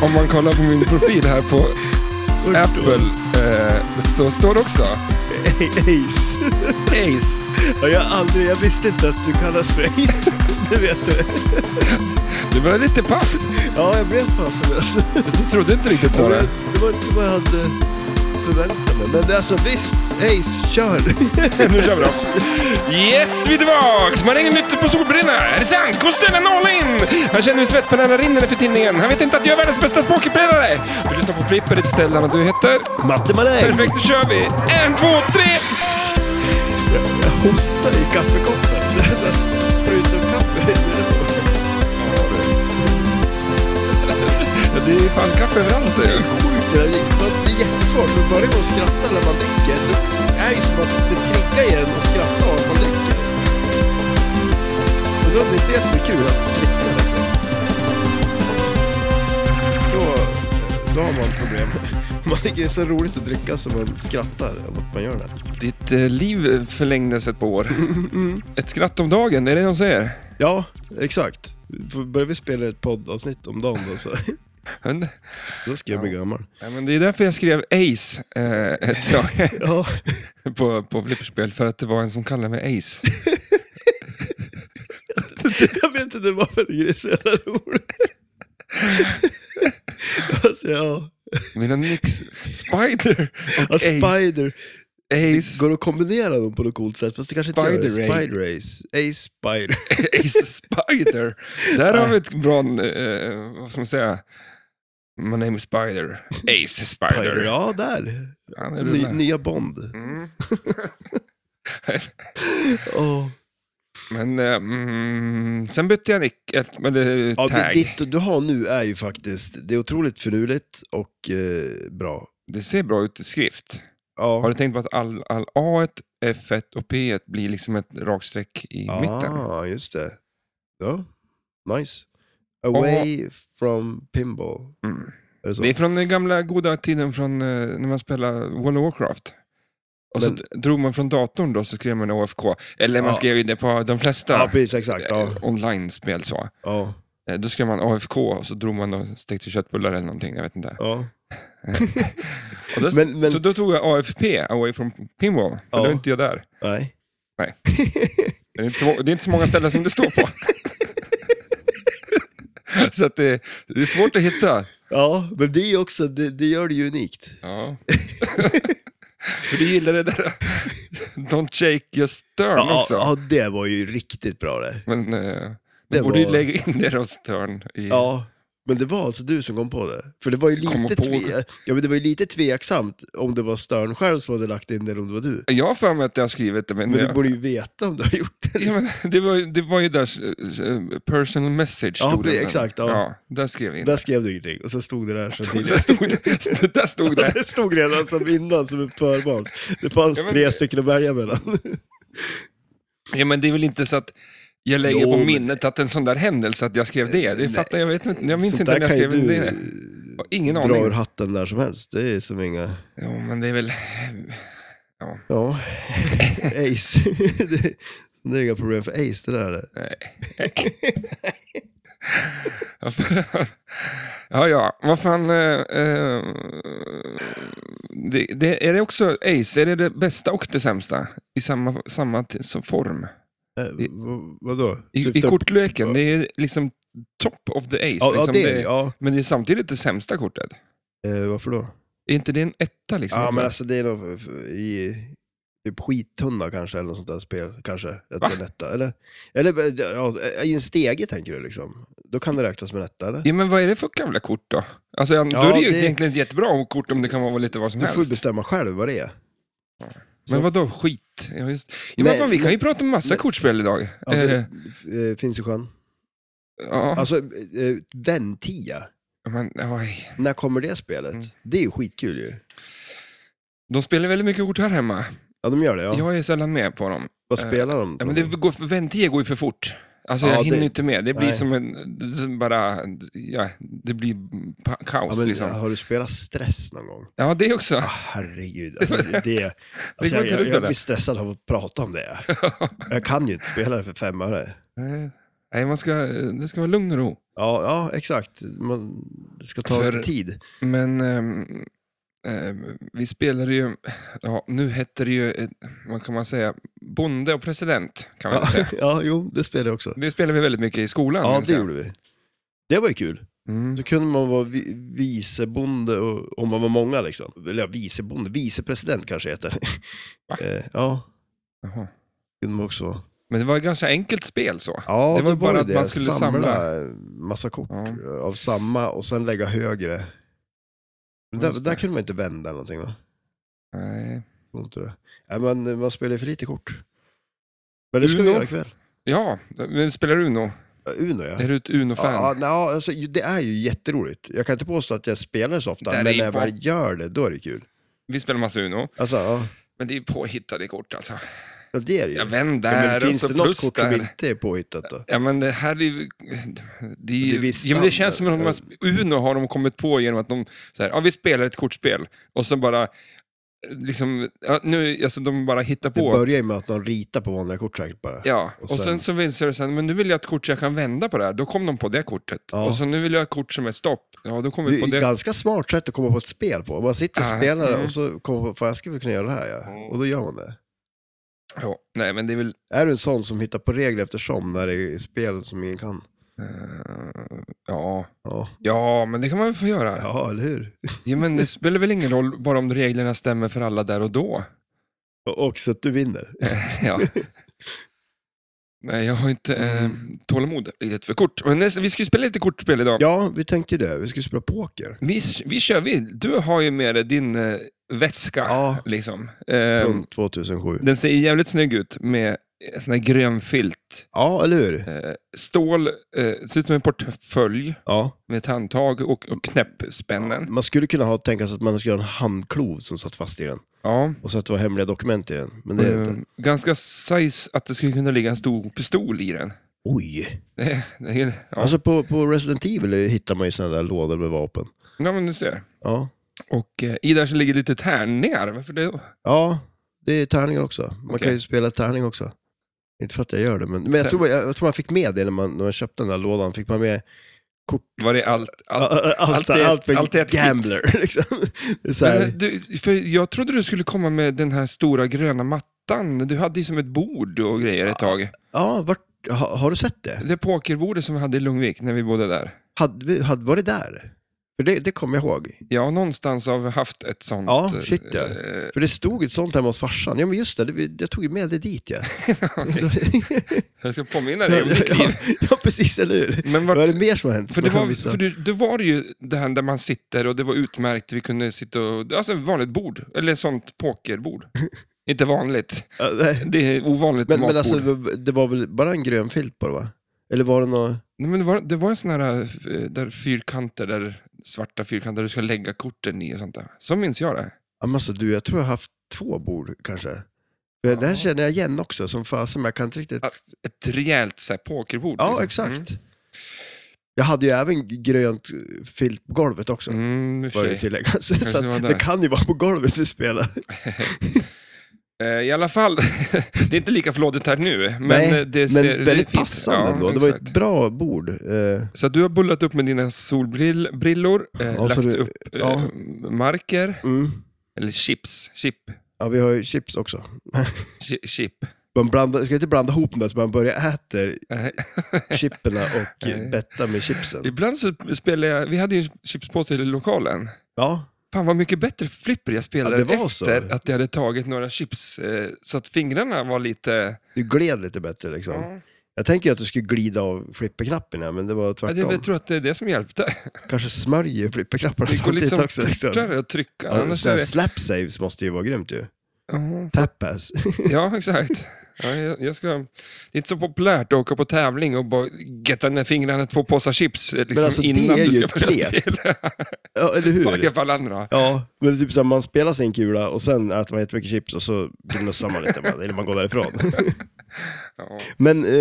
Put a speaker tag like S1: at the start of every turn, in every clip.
S1: om man kollar på min profil här på Apple eh, så står det också
S2: Ace.
S1: Ace.
S2: Ja, jag, har aldrig, jag visste inte att du kallas för Ace. Det vet du.
S1: Du blev lite paff.
S2: Ja, jag blev fan förlöst.
S1: Du trodde inte riktigt på det.
S2: Det var inte vad jag hade förväntat mig. Men det är alltså visst, Ace, kör.
S1: Nu kör vi då. Yes, vi är tillbaks! Man hänger nyttigt på solbrillorna. Är det sant? Kostymen all in! Han känner hur svettpennan rinner för tinningen. Han vet inte att jag är världens bästa pokerspelare. Du lyssnar på Flipper, ditt ställe, vad du heter.
S2: Matte Maräng.
S1: Perfekt, då kör vi! En, två, tre!
S2: Jag hostar i kaffekoppen. Så jag så här sprutar kaffe.
S1: Ja, det är fan kaffe överallt
S2: Det är
S1: säger jag.
S2: sjukt. Det är fast det är jättesvårt. För varje gång man skrattar när man dricker, då är det som att det klickar igen och skratta av att man dricker. Men då är det det som är kul, att liksom. klicka verkligen. Då, då har man problem. Man tycker det är så roligt att dricka så man skrattar av att man gör det.
S1: Ditt eh, liv förlängdes ett par år.
S2: Mm,
S1: Ett skratt om dagen, är det de säger?
S2: Ja, exakt. Får- Börjar vi spela ett poddavsnitt om dagen då, så,
S1: Men,
S2: då ska jag bli gammal.
S1: ja, men det är därför jag skrev Ace eh, ett tag
S2: Ja,
S1: på, på flipperspel, för att det var en som kallade mig Ace.
S2: jag vet inte varför det är så jävla roligt. Alltså, ja.
S1: Mina nix, Spider och
S2: Ja,
S1: Ace.
S2: Spider.
S1: Ace,
S2: Går att kombinera dem på något coolt sätt, fast det kanske inte gör det.
S1: Spider-Ray.
S2: Spider Ace. Ace Spider.
S1: Ace Spider. Där har vi ett bra, eh, vad ska man säga? My name is Spider. Ace
S2: Spider.
S1: Spider.
S2: Ja, där.
S1: Han är
S2: Ny,
S1: rullar.
S2: nya Bond.
S1: Mm.
S2: Åh.
S1: Men eh, mm, sen bytte jag nick, ett, eller
S2: Ja, det,
S1: tag. Det,
S2: ditt du har nu är ju faktiskt, det är otroligt finurligt och eh, bra.
S1: ser bra ut i skrift. Har
S2: Ja,
S1: du tänkt på att all, all A, F och P blir liksom ett rakstreck i mitten?
S2: ah, just det. Ja, nice. Away from pinball.
S1: Mm.
S2: Är det så?
S1: Det är från den gamla goda tiden från eh, när man spelade World of Warcraft. Och så
S2: Men-
S1: d- drog man från datorn då så skrev man AFK. Eller man
S2: Ja.
S1: skrev ju det på de flesta
S2: Ja, precis, exakt.
S1: eh,
S2: Ja,
S1: online-spel så.
S2: ja,
S1: Eh, Då skrev man AFK och så drog man och stekte köttbullar eller någonting, jag vet inte.
S2: ja.
S1: Och då,
S2: Men, men,
S1: Så då tog jag AFP, Away from Pinball, för
S2: Ja.
S1: då är inte jag där.
S2: nej.
S1: Nej. Det är inte så, det är inte så många ställen som det står på. så att det, det är svårt att hitta.
S2: Ja, men det är ju också, det, det gör det ju unikt.
S1: Ja. För du gillar det där Don't shake your stern
S2: Ja,
S1: också.
S2: ja, det var ju riktigt bra det.
S1: Men eh,
S2: Det
S1: du borde ju
S2: var-
S1: lägga in deras stern i...
S2: Ja, men det var alltså du som kom på det. För det var ju
S1: Kom
S2: lite,
S1: på
S2: tve... ja, men det var ju lite tveksamt om det var Stern själv som hade lagt in det eller om det var du.
S1: Jag har för mig att jag har skrivit det, men,
S2: Men du
S1: jag,
S2: borde ju veta om du har gjort det.
S1: ja, men det, var, ju- det var ju där eh, personal message
S2: Ja,
S1: stod det,
S2: det-
S1: men-
S2: exakt, ja.
S1: där skrev vi in.
S2: Där skrev du ingenting och så stod det där så
S1: Där
S2: tidigare.
S1: stod det. Där stod det.
S2: Det stod redan som innan som ett förval. Det fanns
S1: Ja, men-
S2: tre stycken att välja mellan.
S1: Ja, men det är väl inte så att jag lägger
S2: Jo,
S1: på
S2: men-
S1: minnet att den sån där händelse att jag skrev det. Det fattar jag, vet inte. Jag minns
S2: Sånt
S1: inte
S2: där
S1: när jag
S2: kan
S1: skrev
S2: ju du
S1: det. Jag har Ingen
S2: dra ur
S1: aning.
S2: hatten där som helst. Det är som inga...
S1: Ja, men det är väl...
S2: Ja, Ace. det, det är inga problem för Ace det där.
S1: Nej. ja, ja. Vad fan... Eh, eh, det, det, är det också Ace? Är det det bästa och det sämsta i samma, samma t- som form?
S2: Eh, v- vadå?
S1: I, i
S2: Syftar-
S1: kortleken, det är liksom top of the Ace.
S2: Ja, ja,
S1: liksom.
S2: det är
S1: Det-
S2: det. Ja.
S1: Men det är samtidigt det sämsta kortet.
S2: Eh, varför då?
S1: Är inte liksom det en etta liksom?
S2: Ja, men alltså det är nog f- f- i typ skittunna kanske, eller något sånt där spel. Kanske, att
S1: Va?
S2: det är lätta. Eller, eller eh, ja, i en stege tänker du liksom. Då kan det räknas med lätta, eller?
S1: Ja, men vad är det för gamla kort då? Alltså, ja, då
S2: Ja,
S1: är det ju
S2: det-
S1: egentligen ett jättebra kort om det kan vara lite vad som
S2: Du får ju
S1: helst.
S2: bestämma själv vad det är.
S1: Men vad då skit? Ja, just... ja, men,
S2: Men-
S1: fan, vi kan ju
S2: men-
S1: prata om massa
S2: men-
S1: kortspel idag.
S2: Ja,
S1: eh,
S2: det eh, finns i sjön.
S1: ja,
S2: Alltså, eh, Ventia.
S1: men, oj.
S2: När kommer det spelet?
S1: Mm.
S2: Det är ju skitkul ju.
S1: De spelar väldigt mycket kort här hemma.
S2: Ja, de gör det ja.
S1: Jag är sällan med på dem.
S2: Vad spelar de?
S1: eh, Ja,
S2: för
S1: men det
S2: någonting?
S1: går, för- väntetid går ju för fort. Alltså
S2: Ja,
S1: jag hinner
S2: det-
S1: ju inte med. Det blir
S2: nej.
S1: som en, det- som bara, ja, det blir pa- kaos
S2: ja, men,
S1: liksom. Ja.
S2: Har du spelat stress någon gång?
S1: det också.
S2: Ah, herregud, alltså, det, det, alltså,
S1: går inte att
S2: jag, jag, jag
S1: lukta
S2: blir
S1: det.
S2: stressad av att prata om det. Jag kan ju inte spela det för fem öre.
S1: Eh, Nej, man ska, det ska vara lugn och ro.
S2: Ja, ja exakt. Man, Det ska ta
S1: För-
S2: lite tid.
S1: Men ehm, ehm, vi spelade ju, ja, nu hette det ju, ett- vad kan man säga, bonde och president kan man
S2: Ja,
S1: väl säga.
S2: ja, jo, det spelade jag också.
S1: Det spelade vi väldigt mycket i skolan.
S2: Ja,
S1: minns
S2: det
S1: jag.
S2: gjorde vi. Det var ju kul.
S1: Mm.
S2: Då kunde man vara vi- vicebonde och, om man var många liksom. Eller ja, vicebonde, vicepresident kanske heter.
S1: Va?
S2: Eh, ja,
S1: Jaha.
S2: kunde man också vara.
S1: Men det var ett ganska enkelt spel så.
S2: Ja,
S1: Det var bara
S2: ju
S1: att man skulle
S2: eh, massa kort
S1: Ja.
S2: eh, av samma och sen lägga högre. Men
S1: Ja,
S2: där,
S1: just det.
S2: där kunde man inte vända någonting va?
S1: Nej.
S2: Tror Inte det. Nej, men man spelar ju för lite kort. Men det ska vi
S1: Uno?
S2: göra ikväll.
S1: Ja, men spelar Uno?
S2: Ja, Uno ja.
S1: Är du ett Uno-fan?
S2: Ja, ja, nej, alltså, ju- det är ju jätteroligt. Jag kan inte påstå att jag spelar så ofta,
S1: Där är
S2: men när
S1: ju
S2: jag
S1: bara-
S2: väl gör det, då är det kul.
S1: Vi spelar massa Uno,
S2: Alltså, ja,
S1: men det är påhittade kort alltså.
S2: ja, det är det ju.
S1: Jag vänder
S2: Ja,
S1: där
S2: men
S1: och
S2: finns
S1: så
S2: det något
S1: plus
S2: kort
S1: där.
S2: som inte är påhittat då?
S1: Ja, men det här är ju... Det, är
S2: Det
S1: ju,
S2: är viss
S1: ja, men det känns som att de
S2: standard.
S1: har, Uno har de kommit på genom att de så här, ja, vi spelar ett kortspel och så bara eh, liksom, ja, nu, alltså de bara hittar
S2: Det
S1: på.
S2: börjar ju med att de ritar på vanliga kort säkert bara.
S1: Ja, och
S2: och
S1: sen,
S2: sen-
S1: så visar det sig, men nu vill jag ett kort så jag kan vända på det här. Då kom de på det kortet.
S2: Ja.
S1: Och så nu vill jag ett kort som är stopp. Ja, då kom
S2: Det
S1: vi
S2: är
S1: på
S2: ett
S1: det.
S2: ganska smart sätt att komma på ett spel på. Man sitter och
S1: Ja,
S2: spelar
S1: mm.
S2: och så kommer man på, fan jag skulle kunna göra det här ja.
S1: Mm.
S2: Och då gör man det.
S1: Ja, nej, men det är väl...
S2: Är du en sån som hittar på regler eftersom när det är spel som ingen kan?
S1: eh, ja.
S2: Ja,
S1: ja, men det kan man väl få göra. Ja.
S2: ja eller hur?
S1: men det spelar väl ingen roll bara om reglerna stämmer för alla där och då.
S2: Och och så att du vinner.
S1: Ja. Nej, jag har inte eh, tålamod riktigt för kort. Men nästa, vi ska ju spela lite kortspel idag.
S2: Mm. Ja, vi tänkte ju det. Vi skulle spela poker.
S1: Vi, vi kör vi. Du har ju med dig din eh, väska.
S2: Ja.
S1: Liksom. Eh,
S2: Från 2007.
S1: den ser jävligt snygg ut med eh, sån här grön filt.
S2: Ja, eller hur?
S1: Eh, stål, eh, ser ut som en portfölj
S2: Ja.
S1: med ett handtag och, och knäppspännen.
S2: Man skulle kunna ha, tänka sig att man skulle ha en handklov som satt fast i den.
S1: Ja.
S2: Och så att det var hemliga dokument i den. Men det är det inte.
S1: Eh, ganska size att det skulle kunna ligga en stor pistol i den.
S2: Oj!
S1: Det, är- det, är- ja.
S2: Alltså på, på Resident Evil hittar man ju sådana där lådor med vapen.
S1: ja, men du ser.
S2: Ja,
S1: Och eh, i där så ligger lite tärningar. Varför det?
S2: ja det är tärningar också. Man
S1: Okej.
S2: kan ju spela tärning också. Inte för att jag gör det, men, men jag, tror, jag, jag tror man fick med det när man, när man köpte den där lådan. Fick man med
S1: Var det allt? allt? allt
S2: allt, allt,
S1: är ett-
S2: allt med
S1: allt är ett kit.
S2: gambler. Liksom. Det är så
S1: Men,
S2: här,
S1: du, för jag trodde du skulle komma med den här stora gröna mattan. Du hade ju som ett bord och grejer ett tag.
S2: ja, vart, ha, har du sett det?
S1: Det pokerbordet som vi hade i Lundvik när vi bodde där.
S2: Hade, vi- hade, var det där? För det, det kommer jag ihåg.
S1: Ja, någonstans har vi haft ett sånt.
S2: Ja, shit, ja.
S1: eh,
S2: För det stod ett sånt hemma hos farsan. Ja, men just det, det jag tog ju med det dit. Ja.
S1: okej. jag ska påminna dig om ditt
S2: ja,
S1: liv.
S2: ja, precis, eller hur?
S1: Men
S2: Vad
S1: vart,
S2: är det mer som har hänt?
S1: för
S2: som
S1: det
S2: jag kan
S1: var,
S2: visa?
S1: för du, då var det ju det här där man sitter och det var utmärkt. Vi kunde sitta och... Alltså ett vanligt bord. Eller ett sånt pokerbord. Inte vanligt.
S2: Ja, nej.
S1: Det är ovanligt
S2: Men,
S1: matbord.
S2: men alltså, det- det var väl bara en grön filt på det va? Eller var det något...
S1: Nej, men det, var, det var en sån här eh, där fyrkanter, där svarta fyrkanter, där du ska lägga korten i och sånt där. Så minns jag det.
S2: Ja, men Alltså du, jag tror jag har haft två bord kanske. För Det här
S1: Ja.
S2: känner jag igen också som fasen, men jag kan inte riktigt...
S1: Ja, Ett rejält så här, pokerbord.
S2: Ja,
S1: liksom.
S2: exakt. Jag hade ju även grönt eh, filt på golvet också.
S1: Mm, mm i och
S2: Var
S1: för
S2: det
S1: sig.
S2: tilläggas. Så
S1: det var
S2: att
S1: där.
S2: det kan ju vara på golvet vi spelar.
S1: Eh, I alla fall, det är inte lika förlåtligt här nu. Men
S2: Nej,
S1: eh, det ser
S2: Men
S1: det är
S2: väldigt
S1: fint.
S2: passande
S1: Ja,
S2: ändå. Det var ju ett
S1: exakt.
S2: bra bord. Eh,
S1: Så att du har bullat upp med dina solbrillor, eh,
S2: Ja,
S1: lagt
S2: så du-
S1: upp eh,
S2: ja.
S1: marker,
S2: Mm.
S1: eller chips, chip,
S2: Ja, vi har ju chips också.
S1: chi- chip.
S2: Man blandar, ska inte blanda ihop dem där så man börjar äta
S1: Nej.
S2: chipperna och
S1: Nej.
S2: eh, betta med chipsen.
S1: Ibland så spelar jag, vi hade ju en chipspåse i lokalen.
S2: Ja,
S1: Fan vad mycket bättre flipper jag spelade
S2: Ja, det var så.
S1: efter att jag hade tagit några chips. Eh, så att fingrarna var lite...
S2: du gled lite bättre liksom.
S1: Ja.
S2: Jag tänker ju att du skulle glida av flipperknappen, här, men det var
S1: Jag,
S2: tvärtom.
S1: jag tror att det är det som hjälpte.
S2: Kanske smörjer flipperknapparna
S1: Det går
S2: samtidigt
S1: liksom
S2: också. Liksom.
S1: fortare att trycka.
S2: Ja,
S1: Annars
S2: så
S1: är
S2: här
S1: det...
S2: slap saves måste ju vara grymt ju.
S1: Ja,
S2: Tap pass.
S1: Ja, exakt. Ja, jag, jag ska... Det är inte så populärt att åka på tävling och bara getta ner fingrarna två påsar chips eh, liksom,
S2: alltså, det
S1: innan
S2: är
S1: du
S2: ju
S1: ska börja
S2: knep.
S1: spela.
S2: ja, eller
S1: I alla
S2: hur?
S1: fall andra.
S2: Ja, men det är typ så här, man spelar sin kula och sen äter man jättemycket chips och så gnussar man lite bara, eller man går därifrån.
S1: Ja.
S2: Men eh,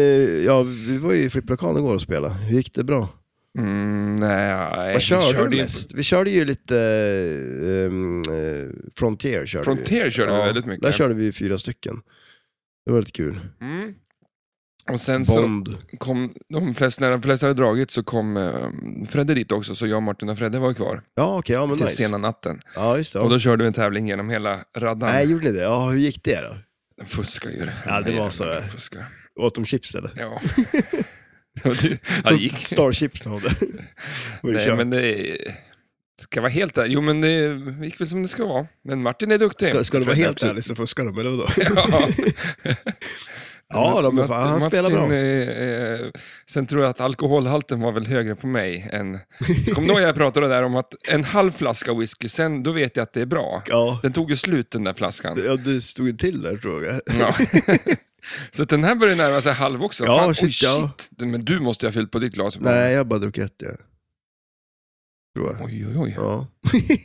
S2: ja, vi var ju i flipplokalen igår och spelade. Hur gick det bra?
S1: Mm, nej,
S2: Vad körde,
S1: vi
S2: du
S1: ju-
S2: mest? Vi körde ju lite ehm, eh, Frontier. Körde vi.
S1: Frontier körde vi väldigt mycket.
S2: Där körde vi fyra stycken. Det var lite kul.
S1: Mm. Och sen så
S2: Bond.
S1: kom, de flesta, när de flesta hade dragit så kom eh, Fredde dit också, så jag, Martin och Fredde var ju kvar
S2: Ja, okej. ja, men
S1: till
S2: nice.
S1: sena natten.
S2: Ja, just det.
S1: Och
S2: Ja.
S1: då körde vi en tävling genom hela raddan.
S2: Nej, gjorde ni det? Ja, hur gick det då?
S1: De fuskar ju.
S2: Ja, det var så.
S1: De fuskar.
S2: Åt de chips eller?
S1: Ja. Ja, det- ja, det gick.
S2: Starchips när de Var det
S1: Nej,
S2: kört?
S1: men det ska vara helt där. Jo, men det gick väl som det ska vara. Men Martin är duktig.
S2: Ska, ska du vara
S1: Fredde,
S2: helt
S1: absolut.
S2: ärlig så fuskar de, eller vadå?
S1: Ja.
S2: Ja, då, men fan, han
S1: Martin,
S2: spelar bra.
S1: eh, eh, sen tror jag att alkoholhalten var väl högre på mig än... Kom då jag pratade där om att en halv flaska whisky, sen då vet jag att det är bra.
S2: Ja,
S1: Den tog ju slut den där flaskan.
S2: ja du stod ju till där tror jag.
S1: Ja. Så att den här börjar närma sig halv också.
S2: Ja,
S1: Fan, oj,
S2: shit, ja.
S1: shit. Men du måste ju ha fyllt på ditt glas.
S2: Nej, jag bara druckit ett, ja. Tror jag.
S1: Oj, oj, oj.
S2: Ja.
S1: Okej.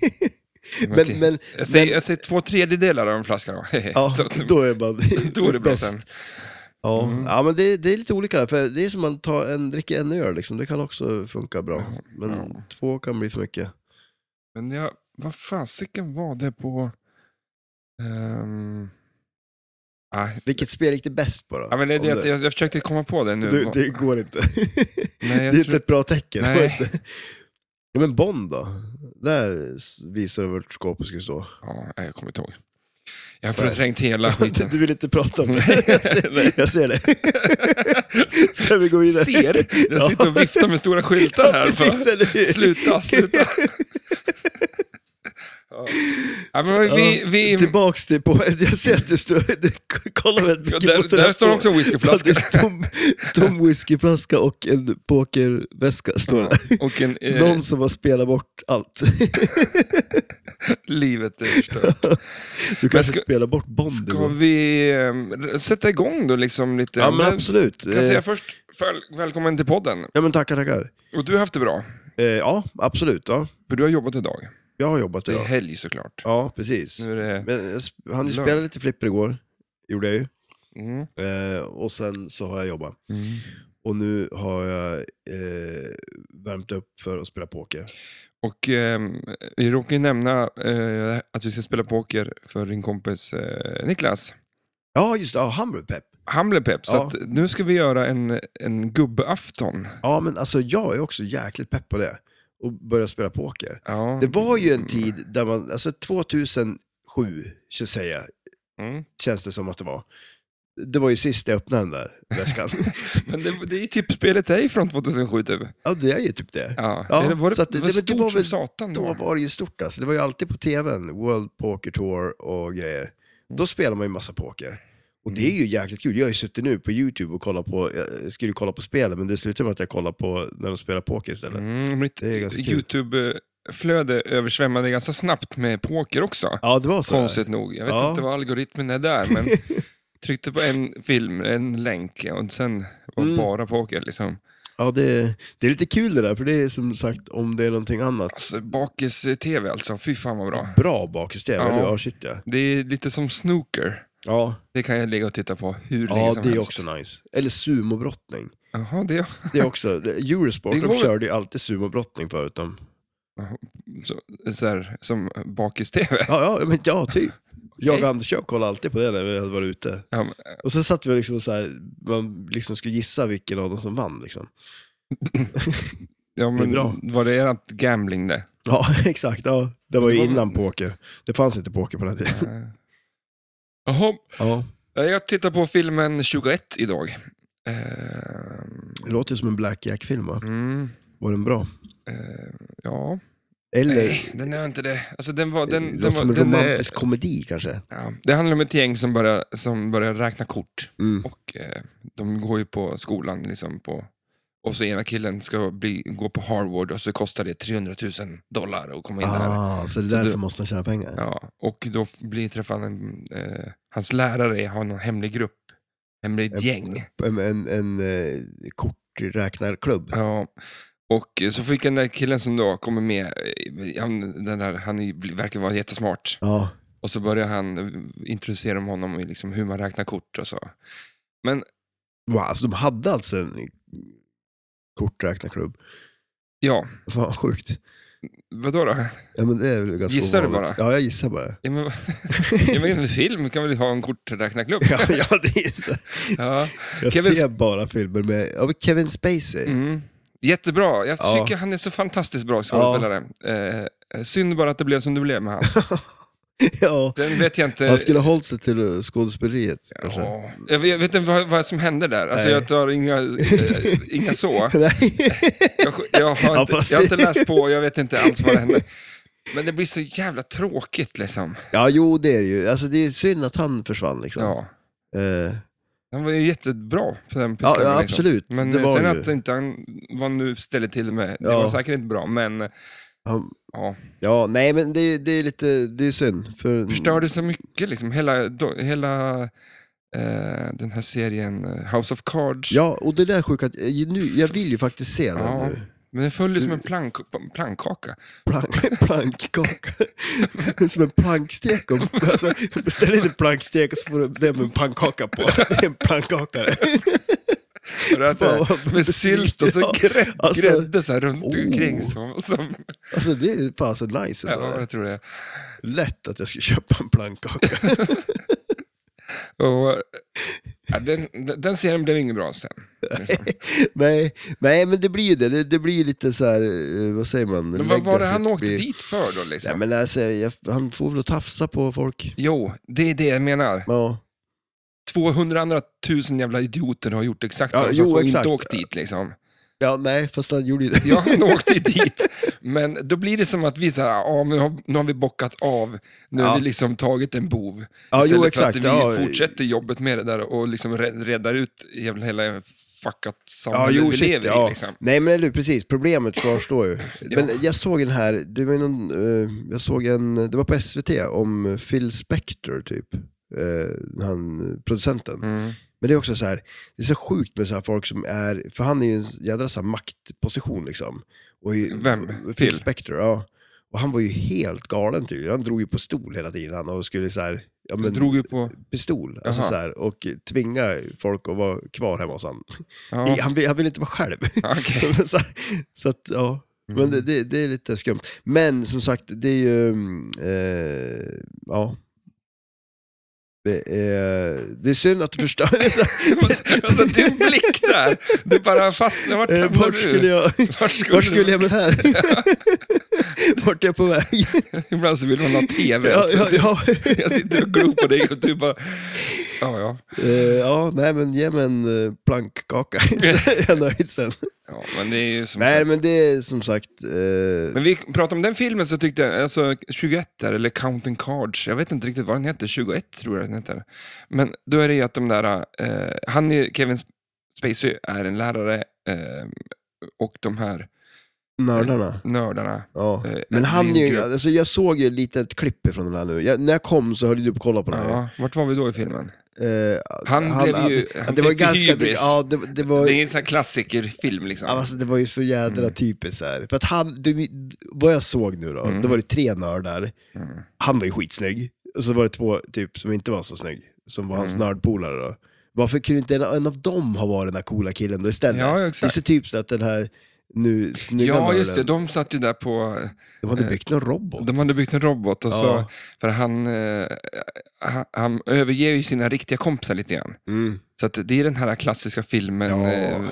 S2: men, men,
S1: jag, säger,
S2: men-
S1: jag säger två tredjedelar av en flaska då.
S2: ja,
S1: Så att-
S2: då är man
S1: då är det bra
S2: bäst.
S1: sen.
S2: Ja,
S1: Mm.
S2: ja men det, det är lite olika där, för det är som att man tar en, dricker en öl, liksom. det kan också funka bra.
S1: Ja,
S2: Men
S1: ja.
S2: två kan bli för mycket.
S1: Men jag, vad fasiken var det på... Ehm, ah, nej.
S2: Vilket spel gick det bäst på då?
S1: Ja, men det, är
S2: Om
S1: det, att jag, jag försökte komma på det nu.
S2: du, det går inte.
S1: Nej,
S2: det är
S1: jag
S2: inte
S1: tror,
S2: ett bra tecken.
S1: Nej.
S2: Det var inte- Ja, men Bond då? Där s- visar du vart skåpet skulle stå.
S1: ja, nej, jag kommer inte ihåg. Jag har förträngt hela skiten.
S2: Du vill inte prata om det.
S1: Nej.
S2: Jag ser, jag ser det. Ska vi gå vidare?
S1: Ser? Jag
S2: Ja.
S1: sitter och viftar med stora skyltar här.
S2: Precis,
S1: för,
S2: eller hur?
S1: sluta, sluta. ja. Ja, men vi,
S2: Ja,
S1: vi,
S2: Tillbaks till på... Jag ser att du står... Kolla väldigt
S1: Ja,
S2: mycket
S1: där,
S2: på
S1: där står också en
S2: flaska.
S1: whiskyflaska
S2: tom, tom whiskyflaska och en pokerväska står det.
S1: och en, eh,
S2: Någon som har spelat bort allt.
S1: livet är förstört.
S2: Du kanske
S1: ska-
S2: spelar bort Bond.
S1: Ska
S2: du.
S1: vi eh, sätta igång då liksom lite?
S2: Ja, men
S1: Med-
S2: absolut.
S1: Kan jag säga
S2: Eh,
S1: först, föl- välkommen till podden.
S2: Ja, men tackar, tackar.
S1: Och du har haft det bra,
S2: Eh, Ja, absolut. Ja.
S1: för du har jobbat idag.
S2: Jag har jobbat
S1: Det är
S2: idag.
S1: helg såklart.
S2: Ja, precis.
S1: Nu är det...
S2: Men jag sp- hann ju
S1: Lugn.
S2: spela lite flipper igår. Gjorde jag ju.
S1: Mm.
S2: Eh, och sen så har jag jobbat. Och nu har jag eh, värmt upp för att spela poker.
S1: Och ehm, vi råkade ju nämna eh, att vi ska spela poker för din kompis eh, Niklas.
S2: Ja, just det. Ja, han blev pepp.
S1: Han blev pepp, så
S2: Ja.
S1: att nu ska vi göra en, en gubbafton.
S2: Ja, men alltså jag är också jäkligt pepp på det. Och börja spela poker.
S1: Ja. Mm.
S2: Det var ju en tid där man, alltså 2007, ska jag säga,
S1: Mm.
S2: känns det som att det var. Det var ju sist jag öppnade den där väskan.
S1: Men det, det är ju typ spelet dig från 2007 typ.
S2: ja, det är ju typ det.
S1: Ja,
S2: Ja,
S1: Eller var det,
S2: så att
S1: det
S2: det-
S1: var
S2: det- det
S1: stort
S2: var
S1: som
S2: väl-
S1: satan då.
S2: Då var det ju stort alltså. Det var ju alltid på tvn, World Poker Tour och grejer.
S1: Mm.
S2: Då spelar man ju massa poker. Och det är ju jäkligt kul. Jag har ju suttit nu på YouTube och kollat på, jag skulle kolla på spelen, men det slutar med att jag kollar på när de spelar poker istället.
S1: Mm, mitt
S2: Det är ganska kul.
S1: YouTube-flöde översvämmade ganska snabbt med poker också.
S2: Ja, det var så.
S1: Konstigt nog. Jag vet
S2: Ja.
S1: inte vad algoritmen är där, men tryckte på en film, en länk och sen var det
S2: Mm.
S1: bara poker. Liksom.
S2: Ja, det, det är lite kul det där, för det är som sagt om det är någonting annat.
S1: Alltså, Bakis-tv alltså, fy fan vad bra.
S2: Bra bakis det,
S1: Ja.
S2: eller hur? Ja, shit ja.
S1: Det är lite som snooker.
S2: Ja,
S1: Det kan jag ligga och titta på hur länge
S2: ja
S1: som
S2: det är
S1: helst.
S2: också nice. Eller sumobrottning.
S1: Jaha, det,
S2: Det är också, Eurosport,
S1: Det var
S2: de
S1: väl-
S2: körde ju alltid sumobrottning förut. De.
S1: så, så här, som Bakis-tv.
S2: Ja, ja, men ja, typ. Jag
S1: Okej.
S2: och Anders jag kollade alltid på det när vi hade varit ute.
S1: Ja, men,
S2: Och sen satt vi och liksom så här, man liksom skulle gissa vilken av dem som vann. Liksom.
S1: ja, men
S2: bra.
S1: var det ert gambling det?
S2: Ja, exakt. Ja. Det var ju
S1: Det var-
S2: innan poker. Det fanns inte poker på den tiden.
S1: Eh. Jaha, Eh,
S2: Ja.
S1: Jag tittar på filmen 21 idag. Ehm,
S2: Det låter ju som en Black Jack-film, va?
S1: mm,
S2: Var den bra?
S1: eh, ja,
S2: Eller?
S1: nej, den är inte det. Alltså, den var, den,
S2: det
S1: den
S2: låter
S1: var,
S2: som en
S1: den är-
S2: romantisk komedi kanske.
S1: ja, det handlar om ett gäng som börjar, som börjar räkna kort.
S2: Mm.
S1: Och eh, De går ju på skolan. Liksom på, och så ena killen ska bli, gå på Harvard och så kostar det 300 000 dollar att komma in där.
S2: Ah, så det är
S1: Så
S2: därför
S1: du-
S2: måste de tjäna pengar?
S1: Ja, och då blir träffar han en, eh, hans lärare, har någon hemlig grupp, hemligt
S2: Ett-
S1: gäng.
S2: En, en, en eh, korträknarklubb?
S1: Ja, och eh, så fick den där killen som då kommer med, eh, han, den där, han är, ju- verkar vara jättesmart.
S2: Ja.
S1: Och så börjar han eh, introducera om honom i liksom hur man räknar kort och så.
S2: Wow, alltså de hade alltså en korträknarklubb?
S1: Ja,
S2: Fan, sjukt.
S1: Vadå då?
S2: Ja, men det är väl ganska
S1: Gissar du
S2: ovanligt.
S1: bara?
S2: Ja, jag gissar bara.
S1: Ja, men, ja, men en film kan väl ha en korträknarklubb?
S2: Ja, ja det gissar
S1: Ja.
S2: jag.
S1: Kevin-
S2: ser bara filmer med ja, men Kevin Spacey.
S1: Mm. Jättebra. Jag
S2: Ja.
S1: tycker han är så fantastiskt bra skådespelare. Eh, synd bara att det blev som det blev med han.
S2: Ja.
S1: Den vet jag inte.
S2: Han skulle ha hållit sig till eh, skådespeleriet kanske.
S1: Ja. Jag vet jag vet inte vad, vad som hände där. Alltså,
S2: Nej.
S1: jag tar inga, eh, inga så.
S2: Nej.
S1: Jag, jag, har
S2: Ja,
S1: inte,
S2: fast
S1: jag har
S2: det-
S1: inte läst på, jag vet inte alls vad det hände. Men det blir så jävla tråkigt liksom.
S2: Ja, jo det är det ju. Alltså, det är synd att han försvann liksom.
S1: Ja.
S2: Eh,
S1: Han var ju jättebra på den
S2: ja,
S1: pistolen.
S2: ja
S1: liksom.
S2: absolut.
S1: Men
S2: det var
S1: sen
S2: han ju.
S1: att eh, inte han, vad han nu ställde till med, det
S2: Ja. Mm.
S1: var säkert inte bra. Men
S2: Han...
S1: Ja.
S2: Ja, nej men det, är- det är lite, det är synd. För...
S1: förstörde så mycket liksom. Hela, do, hela eh, den här serien eh, House of Cards.
S2: Ja, och det där sjuka, att- eh, nu, jag vill ju faktiskt se den
S1: Ja.
S2: nu.
S1: Men den föll ju som en
S2: Mm.
S1: plank- plankaka.
S2: Plank, plankkaka. Det är som en plankstek. om- Alltså, beställ inte plankstek och så får du det med en pannkaka på. Det är en plankkakare.
S1: Har du ätit
S2: Fan,
S1: det?
S2: vad
S1: eh, Med sylt och så
S2: ja.
S1: grädd,
S2: Alltså,
S1: grädde så här runt
S2: oh.
S1: omkring. Som, som,
S2: Alltså det är fan så nice. ändå.
S1: ja, jag tror det.
S2: Lätt att jag ska köpa en plankkaka.
S1: Och, ja, den, den serien blev ingen bra sen. Liksom.
S2: nej, nej, men det blir ju det. Det, det blir ju lite så här, eh, vad säger man?
S1: Men vad var det han
S2: Legacyt
S1: åkte
S2: blir-
S1: dit för då? Liksom?
S2: Nej, men alltså, jag, han får väl tafsa på folk.
S1: Jo, det är det jag menar.
S2: Ja.
S1: 200 andra tusen jävla idioter har gjort exakt
S2: Ja,
S1: samma
S2: jo,
S1: sak och
S2: exakt.
S1: inte åkt dit. Liksom.
S2: Ja, nej, fast han gjorde ju det.
S1: Ja, han åkte ju dit, men då blir det som att vi säger, ja, men nu, har- nu har vi bockat av, nu
S2: Ja.
S1: har vi liksom tagit en bov.
S2: Ja,
S1: Istället
S2: jo,
S1: för att
S2: exakt.
S1: vi
S2: Ja,
S1: fortsätter jobbet med det där och liksom rä- räddar ut jävla hela fuckat
S2: ja,
S1: samhället
S2: jo,
S1: vi
S2: shit,
S1: lever
S2: ja.
S1: i. Liksom.
S2: Nej, men eller hur, precis. Problemet kvarstår ju.
S1: Ja.
S2: Men jag såg en här, det var ju någon, eh, jag såg en, det var på SVT, om Phil Spector typ. Eh, han, producenten.
S1: Mm.
S2: Men det är också så här, det är så sjukt med så här folk som är, för han är ju i en jädra så här maktposition liksom. Och i,
S1: Vem?
S2: Phil
S1: Phil?
S2: Spector, ja. Och han var ju helt galen tydligen. Han drog ju på stol hela tiden han, och skulle så här, ja
S1: Det
S2: men
S1: drog ju på...
S2: pistol. Alltså
S1: Jaha.
S2: så här, och tvinga folk att vara kvar hemma hos han.
S1: Ja,
S2: I- Han, vill, han vill inte vara själv.
S1: okej.
S2: så, så att, ja.
S1: Mm.
S2: Men det, det, det är lite skumt. Men som sagt, det är ju... mm, Eh, ja. Det är, det är synd att du förstör.
S1: alltså din blick där, du bara fastnade. Vart
S2: Eh,
S1: var
S2: Vart skulle
S1: du?
S2: jag,
S1: Vart skulle,
S2: vart skulle jag med det här? Vart är jag på väg?
S1: Ibland så vill man ha TV.
S2: Ja,
S1: alltså.
S2: ja, ja.
S1: Jag sitter och glor på dig och du bara... Ja, ja.
S2: Eh, ja, nej men ge mig en eh, plankkaka. jag är nöjd sen.
S1: ja men det är ju som
S2: Nej
S1: sagt.
S2: men det är som sagt... Eh,
S1: Men vi pratade om den filmen så tyckte jag, alltså 21 där, eller Counting Cards, jag vet inte riktigt vad den heter, 21 tror jag den heter. Men då är det ju att de där, eh, han är, Kevin Spacey är en lärare eh, och de här
S2: Nördarna.
S1: nördarna.
S2: Ja.
S1: Eh,
S2: Men
S1: det
S2: han
S1: är en
S2: är ju,
S1: grupp.
S2: alltså jag såg ju lite ett klipp ifrån den här nu. Jag, när jag kom så höll du på att kolla på den här.
S1: Ja, vart var vi då i filmen?
S2: Eh,
S1: Han blev ju-
S2: ja,
S1: han
S2: det var
S1: fick ju
S2: ganska, det,
S1: hybris.
S2: ja, det, det, var,
S1: Det är en sån här klassikerfilm liksom.
S2: alltså, det var ju så jädra
S1: Mm.
S2: typiskt så här. För att han, det, vad jag såg nu då,
S1: Mm.
S2: då var det tre nördar.
S1: Mm.
S2: Han var ju skitsnygg. Och så var det två typ som inte var så snygg, som var hans
S1: Mm.
S2: nördpolare då. Varför kunde inte en, en av dem ha varit den här coola killen då istället?
S1: Ja,
S2: det är
S1: exakt.
S2: så typiskt att den här nu snygga
S1: Ja,
S2: nörden,
S1: just det, de satt ju där på
S2: de hade
S1: eh,
S2: byggt någon robot.
S1: De hade byggt en robot och
S2: Ja.
S1: så, för han, eh, ha- han överger ju sina riktiga kompisar lite grann.
S2: Mm.
S1: Så att det är den här klassiska filmen,
S2: Ja.
S1: eh,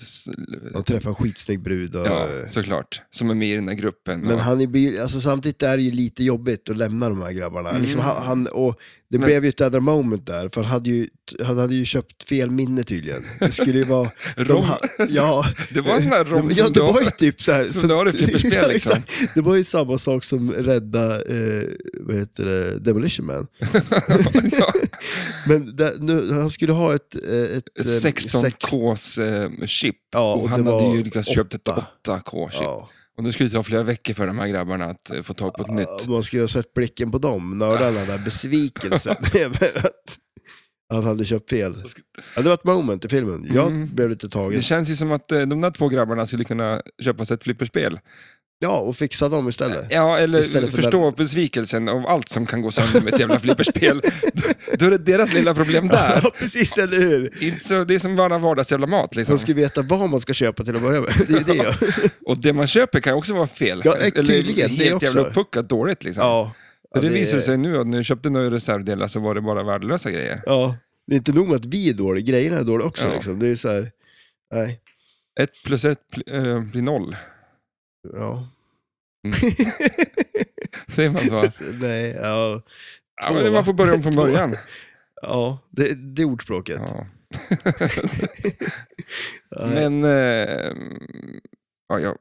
S1: s-
S2: De träffade en skitsnygg brud och...
S1: ja, såklart, som är med i den här gruppen.
S2: Men
S1: och,
S2: han blir, alltså samtidigt är det ju lite jobbigt att lämna de här grabbarna.
S1: Mm.
S2: Liksom han, han, och det
S1: Men-
S2: blev ju ett jädra moment där, för han hade, ju, han hade ju köpt fel minne tydligen. Det skulle ju vara... de
S1: rom,
S2: ha- ja,
S1: det var en sån här rom
S2: ja,
S1: som du
S2: det var ju
S1: har-
S2: typ så här.
S1: som du har i flipperspel,
S2: Ja,
S1: liksom.
S2: exakt. Det var ju samma sak som rädda, eh, vad heter det, Demolition Man.
S1: ja,
S2: Men där, nu, han skulle ha ett... eh, ett eh,
S1: 16Ks eh, chip.
S2: ja,
S1: och han
S2: det
S1: hade
S2: var
S1: ju lyckats köpt ett
S2: åtta.
S1: 8K-chip.
S2: Ja.
S1: Och nu skulle det ta flera veckor för de här grabbarna att eh, få tag på ett nytt.
S2: Man skulle ha sett blicken på dem, nördarna, där besvikelsen över att han hade köpt fel. Ja, det var ett moment i filmen. Jag
S1: Mm.
S2: blev lite
S1: Det
S2: tagen.
S1: känns ju som att eh, de där två grabbarna skulle kunna köpa sig ett flipperspel.
S2: Ja, och fixa dem istället.
S1: Ja, eller
S2: Istället för
S1: förstå besvikelsen av allt som kan gå sönder med ett jävla flipperspel. Då- Då är det deras lilla problem där.
S2: Ja, precis, eller hur?
S1: Inte så, det är som bara vardagsjävla mat liksom.
S2: Man ska veta vad man ska köpa till att börja med. Det är det jag...
S1: Och det man köper kan ju också vara fel.
S2: Ja, eh, tydligen,
S1: helt
S2: det
S1: jävla
S2: också.
S1: upppuckat dåligt liksom.
S2: Ja.
S1: För
S2: Ja,
S1: det,
S2: det-
S1: visar sig nu att när du köpte några reservdelar så var det bara värdelösa grejer.
S2: Ja. Det är inte nog med att vi är dåliga, grejerna är dåliga också.
S1: Ja.
S2: Liksom. Det är så här, nej,
S1: Ett plus ett pl- eh, blir noll.
S2: ja.
S1: Mm. Säger man så?
S2: Så, nej, ja.
S1: Ja, men man får börja om från
S2: Två.
S1: början.
S2: ja. Det, det är ordspråket.
S1: Ja.
S2: Nej.
S1: Men eh, ja, jag,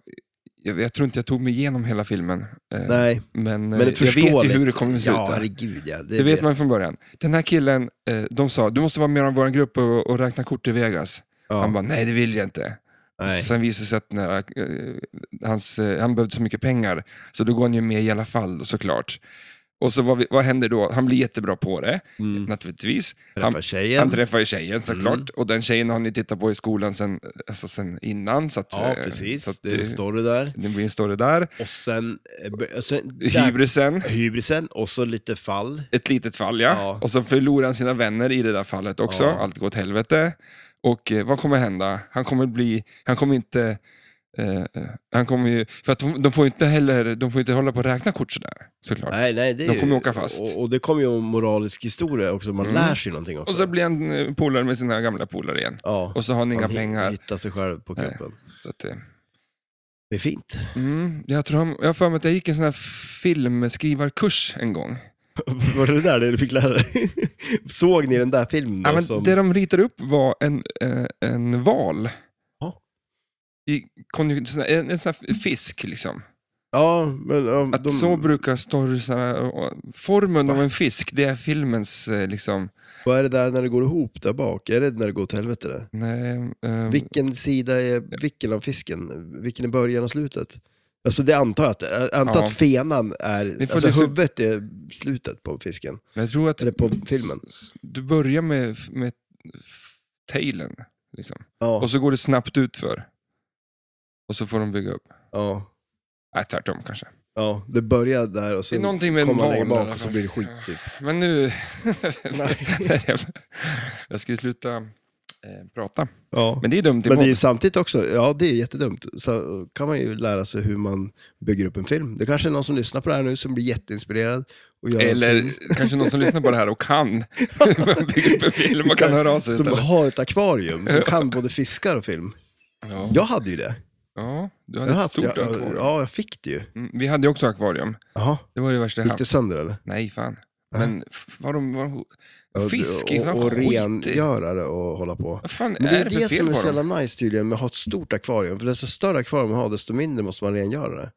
S1: jag, jag tror inte jag tog mig igenom hela filmen. Eh,
S2: nej,
S1: Men, eh,
S2: men det
S1: jag vet ju hur det kommer att sluta.
S2: Ja, herregud ja. Det,
S1: det vet man från början. Den här killen, eh, de sa du måste vara med i vår grupp och, och räkna kort i Vegas. Han
S2: Ja,
S1: bara, nej det vill jag inte.
S2: nej.
S1: Sen visade det sig att när, eh, hans, eh, han behövde så mycket pengar, så då går han ju med i alla fall såklart. Och så vad, vi- vad händer då? Han blir jättebra på det,
S2: Mm.
S1: naturligtvis. Han,
S2: Träffa tjejen.
S1: han träffar ju tjejen såklart, och den tjejen har ni tittat på i skolan sen, alltså, sen innan. Så att,
S2: ja,
S1: eh,
S2: precis.
S1: Så att,
S2: det är en
S1: eh,
S2: story där.
S1: det blir en story där.
S2: Och sen, eh, b- och sen där,
S1: Hybrisen,
S2: hybrisen och så lite fall.
S1: ett litet fall ja.
S2: Ja.
S1: Och så förlorar han sina vänner i det där fallet också.
S2: Ja.
S1: Allt går åt helvete. Och eh, vad kommer hända? Han kommer bli, han kommer inte, eh, eh, han kommer ju, för att de, de får ju inte heller, de får ju inte hålla på och räkna kort sådär, såklart.
S2: Nej, nej, det är
S1: De
S2: ju-
S1: kommer åka fast.
S2: Och, och det kommer ju en moralisk historia också, man
S1: Mm.
S2: lär sig någonting också.
S1: Och så blir han eh, polare med sina gamla polare igen.
S2: ja.
S1: Och så har han inga
S2: Man hi-
S1: pengar.
S2: hittar sig själv på
S1: Nej.
S2: kuppen.
S1: Så att, eh,
S2: Det är fint.
S1: mm, jag tror han, jag har för mig att jag gick en sån här filmskrivarkurs en gång.
S2: Var det det där det du fick lära dig? Såg ni den där filmen då?
S1: Ja, men
S2: som...
S1: Det de ritade upp var en, eh, en val.
S2: Ja.
S1: I konjunk- sån här- en, en sån här fisk liksom.
S2: ja, men, ja,
S1: Att
S2: de...
S1: så brukar storiesarna... Formen av en fisk, det är filmens eh, liksom...
S2: Vad är det där när det går ihop där bak? Är det när det går åt helvete? Det?
S1: Nej, ehm,
S2: Vilken sida är vilken av fisken? Vilken är början och slutet? Alltså det antar jag att det är. Jag antar
S1: Ja.
S2: att fenan är,
S1: får
S2: alltså
S1: liksom-
S2: huvudet är slutet på fisken.
S1: jag tror att
S2: Eller på filmen.
S1: s- du börjar med, med f- tailen. Liksom.
S2: Ja,
S1: Och så går det snabbt ut för. Och så får de bygga upp.
S2: ja,
S1: Nej, tvärtom kanske.
S2: ja. Det börjar där och
S1: Det är
S2: sen
S1: någonting med en
S2: kommer man längre
S1: val.
S2: bak
S1: där,
S2: och så
S1: alltså.
S2: blir det skit typ.
S1: Men nu...
S2: Nej.
S1: jag skulle sluta eh, prata.
S2: Ja.
S1: Men det är dumt. i
S2: Men det är
S1: podd.
S2: ju samtidigt också, ja det är jättedumt, så kan man ju lära sig hur man bygger upp en film. Det kanske är någon som lyssnar på det här nu som blir jätteinspirerad och gör en film
S1: Eller kanske någon som lyssnar på det här och kan bygga upp en film och kan höra av sig
S2: som
S1: istället.
S2: har ett akvarium, som kan både fiskar och film.
S1: Ja.
S2: Jag hade ju det.
S1: Ja, du
S2: Jag
S1: hade
S2: har
S1: ett
S2: haft,
S1: stort
S2: jag,
S1: akvarium.
S2: ja, jag fick det ju.
S1: Mm, vi hade ju också akvarium.
S2: Jaha,
S1: Det var det värsta jag
S2: gick
S1: haft.
S2: det sönder eller?
S1: Nej, fan. Men f- var de, var de...
S2: Äh. Ja,
S1: Fisk är fan
S2: och, och
S1: skit i.
S2: rengöra det och hålla på.
S1: Vad fan
S2: Men det
S1: är det
S2: är det
S1: för
S2: som
S1: fel
S2: är
S1: på
S2: så
S1: dem?
S2: jävla nice tydligen med att ha ett stort akvarium. För desto större akvarium man har, desto mindre måste man rengöra det.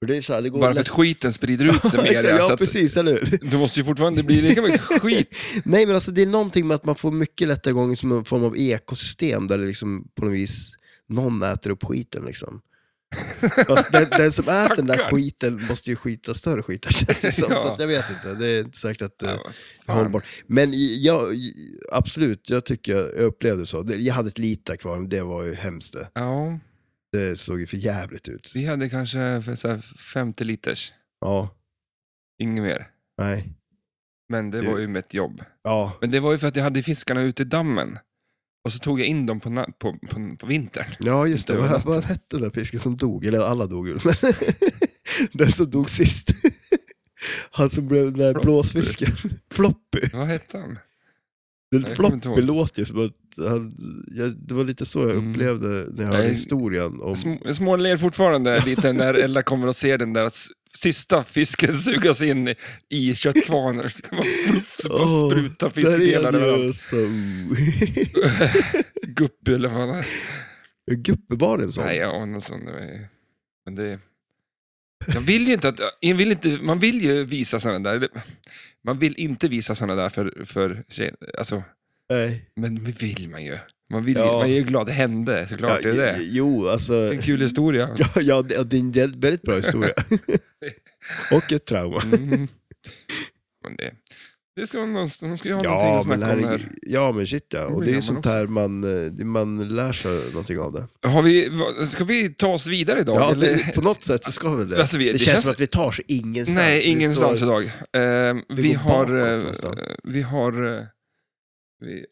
S2: För det är så här, det går
S1: Bara för att skiten sprider ut sig mer. ja, så
S2: Ja,
S1: att
S2: precis, eller hur?
S1: det måste ju fortfarande bli lika mycket skit.
S2: Nej, men alltså det är någonting med att man får mycket lättare gång i som en form av ekosystem där det liksom på något vis någon äter upp skiten liksom. Fast den, den som äter den där
S1: Stackarn.
S2: skiten måste ju skita större skitar känns det som.
S1: Ja.
S2: Så att jag vet inte, det är inte säkert att eh, det
S1: Ja, vad
S2: är
S1: fan.
S2: hållbart. Men i- jag, i- absolut, jag tycker jag jag upplevde det så. Det- Jag hade ett litet akvarium, det var ju hemskt det.
S1: Ja,
S2: Det såg ju för jävligt ut.
S1: vi hade kanske för så här 50 liters.
S2: Ja,
S1: Inget mer.
S2: nej.
S1: Men det
S2: Du-
S1: var ju mitt jobb.
S2: Ja,
S1: Men det var ju för att jag hade fiskarna ute i dammen. Och så tog jag in dem på, na- på, på, på vintern.
S2: Ja, just det.
S1: Inte över
S2: Vad, vad hette den där fisken som dog? Eller alla dog ju. men den som dog sist. Han som blev den där
S1: Floppy.
S2: blåsfisken. Floppy.
S1: Vad hette han?
S2: Den
S1: jag kommer inte
S2: floppy
S1: ihåg.
S2: låter ju som att han, jag, det var lite så jag
S1: Mm.
S2: upplevde när jag hörde
S1: Nej.
S2: historien. Om,
S1: Sm- Jag småler fortfarande lite när Ella kommer och ser den där s- sista fisken sugas in i- i köttkvarnar. Så bara
S2: Åh,
S1: spruta
S2: där är
S1: fiskdelar
S2: han ju
S1: överallt.
S2: som-
S1: Guppy eller vad han är.
S2: Guppe var det en sån?
S1: Nej, ja, någon sån. eh, Men det... Jag vill ju inte att... Jag vill inte, man vill ju visa sådana där... eller- Man vill inte visa sådana där för, för tjejer. Alltså,
S2: Nej.
S1: men det vill man ju. Man, vill ju,
S2: Ja.
S1: man är ju glad det hände såklart. det är det.
S2: Jo, alltså.
S1: Det är en kul historia.
S2: Ja, ja, det det är en jä- väldigt bra historia. Och ett trauma.
S1: Mm. Men det, Det ska, vara någonstans- de ska ju ha någonting
S2: Ja
S1: att
S2: men,
S1: snacka om
S2: herregud.
S1: här.
S2: ja, men shit ja.
S1: blir
S2: Och det är ju
S1: gammal
S2: sånt
S1: också.
S2: här man, eh, det- man lär sig någonting av det.
S1: Har vi, va- ska vi ta oss vidare idag?
S2: Ja,
S1: eller?
S2: det, på något sätt så ska vi det.
S1: Alltså, vi-
S2: det,
S1: det
S2: känns
S1: känns-
S2: som att vi tar sig ingenstans.
S1: Nej,
S2: Vi
S1: ingenstans
S2: står-
S1: idag. Eh,
S2: vi
S1: vi,
S2: går
S1: har,
S2: bakåt
S1: eh,
S2: någonstans.
S1: vi har... eh, Vi,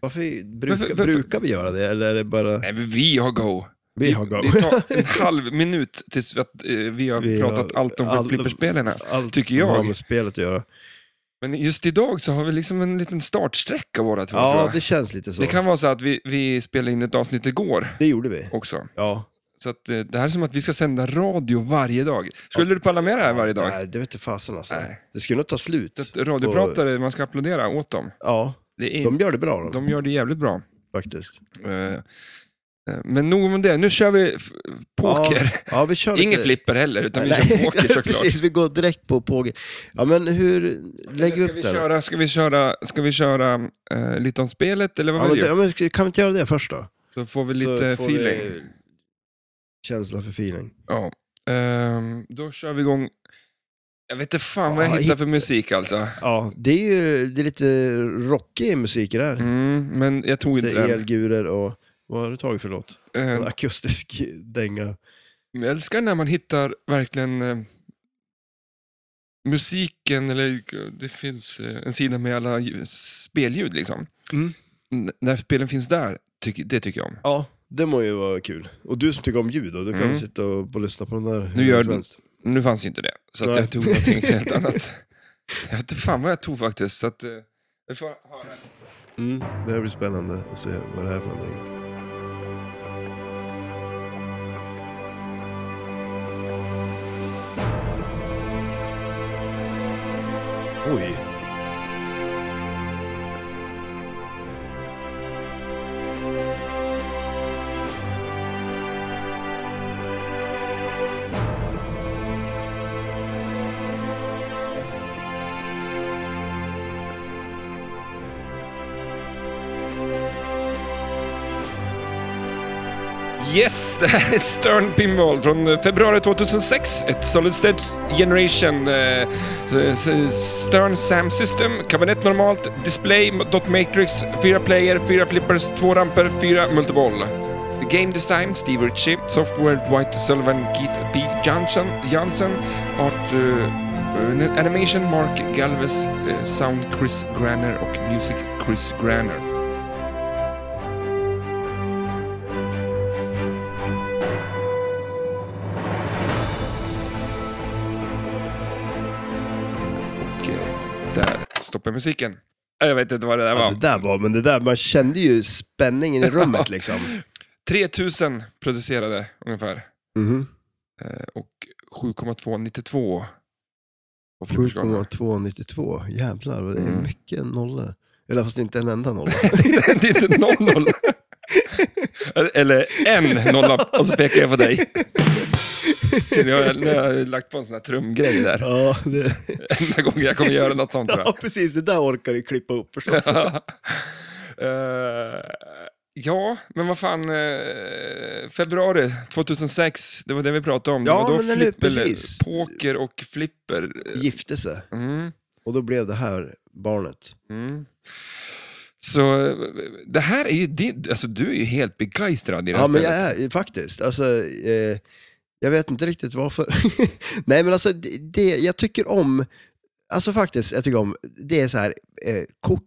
S2: Varför, brukar,
S1: Varför- varför-
S2: brukar vi göra det? Eller är det bara
S1: nej, men vi har go.
S2: vi har gått?
S1: Det tar en halv minut tills vi, att, eh, vi har
S2: Vi
S1: pratat
S2: har-
S1: allt om
S2: all-
S1: flipperspelen här.
S2: Allt
S1: tycker
S2: som
S1: jag.
S2: har med spelet att göra.
S1: Men just idag så har vi liksom en liten startsträcka våra två. tror
S2: Ja,
S1: jag.
S2: det känns lite så.
S1: det kan vara så att vi, vi spelade in ett avsnitt igår
S2: det gjorde vi.
S1: också.
S2: Ja.
S1: Så att, eh, det här är som att vi ska sända radio varje dag. Skulle du palla med det här varje dag?
S2: Nej, det vete fasen alltså.
S1: Nej.
S2: Det skulle nog ta slut.
S1: Så att radiopratare, man ska applådera åt dem.
S2: Ja,
S1: Det är,
S2: de
S1: de,
S2: gör det bra de,
S1: gör det jävligt bra.
S2: faktiskt.
S1: Eh, eh, Men nog om det, nu kör vi f- poker.
S2: Ja, vi kör
S1: Inget
S2: lite...
S1: flipper heller, utan vi
S2: Nej,
S1: kör poker såklart.
S2: Precis, vi går direkt på poker. Ja, men hur... Lägg
S1: ska,
S2: upp
S1: vi
S2: den.
S1: köra, ska vi köra, ska vi köra eh, lite om spelet, eller vad
S2: Ja, men,
S1: vill du?
S2: det- ja, men, ska- kan vi inte göra det först då?
S1: Så får vi
S2: Så
S1: lite
S2: får
S1: feeling.
S2: Vi... Känsla för feeling.
S1: Ja. Ehm, då kör vi igång. Jag vet inte fan vad jag
S2: Ja,
S1: hittar
S2: hit-
S1: för musik alltså.
S2: Ja, det är ju det är lite rockig musik i det här.
S1: Mm, men jag tog inte
S2: Lite
S1: den.
S2: elgurer och... Vad har du tagit för låt? En
S1: Eh,
S2: akustisk dänga.
S1: men jag älskar när man hittar verkligen eh, musiken, eller det finns eh, en sida med alla ljud- spelljud liksom.
S2: Mm.
S1: N- när spelen finns där, tyck, det tycker jag om.
S2: Ja, det må ju vara kul. Och du som tycker om ljud då, du kan
S1: Mm.
S2: väl sitta och, och lyssna på den där
S1: Nu gör
S2: hur som
S1: du-
S2: helst.
S1: Nu fanns ju inte det, så att
S2: Nej.
S1: jag tog någonting helt annat. Jag vet inte fan vad jag tog faktiskt. Så att, eh, vi får höra.
S2: Mm. Det här blir spännande att se vad det här är för någonting. Oj,
S1: Yes, det här är Stern Pinball från eh, februari 2006. Ett Solid State Generation eh, s- s- Stern SAM System, kabinett normalt, display, dot matrix, fyra player, fyra flippers, två ramper, fyra multiboll. Game Design, Steve Ritchie. Software, Dwight Sullivan, Keith P. Johnson. Johnson. Art eh, Animation, Mark Galvez. eh, Sound, Chris Granner. Och Music, Chris Granner. Och eh, där stoppar jag musiken. Eh, Jag vet inte vad det där
S2: ja,
S1: var.
S2: det där var, men det där, man kände ju spänningen i rummet liksom.
S1: 3000 producerade ungefär.
S2: Mhm.
S1: Eh, Och 7,292 på flipperskalan.
S2: 7,292, jävlar, vad det är
S1: Mm.
S2: mycket nollor. Eller fast inte en enda nolla.
S1: det är inte noll noll. Eller en nolla, och så pekar jag på dig. Nu har jag, nu har jag lagt på en sån här trumgrej där.
S2: ja, det...
S1: Enda gången jag kommer göra något sånt tror jag.
S2: ja, precis, det där orkar du klippa upp förstås.
S1: Eh, ja, men vad fan. eh, februari 2006, det var det vi pratade om. Det
S2: Ja,
S1: var då
S2: men eller hur,
S1: flipper-
S2: precis.
S1: poker och flipper.
S2: Gifte sig.
S1: Mm.
S2: Och då blev det här barnet.
S1: Mm. Så eh, det här är ju din, alltså du är ju helt begeistrad i det här
S2: Ja, men jag
S1: spelet.
S2: är faktiskt. Alltså, eh, jag vet inte riktigt varför. Nej, men alltså, det, det, jag tycker om, alltså faktiskt, jag tycker om, det är så här, eh,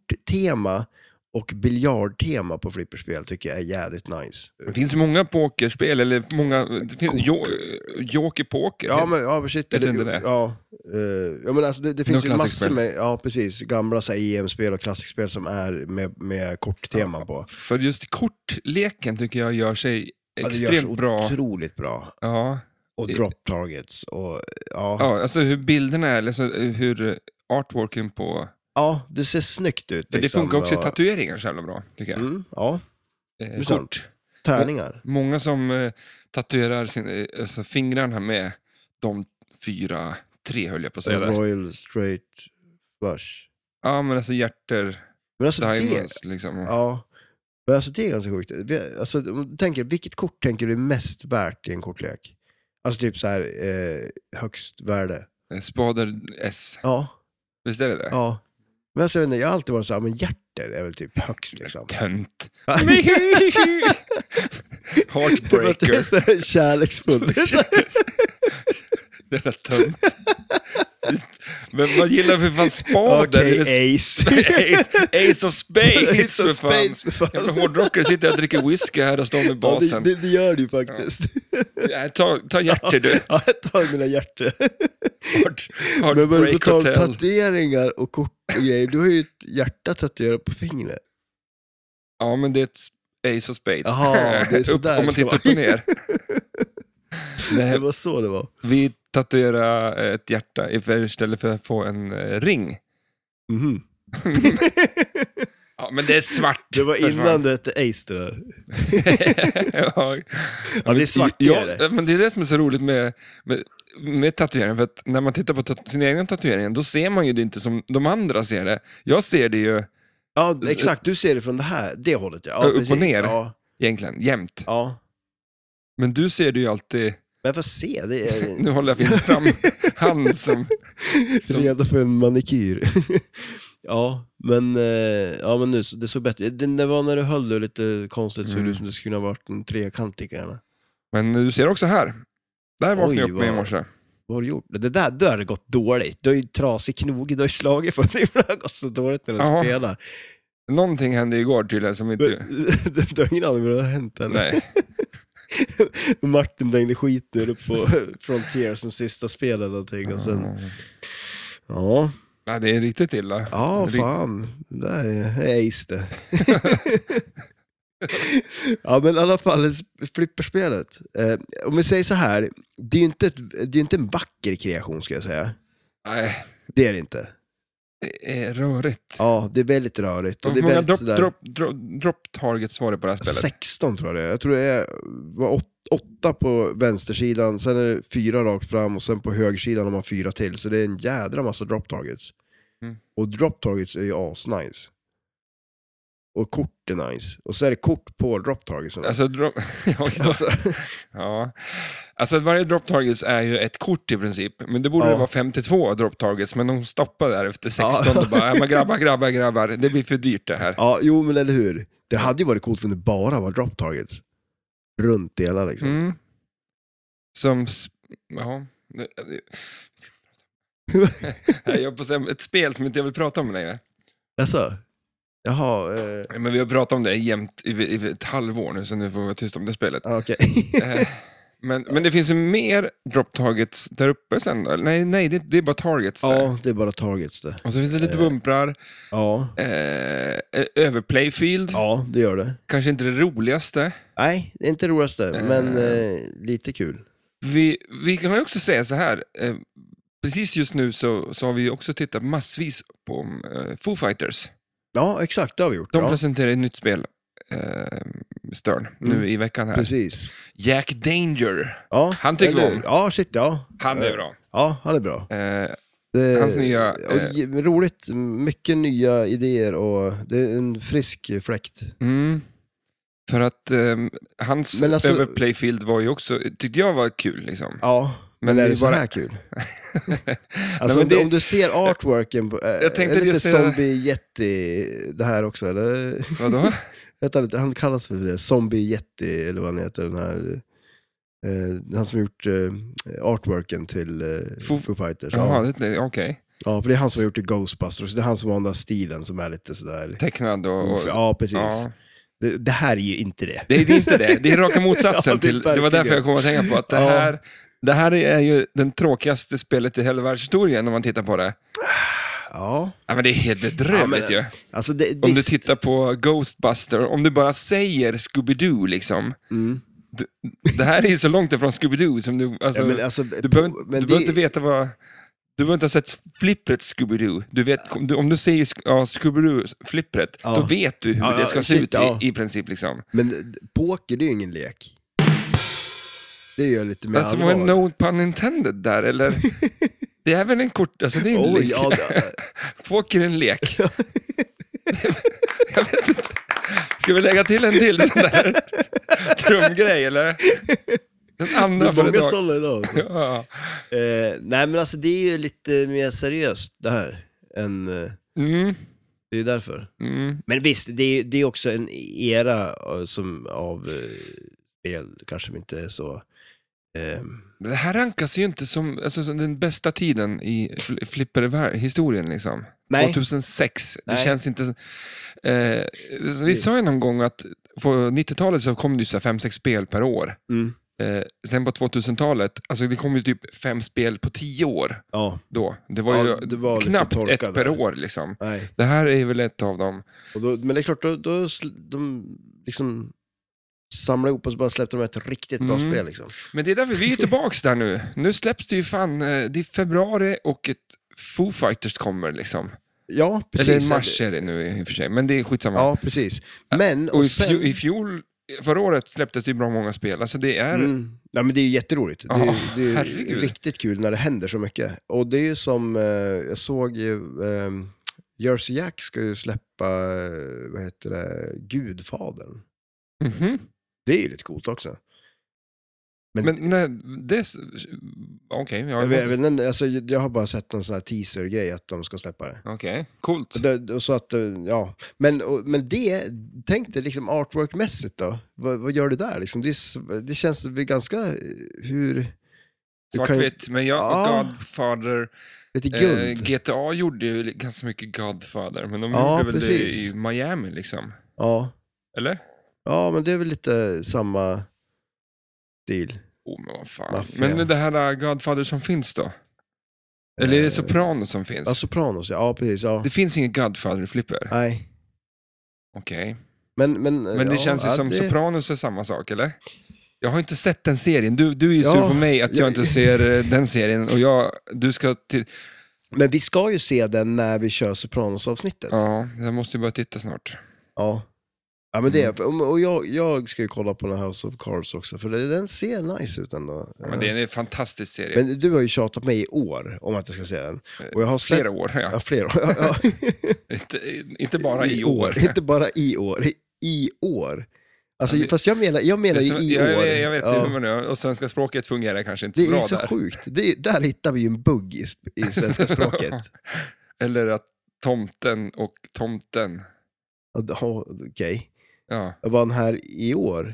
S2: korttema och biljardtema på flipperspel tycker jag är jädrigt nice.
S1: Det finns ju många pokerspel, eller många, det finns, jo, Joker Poker.
S2: Ja, men ja, men
S1: Vet
S2: shit. eller-
S1: du inte det?
S2: Ja, eh, ja, men alltså det, det finns ju massor
S1: klassikspel.
S2: med, ja precis, gamla så här EM-spel och klassikspel som är med, med kortteman på.
S1: För just kortleken tycker jag gör sig
S2: Ja, det
S1: extremt
S2: görs
S1: bra.
S2: Otroligt bra.
S1: Ja.
S2: Och
S1: Det-
S2: drop targets och ja.
S1: ja, alltså hur bilderna är, alltså hur artworken på...
S2: Ja, det ser snyggt ut.
S1: För det
S2: liksom,
S1: funkar också i
S2: och-
S1: tatueringar så jävla bra, tycker jag.
S2: Mm, ja,
S1: Eh,
S2: är sant.
S1: kort.
S2: tärningar.
S1: Många som eh, tatuerar sin, eh, alltså fingrarna med de fyra, tre höll jag på att säga. där.
S2: Royal straight flush.
S1: Ja, men alltså hjärter,
S2: Men alltså det,
S1: diamonds liksom.
S2: ja, men alltså det är ganska sjukt. Vi- Alltså, om du tänker, vilket kort tänker du är mest värt i en kortlek? Alltså typ så här eh, högst värde.
S1: Spader S,
S2: Ja,
S1: visst är det det?
S2: ja. Men alltså, jag, vet inte, jag har alltid varit så här, men hjärter är väl typ högst liksom.
S1: Tönt.
S2: Ja. För att Det är
S1: Heartbreaker.
S2: så här kärleksfullt. Det är så här-
S1: Det där tönt. Men man gillar för fan spaden.
S2: Okej,
S1: eller
S2: Ace.
S1: Ace, Ace of Spades,
S2: Ace of
S1: för fan.
S2: Spades, för fan.
S1: Jävla hårdrockare sitter och dricker whisky här och står med
S2: Ja,
S1: basen.
S2: det, det, det gör det ju faktiskt.
S1: Nej, Ta, ta hjärter du.
S2: Ja, jag tar mina hjärtor.
S1: Heart,
S2: Men bara på
S1: heartbreak
S2: tal om
S1: Hotel.
S2: tatueringar och kort och grejer, du har ju ett hjärta tatuerat på fingret.
S1: Ja, men det är ett Ace of Spades.
S2: Jaha, det är
S1: Upp,
S2: sådär
S1: om man
S2: det ska
S1: tittar upp och ner.
S2: Det
S1: Nej,
S2: var så det var.
S1: vi tatuerar eh, ett hjärta istället för att få en eh, ring.
S2: Mhm.
S1: Ja, men det är svart.
S2: Det var
S1: för
S2: innan du hette Ace det där.
S1: ja,
S2: Ja, det är svart det är det.
S1: Ja, men det är det som är så roligt med, med, med tatueringen, för att när man tittar på tatu- sin egen tatuering, då ser man ju det inte som de andra ser det. Jag ser det ju
S2: Ja, exakt. Du ser det från det här, det hållet ja.
S1: Ja,
S2: ja
S1: upp och
S2: precis.
S1: ner.
S2: Ja,
S1: egentligen jämt,
S2: ja.
S1: men du ser det ju alltid,
S2: Men jag får se, det är
S1: nu håller jag fint fram hand som... som-
S2: redo för en manikyr. ja, men, eh, ja, men nu, så- det såg bättre det, det var när du höll det lite konstigt, såg det
S1: Mm.
S2: ut som det skulle kunna ha varit en trekantig gärna.
S1: Men du ser också här. Där vaknade
S2: Oj,
S1: jag upp med i
S2: vad-
S1: morse.
S2: Vad har du gjort? Det där, det där har gått dåligt. Du har ju trasig knoge, du har ju slagit på det. Det har gått så dåligt när du
S1: Jaha.
S2: spelar.
S1: Någonting hände igår tydligen som
S2: Men,
S1: inte...
S2: du, du har ingen aning vad det har hänt eller?
S1: Nej.
S2: Martin dängde skit nu på Frontier som sista spel eller någonting. Och sen, ja,
S1: Ja, det är riktigt illa.
S2: ja
S1: Rikt-
S2: fan. Det där är ace det. ja men i alla fall s- flipperspelet. Eh, om vi säger så här, det är ju inte, ett, det är inte en vacker kreation ska jag säga.
S1: Nej,
S2: Det är det inte.
S1: det är eh, rörigt.
S2: Ja, det är väldigt rörigt. Och det
S1: Hur
S2: är
S1: många
S2: väldigt
S1: drop,
S2: sådär- Alltså,
S1: drop, drop, drop targets var det på det här spelet?
S2: 16 tror jag det är. Jag tror det är, var åt, åtta på vänstersidan, sen är det fyra rakt fram och sen på högersidan har man fyra till. Så det är en jädra massa drop targets.
S1: Mm.
S2: Och drop targets är ju asnice. Och kort är nice. Och så är det kort på drop targets.
S1: Alltså, drop... Oj då.
S2: Alltså,
S1: Ja. Alltså varje drop targets är ju ett kort i princip, men det borde
S2: Ja.
S1: det vara 52 drop targets, men de stoppar där efter 16
S2: Ja.
S1: och bara, "Ja, men grabbar, grabbar, grabbar, det blir för dyrt det här.
S2: ja, jo men eller hur. Det hade ju varit coolt om det bara var drop targets. Runt hela liksom.
S1: Mm. Som, s- ja. Det- det- Nej, Jag är på att säga ett spel som inte jag vill prata om längre.
S2: Alltså, jaha. Eh,
S1: Men vi har pratat om det jämt i, i ett halvår nu, så nu får vi vara tysta om det spelet.
S2: ah, okej.
S1: Eh, Men, men det finns ju mer drop targets där uppe sen då? eller? Nej, nej det, det är bara targets där.
S2: ja, Eh. det är bara targets det.
S1: Och så finns det lite bumprar,
S2: Ja,
S1: eh, överplayfield,
S2: ja det gör det.
S1: kanske inte det roligaste.
S2: Nej, det är inte det roligaste,
S1: Eh.
S2: men eh, lite kul.
S1: Vi, vi kan ju också säga så här, eh, precis just nu så, så har vi ju också tittat massvis på eh, Foo Fighters.
S2: Ja, exakt, det har vi gjort.
S1: De
S2: ja.
S1: presenterar ett nytt spel, eh, Stern, nu
S2: Mm.
S1: i veckan här.
S2: Precis.
S1: Jack Danger,
S2: Ja,
S1: Han tycker
S2: eller
S1: vi om.
S2: hur? Ja, shit ja.
S1: han är
S2: Eh,
S1: bra.
S2: Ja, han är bra.
S1: Eh,
S2: Det,
S1: Hans nya, eh,
S2: och ge- roligt, mycket nya idéer och det är en frisk fläkt.
S1: Mm. För att ehm, hans
S2: Men alltså-
S1: överplayfield var ju också, tyckte jag var kul liksom.
S2: Ja, men,
S1: det
S2: är
S1: är
S2: det så
S1: bara-
S2: här kul?
S1: Nej,
S2: Alltså,
S1: men
S2: om, du,
S1: det-
S2: om du ser artworken, på, eh,
S1: Jag tänkte
S2: är det
S1: det
S2: lite
S1: ser-
S2: zombie-jätti det här också? Eller?
S1: Vadå?
S2: Vet han, inte, han kallas för det, zombie-jätti eller vad han heter, den här... Eh, han som gjort eh, artworken till eh,
S1: Foo-
S2: Foo Fighters. ja.
S1: Jaha, det- det- okej.
S2: Ja, för det är han som har gjort det Ghostbusters. Det är han som har den där stilen som är lite sådär...
S1: Tecknad och... och
S2: Ja, precis.
S1: ja.
S2: Det, det här är ju inte det.
S1: Det, det är inte det, det är raka motsatsen.
S2: Ja, det är
S1: till, det var därför jag kom att tänka på att det
S2: Ja.
S1: här, det här är ju den tråkigaste spelet i hela världshistorien om man tittar på det.
S2: Ja,
S1: Ja, men det är helt bedrövligt
S2: Ja,
S1: ju.
S2: alltså det...
S1: Om du
S2: visst.
S1: tittar på Ghostbuster, om du bara säger Scooby-Doo liksom.
S2: Mm.
S1: Det här är ju så långt ifrån Scooby-Doo som du... Alltså,
S2: Ja, men alltså,
S1: Du behöver, inte-
S2: men
S1: du
S2: det-
S1: behöver inte veta vad... Du behöver inte ha sett flippret Scooby-Doo. Du vet, om, du, om du säger sk- ja, Scooby-Doo-flippret,
S2: Ja.
S1: då vet du hur
S2: Ja,
S1: det
S2: ja,
S1: ska se
S2: shit,
S1: ut
S2: ja.
S1: i, i princip. Liksom.
S2: Men poker, det är ju ingen lek. Det gör lite mer
S1: Alltså,
S2: allvar.
S1: var no pun intended där, eller? det är väl en kort... Alltså, det är en
S2: Oj,
S1: lek.
S2: ja, det,
S1: Poker är en lek. Jag vet inte. Ska vi lägga till en till sån där trumgrej, eller? Den
S2: det
S1: andra
S2: är
S1: för
S2: många
S1: idag.
S2: sådana idag. Alltså.
S1: Ja.
S2: Eh, nej, men alltså det är ju lite mer seriöst det här. Än, eh,
S1: Mm,
S2: Det är därför.
S1: mm.
S2: Men visst, det är, det är också en era eh, som, av eh, spel kanske som inte är så... ehm,
S1: Men det här rankas ju inte som, alltså, som den bästa tiden i fl- flipperhistorien. Liksom.
S2: nej,
S1: 2006. Det
S2: Nej.
S1: känns inte... Eh, vi sa ju någon gång att på 90-talet så kom det ju 5-6 spel per år.
S2: mm,
S1: Eh, sen på 2000-talet, alltså det kom ju typ fem spel på 10 år
S2: ja,
S1: då. Det var ju
S2: Ja, det var lite
S1: knappt
S2: torka
S1: ett
S2: där.
S1: per år. Liksom.
S2: nej.
S1: Det här är väl ett av dem.
S2: Och då, men det är klart, då, då sl- de liksom samlade ihop och så bara släppte de ett riktigt bra
S1: Mm.
S2: spel. Liksom.
S1: Men det är därför vi är tillbaks där nu. Nu släpps det ju fan, eh, det är februari och ett Foo Fighters kommer liksom.
S2: Ja, precis.
S1: Eller mars är det nu i och för sig, men det är skitsamma.
S2: Ja, precis. Men,
S1: och
S2: och
S1: i fjol,
S2: sen...
S1: i fjol, förra året släpptes det ju bra många spel. Alltså det är...
S2: Mm. Ja, men det är ju jätteroligt. Det är,
S1: Ja,
S2: det är ju
S1: herregud.
S2: riktigt kul när det händer så mycket. Och det är ju som, eh, jag såg ju, eh, Jersey Jack ska ju släppa, eh, vad heter det, Gudfadern.
S1: Mhm.
S2: Det är ju lite coolt också. Men-
S1: Men nej, det... s- Okej, ja,
S2: Jag, vet, jag, vet, inte, alltså, jag har bara sett någon sån här teaser-grej att de ska släppa det.
S1: Okej, coolt.
S2: Och det- och Så att, eh, ja. men, och, men det, tänk dig liksom artwork-mässigt då. Vad, vad gör du där? Liksom? Det, är, s- det känns väl ganska, eh, hur, du kan ju-
S1: Svartvitt, men jag och
S2: Ja.
S1: Godfather...
S2: lite guld.
S1: Eh, GTA gjorde ju ganska mycket Godfather, men de
S2: Ja,
S1: gjorde väl
S2: precis.
S1: det i Miami liksom.
S2: ja.
S1: Eller?
S2: Ja, men det är väl lite samma stil.
S1: Oh, men vad fan.
S2: Maffia.
S1: Men det här eh, Godfather som finns då? Eller är
S2: Eh,
S1: det Soprano som finns?
S2: Ja, Sopranos, ja. Ja, precis. Ja.
S1: det finns ingen Godfather-flipper?
S2: Nej.
S1: Okej.
S2: Men, men,
S1: Men det
S2: ja,
S1: känns ju
S2: ja,
S1: som
S2: det...
S1: Sopranos är samma sak, eller? Jag har inte sett den serien. Du, du är ju sur
S2: Ja,
S1: på mig att jag
S2: jag-
S1: inte ser eh, den serien. Och jag, du ska till...
S2: Men vi ska ju se den när vi kör Sopranos-avsnittet. Ja.
S1: Ja, jag måste ju börja titta snart.
S2: ja. men det,
S1: Mm.
S2: är- och jag, jag ska ju kolla på den här House of Cards också, för det- den ser nice ut ändå.
S1: Ja, men det är en fantastisk serie.
S2: Men du har ju tjatat mig i år om att jag ska se den. Och jag har sett...
S1: Eh, Flera år, ja.
S2: Ja, flera år. Ja, ja.
S1: Inte, inte bara i år.
S2: Inte bara i år. I- I år. Alltså,
S1: Ja, det-
S2: Fast jag menar, jag menar ju
S1: Det är så-
S2: i
S1: jag,
S2: år.
S1: jag, jag vet
S2: Ja.
S1: hur man gör, och svenska språket fungerar kanske inte
S2: Det
S1: så bra
S2: är så
S1: där.
S2: sjukt. Det är, där hittar vi ju en bugg i, sp- i svenska språket.
S1: Eller att tomten och tomten.
S2: Att, ja, Okej.
S1: Ja.
S2: Var han här i år?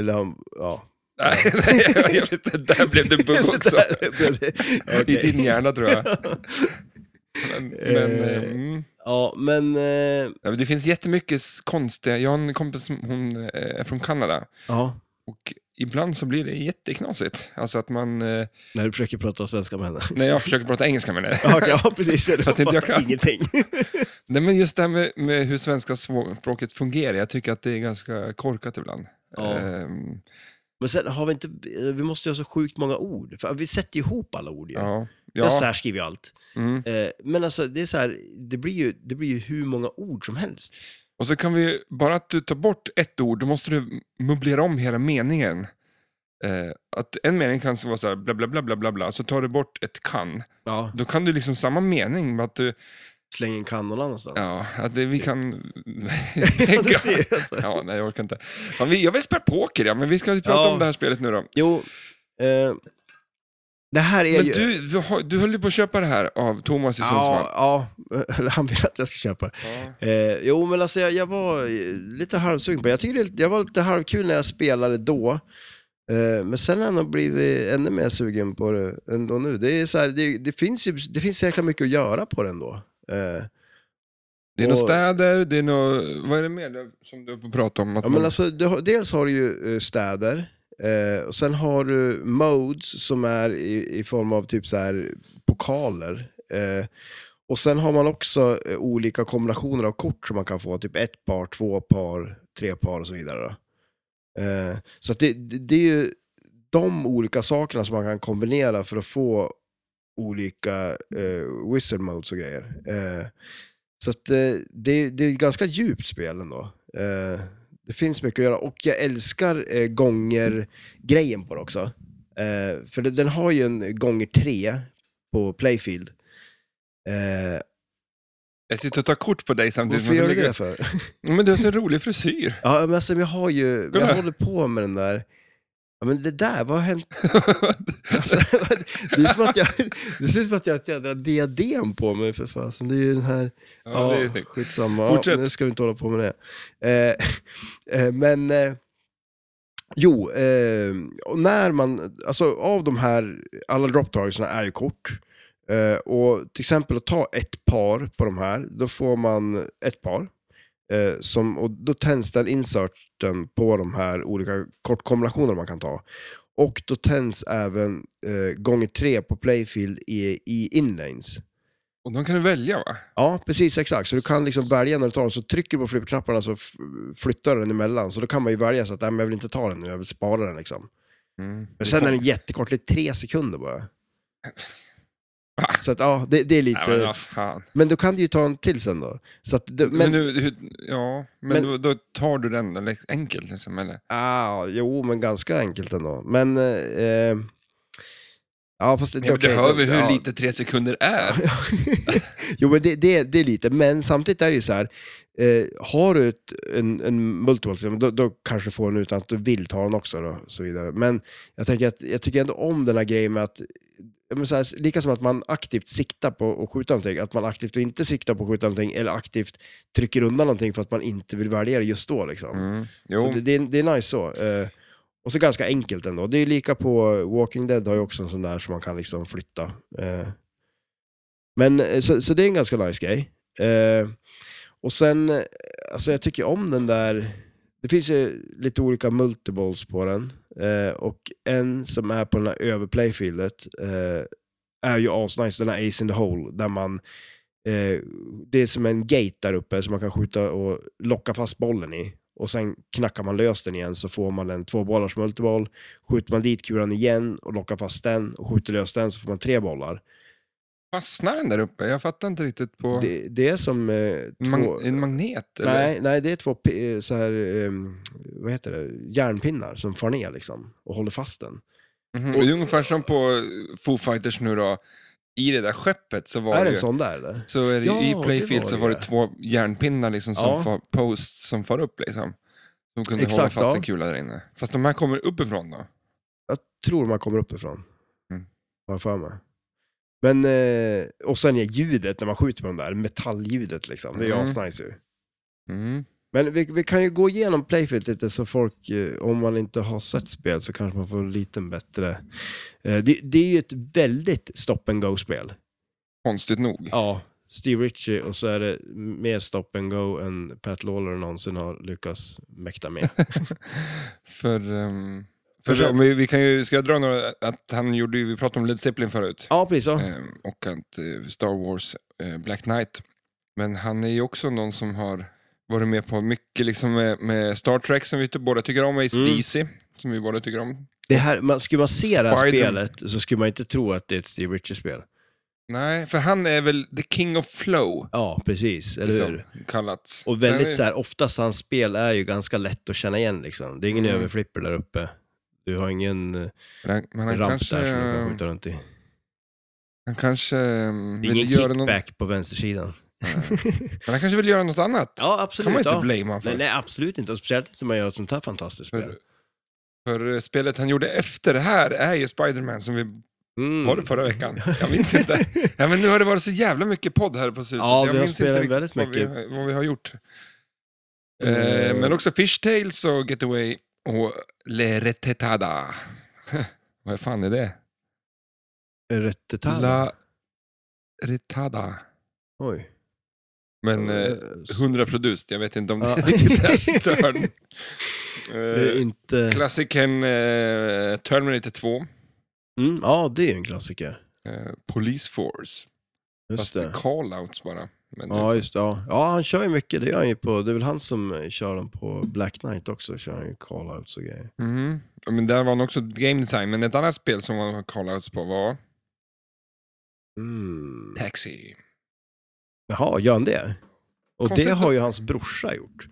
S2: Eller han, ja.
S1: Nej, nej, jag vet inte, där blev det bugg också.
S2: Där blev det- okej.
S1: I din hjärna tror jag. Men, men, eh, mm.
S2: ja, men... eh,
S1: Ja, men det finns jättemycket s- konstiga, jag har en kompis, som- hon eh, är från Kanada.
S2: Ja,
S1: Och ibland så blir det jätteknasigt. Alltså att man, eh,
S2: när du försöker prata svenska med henne.
S1: när jag försöker prata engelska med henne.
S2: Ja, okej, ja precis. Du
S1: Att inte jag
S2: fattar
S1: kan.
S2: ingenting.
S1: Nej, men just det här med, med hur svenska svå- språket fungerar, jag tycker att det är ganska korkat ibland.
S2: Ja.
S1: Ehm,
S2: Men sen har vi inte... eh, Vi måste ju ha så sjukt många ord. För vi sätter ju ihop alla ord ju. Ja.
S1: ja.
S2: Jag
S1: ja.
S2: särskriver ju allt.
S1: Mm.
S2: Eh, Men alltså, det är så här, det blir ju, det blir ju hur många ord som helst.
S1: Och så kan vi, bara att du tar bort ett ord, då måste du möblera om hela meningen. Eh, att en mening kan vara så här, bla bla bla bla bla, bla så tar du bort ett kan.
S2: Ja.
S1: Då kan du liksom samma mening, men att du,
S2: Släng en kan någon annanstans.
S1: ja, att det, vi kan
S2: Alltså. Ja, du
S1: tänka.
S2: ser, alltså.
S1: Ja, nej, jag orkar inte. Fan, vi, jag vill spela poker, ja, men vi ska ju prata
S2: Ja.
S1: om det här spelet nu då.
S2: Jo, eh, det här är
S1: Men
S2: ju...
S1: du, du, har- du höll ju på att köpa det här av Thomas i Sundsvall.
S2: ja, ja, eller han vill att jag ska köpa det.
S1: Ja.
S2: Eh, jo, men alltså jag, jag var eh, lite halvsugen på det. Jag tycker det. Jag var lite halvkul när jag spelade då. Eh, men sen har jag nog blivit ännu mer sugen på det ändå nu. Det, är så här, det, det finns ju det finns så jäkla mycket att göra på den då. Eh,
S1: Det är några
S2: Och-
S1: städer, det är några, vad är det mer där som du är på att prata om? Att
S2: Ja, men
S1: man-
S2: alltså, du har, dels har du ju eh, städer, eh, och sen har du modes som är i, i form av typ så här pokaler. Eh, och sen har man också eh, olika kombinationer av kort som man kan få, typ ett par, två par, tre par och så vidare. Då. Eh, så att det, det, det är ju de olika sakerna som man kan kombinera för att få olika eh, wizard modes och grejer. Eh, så att, eh, det, det är ett ganska djupt spel ändå. Eh, det finns mycket att göra och jag älskar eh, gånger-grejen på det också. Eh, för det, den har ju en gånger tre på Playfield. Eh,
S1: Jag sitter och tar kort på dig samtidigt.
S2: varför gör du
S1: som-
S2: det för?
S1: Ja, Men du har så rolig frisyr.
S2: Ja, men alltså, jag har ju,
S1: Kolla.
S2: jag håller på med den där. Ja, men det där, vad har hänt? Alltså, det, är som att jag, det ser ut som att jag har ett jädra diadem på mig för fasen. Det är ju den här...
S1: Ja,
S2: Ja,
S1: det är snyggt.
S2: skitsamma. Ja,
S1: Fortsätt.
S2: nu ska vi inte hålla på med det. Eh, eh, men, eh, jo, eh, och när man, alltså av de här, alla droptargetsna är ju kort. Eh, och till exempel att ta ett par på de här, då får man ett par. Eh, som, och då tänds den inserten på de här olika kortkombinationer man kan ta. Och då tänds även eh, gånger tre på playfield i, i inlanes.
S1: Och de kan du välja va?
S2: Ja, precis exakt. Så du kan liksom välja när du tar den, så trycker du på flippknapparna så f- flyttar du den emellan. Så då kan man ju välja så att nej, men jag vill inte ta den nu, jag vill spara den. Liksom.
S1: Mm.
S2: Men sen är den jättekort, det är tre sekunder bara.
S1: Va?
S2: Så att, ja, det, det är
S1: Nej, men
S2: lite...
S1: vad fan.
S2: Men då kan du ju ta en till sen då. Så att, det,
S1: Men,
S2: men,
S1: nu, hur, ja, men,
S2: Men-
S1: då, då tar du den eller, enkelt liksom, eller?
S2: ah, jo, men ganska enkelt ändå. Men... eh, Eh, ja, fast det,
S1: Men jag
S2: okej,
S1: behöver
S2: då-
S1: hur
S2: ja.
S1: lite tre sekunder är.
S2: jo, men det, det, det är lite. Men samtidigt är det ju så här. Eh, har du ett, en, en multiple då, då kanske du får den utan att du vill ta den också. Då, och så vidare. Men jag, tänker att, jag tycker ändå om den här grejen med att ja, men så här, lika som att man aktivt siktar på att skjuta någonting, att man aktivt inte siktar på att skjuta någonting eller aktivt trycker undan någonting för att man inte vill välja det just då. Liksom.
S1: Mm. Jo,
S2: Så det, det, är- det är nice så. Eh, och så ganska enkelt ändå. Det är ju lika på Walking Dead, har ju också en sån där som man kan liksom flytta. Eh, men eh, så, så det är en ganska nice grej. Eh, och sen, eh, alltså jag tycker om den där, det finns ju lite olika multiballs på den. Eh, och en som är på den här överplayfieldet eh, är ju asnice, den här Ace in the Hole, där man Eh, det är som en gate där uppe som man kan skjuta och locka fast bollen i. Och sen knackar man lös den igen så får man en tvåbollars multiboll. Skjuter man dit kulan igen och lockar fast den och skjuter lös den så får man tre bollar.
S1: fastnar den där uppe? Jag fattar inte riktigt på...
S2: Det, det är som eh, två...
S1: Mag- en magnet? Eller?
S2: nej, nej, det är två pi- eh, så här, ehm, vad heter det? järnpinnar som far ner liksom och håller fast den.
S1: Mhm, och det är ungefär som på Foo Fighters nu då. I det där skeppet så var
S2: är
S1: det
S2: det en
S1: ju...
S2: sån där eller?
S1: Så är det,
S2: Ja,
S1: ju-
S2: det
S1: I Playfield
S2: var
S1: så
S2: det
S1: var det
S2: där.
S1: två järnpinnar liksom som
S2: Ja.
S1: far, posts som far upp. Liksom. De kunde hålla
S2: Exakt,
S1: fast
S2: ja.
S1: en kula där inne. Fast de här kommer uppifrån då?
S2: Jag tror man kommer uppifrån.
S1: Mm.
S2: Har jag för mig. Men, eh, och sen är ljudet när man skjuter på de där, metallljudet liksom. Det är ju
S1: Mm.
S2: asnice ju.
S1: Mm.
S2: Men vi, vi kan ju gå igenom Playfield lite så folk, eh, om man inte har sett spel så kanske man får en liten bättre. Eh, det, det är ju ett väldigt stop and go-spel.
S1: Konstigt nog.
S2: Ja. Steve Ritchie och så är det mer stop and go än Pat Lawler någonsin har lyckats mäkta med.
S1: För, ehm,
S2: För
S1: för
S2: så-
S1: om vi, vi kan ju, ska jag dra några, att han gjorde ju, vi pratade om Led Zeppelin förut.
S2: ja, precis. Ja.
S1: Ehm, och att eh, Star Wars eh, Black Knight. Men han är ju också någon som har varit med på mycket liksom med, med Star Trek som vi typ båda tycker om, Ace
S2: Mm.
S1: DC, som vi båda tycker om.
S2: Det här, man, skulle man se det här
S1: Spider-
S2: spelet så skulle man inte tro att det är ett Steve Ritchie-spel.
S1: Nej, för han är väl the king of flow.
S2: Ja, precis. Eller hur?
S1: liksom, kallat.
S2: Och
S1: Sen-
S2: väldigt så här, oftast hans spel är ju ganska lätt att känna igen liksom. Det är ingen
S1: Mm.
S2: överflipper där uppe. Du har ingen eh,
S1: Men han
S2: ramp
S1: kanske,
S2: där som du kan skjuta runt i.
S1: han kanske um,
S2: Det
S1: vill
S2: är ingen
S1: göra någon, men
S2: kickback på vänstersidan.
S1: han kanske vill göra något annat.
S2: ja,
S1: kan
S2: absolut.
S1: man inte
S2: ja.
S1: blame honom för.
S2: nej, nej, absolut inte. Och speciellt inte när man gör ett sånt här fantastiskt spel.
S1: för, för eh, spelet han gjorde efter det här är ju Spiderman som vi
S2: Mm.
S1: var det förra veckan. Jag minns inte. Ja, men nu har det varit så jävla mycket podd här på slutet.
S2: Ja,
S1: jag
S2: vi har
S1: minns inte
S2: spelat
S1: riktigt
S2: väldigt
S1: vad vi,
S2: mycket.
S1: vad vi har gjort.
S2: Eh.
S1: Eh, men också Fish Tales och Getaway och Le Retetada. vad fan är det?
S2: Rättetall.
S1: La Retada.
S2: Oj.
S1: Men eh,
S2: Eh,
S1: hundra produced, jag vet inte om det
S2: Ja.
S1: riktigt är störd.
S2: det är
S1: Eh,
S2: inte...
S1: Klassikern eh, Terminator 2,
S2: Mm, ja, det är ju en klassiker.
S1: eh, Police Force.
S2: Just
S1: Fast det
S2: det.
S1: är call-outs bara. Men det-
S2: Ja, just det. Ja. ja, han kör ju mycket. Det, gör han ju på, det är väl han som eh, kör den på Black Knight också. Kör han ju call-outs och grejer.
S1: Mhm. Ja, Men där var han också game design, men ett annat spel som han call-outs på var
S2: Mm.
S1: Taxi.
S2: Jaha, gör han det? Och
S1: Konstigt
S2: det har
S1: att-
S2: ju hans brorsa gjort.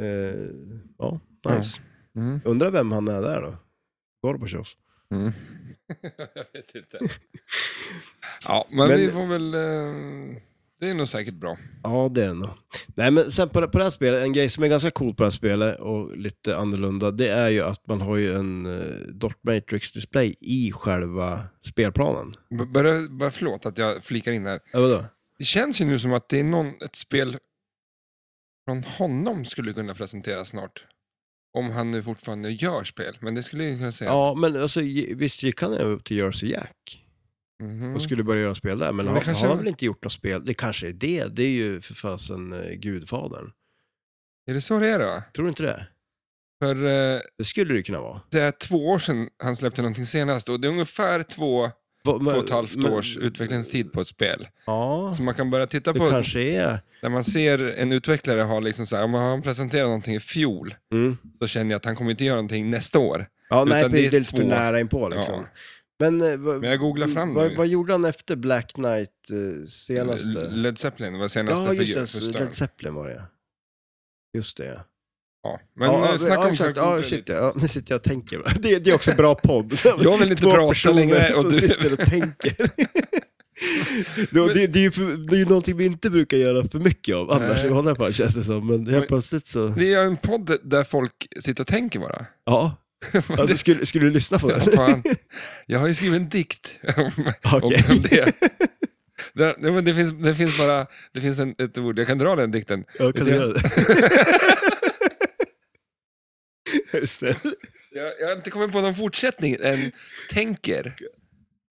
S2: Eh, ja,
S1: Ja.
S2: nice.
S1: Mhm.
S2: Undrar vem han är där då? Gorbatjov?
S1: Mm. jag vet inte. ja, men,
S2: Men-
S1: vi får väl... eh, Det är nog säkert bra.
S2: Ja, det är det nog. Nej, men sen på det, på det här spelet, en grej som är ganska cool på det här spelet och lite annorlunda, det är ju att man har ju en eh, Dot Matrix-display i själva spelplanen.
S1: B- Bara, bara förlåt att jag flikar in här.
S2: Ja, vadå?
S1: Det känns ju nu som att det är någon, ett spel från honom skulle kunna presenteras snart. Om han nu fortfarande gör spel, men det skulle jag kunna säga.
S2: Ja, men alltså, ge- visst gick han över till Jersey Jack
S1: Mhm.
S2: och skulle börja göra spel där, men,
S1: Men
S2: har,
S1: det kanske-
S2: har han väl inte gjort något spel? Det kanske är det, det är ju för fasen eh, gudfadern.
S1: Är det så det är då?
S2: Tror du inte det?
S1: För eh,
S2: Det skulle det ju kunna vara.
S1: det är två år sedan han släppte någonting senast och det är ungefär två,
S2: Va- men-
S1: två och ett halvt
S2: men-
S1: års utvecklingstid på ett spel.
S2: Ja,
S1: Så man kan börja titta
S2: det
S1: på,
S2: kanske är...
S1: när man ser en utvecklare ha liksom så här, om han presenterar någonting i fjol,
S2: Mm.
S1: så känner jag att han kommer inte göra någonting nästa år.
S2: Ja, nej,
S1: Utan det
S2: det
S1: är
S2: är lite för
S1: två.
S2: nära inpå liksom.
S1: Ja.
S2: Men, eh, vad-
S1: Men jag googlar fram
S2: vad,
S1: nu.
S2: vad gjorde han efter Black Knight eh, senaste?
S1: Led Zeppelin var senaste
S2: ja,
S1: för-
S2: just det.
S1: för
S2: så
S1: Stern.
S2: Led Zeppelin var det. Just det, ja.
S1: Ja, men
S2: ja,
S1: ja, snacka om
S2: exakt.
S1: Jack
S2: Ja,
S1: Googler
S2: shit,
S1: lite.
S2: ja. Ja, Nu sitter jag och tänker. Det, det är också en bra podd.
S1: Jag vill inte
S2: Två
S1: prata
S2: personer
S1: längre och
S2: som
S1: du-
S2: sitter och tänker. det, det, det, är ju för, det är ju någonting vi inte brukar göra för mycket av annars
S1: Nej.
S2: i vanliga fall känns det som. Men
S1: Men-
S2: helt plötsligt så...
S1: Det är en podd där folk sitter och tänker bara.
S2: Ja. Alltså, skulle, skulle du lyssna på
S1: Ja,
S2: den?
S1: fan. Jag har ju skrivit en dikt om,
S2: Okej.
S1: om det. Det, nej, men det, finns, det finns bara det finns en, ett ord, jag kan dra den dikten.
S2: Ja, kan
S1: Det-
S2: du göra det? Är du snäll?
S1: Jag, jag har inte kommit på någon fortsättning än tänker.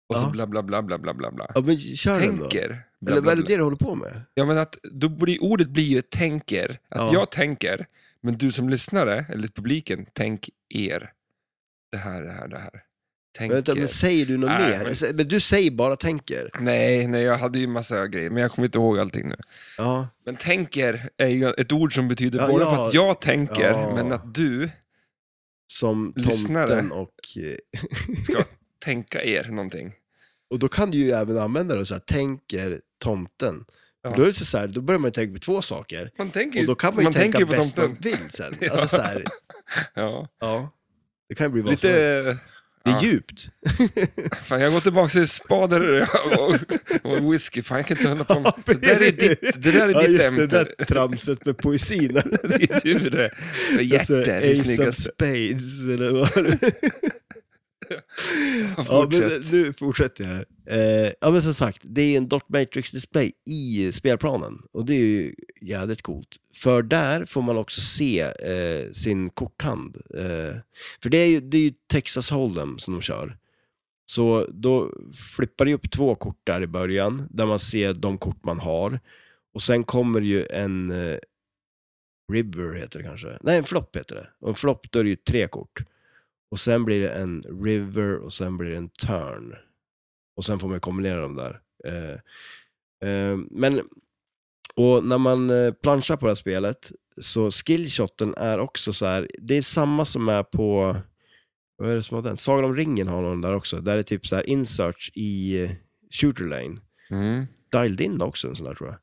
S1: Och så
S2: Ja.
S1: bla bla bla bla bla bla. bla.
S2: Ja, men kör den då.
S1: Tänker. Bla, bla,
S2: Eller vad är det
S1: bla.
S2: det du håller på med?
S1: Ja, men att, då blir, ordet blir ju tänker. Att
S2: Ja.
S1: jag tänker, men du som lyssnare, eller publiken, tänk er. Det här, det här, det här.
S2: Men
S1: Tänker.
S2: Vänta, men säger du något
S1: Nej,
S2: mer?
S1: men-
S2: Sä- Men du säger bara tänker.
S1: Nej, nej, jag hade ju massa grejer, men jag kommer inte ihåg allting nu.
S2: Ja,
S1: Men tänker är ju ett ord som betyder
S2: Ja,
S1: både
S2: ja.
S1: för att jag tänker,
S2: Ja.
S1: men att du
S2: som tomten
S1: Lyssnare.
S2: och... eh,
S1: ska tänka er någonting.
S2: Och då kan du ju även använda det så här, tänker tomten.
S1: Ja.
S2: Då, är det så här, då börjar man ju tänka på två saker.
S1: Man tänker
S2: Och
S1: ju,
S2: då kan man ju tänka
S1: tänker på
S2: bäst man
S1: tomten.
S2: vill sen.
S1: Ja.
S2: Alltså så här,
S1: Ja.
S2: ja. Det kan ju bli vad som helst.
S1: Lite...
S2: Det är
S1: ja.
S2: djupt.
S1: Fan, jag går tillbaka till spader och, och whisky. Fan, jag kan inte hålla på med... Det där är ditt, det där är
S2: Ja,
S1: ditt
S2: just det
S1: ämne.
S2: där tramset med poesin. Alltså,
S1: Det är du det. Och Hjärter, det är
S2: Ace of
S1: snyggast.
S2: Spades, eller vad det Ja, men
S1: Fortsätt.
S2: nu fortsätter jag här. Eh, ja, men som sagt, det är en Dot Matrix-display i spelplanen. Och det är ju jädrigt coolt. För där får man också se eh, sin korthand. Eh, för det är, ju, det är ju Texas Hold'em som de kör. Så då flippar det upp två kort där i början, där man ser de kort man har. Och sen kommer ju en eh, river heter det kanske. Nej, en flopp heter det. Och en flopp, då är det ju tre kort. Och sen blir det en river och sen blir det en turn. Och sen får man kombinera dem där. Eh, eh, men, och när man eh, planchar på det här spelet så skillshoten är också så här, det är samma som är på, vad är det som har den? Sagan om ringen har någon där också, där det är typ så här insearch i eh, shooter lane
S1: Mm.
S2: dialed in också, en sån där tror jag.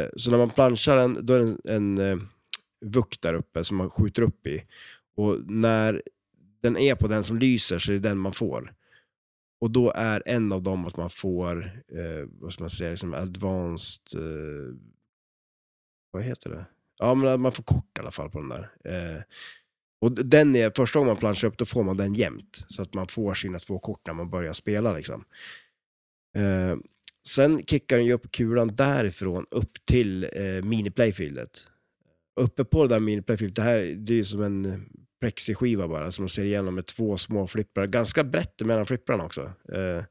S2: Eh, så när man planchar den, då är det en, en eh, vuck där uppe som man skjuter upp i. Och när den är på den som lyser så är det den man får. Och då är en av dem att man får, eh, vad ska man säga, liksom advanced, eh, vad heter det? Ja, men att man får kort i alla fall på den där. Eh, och den är, första gången man planchar upp, då får man den jämt. Så att man får sina två kort när man börjar spela liksom. Eh, Sen kickar den ju upp kulan därifrån upp till eh, miniplayfieldet. Uppe på det där miniplayfieldet, det här det är ju som en plexiskiva bara som man ser igenom med två små flipprar. Ganska brett mellan flipprarna också. Eh,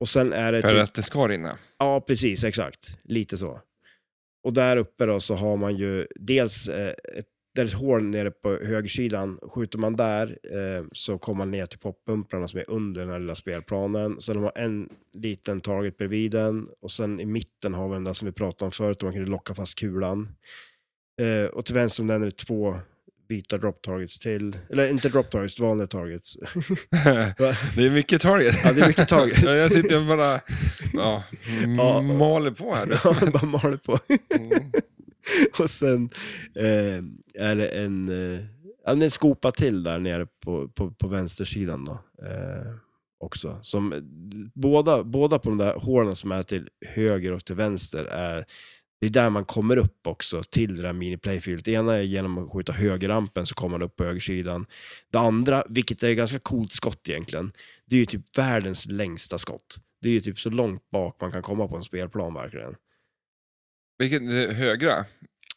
S2: och sen är det
S1: För
S2: typ
S1: att det ska rinna.
S2: Ja, precis, exakt. Lite så. Och där uppe då så har man ju dels eh, ett, där är ett hål nere på högersidan. Skjuter man där eh, så kommer man ner till poppumprarna som är under den här lilla spelplanen. Sen har man en liten target bredvid den och sen i mitten har vi den där som vi pratade om förut, där man kunde locka fast kulan. Eh, och till vänster om den är det två vita drop targets till. Eller inte drop targets, vanliga targets.
S1: det är mycket target.
S2: Ja, det är mycket targets.
S1: Ja, jag sitter och bara ja,
S2: Ja.
S1: maler på här.
S2: Ja, bara maler på.
S1: Mm.
S2: Och sen eh, är det en, eh, ja, det är en skopa till där nere på, på, på vänstersidan. Då. Eh, också. Som, eh, båda, båda på de där hålen som är till höger och till vänster är det är där man kommer upp också till det där miniplayfieldet. Det ena är genom att skjuta högerrampen så kommer man upp på högersidan. Det andra, vilket är ett ganska coolt skott egentligen, det är ju typ världens längsta skott. Det är ju typ så långt bak man kan komma på en spelplan verkligen.
S1: Vilket det högra?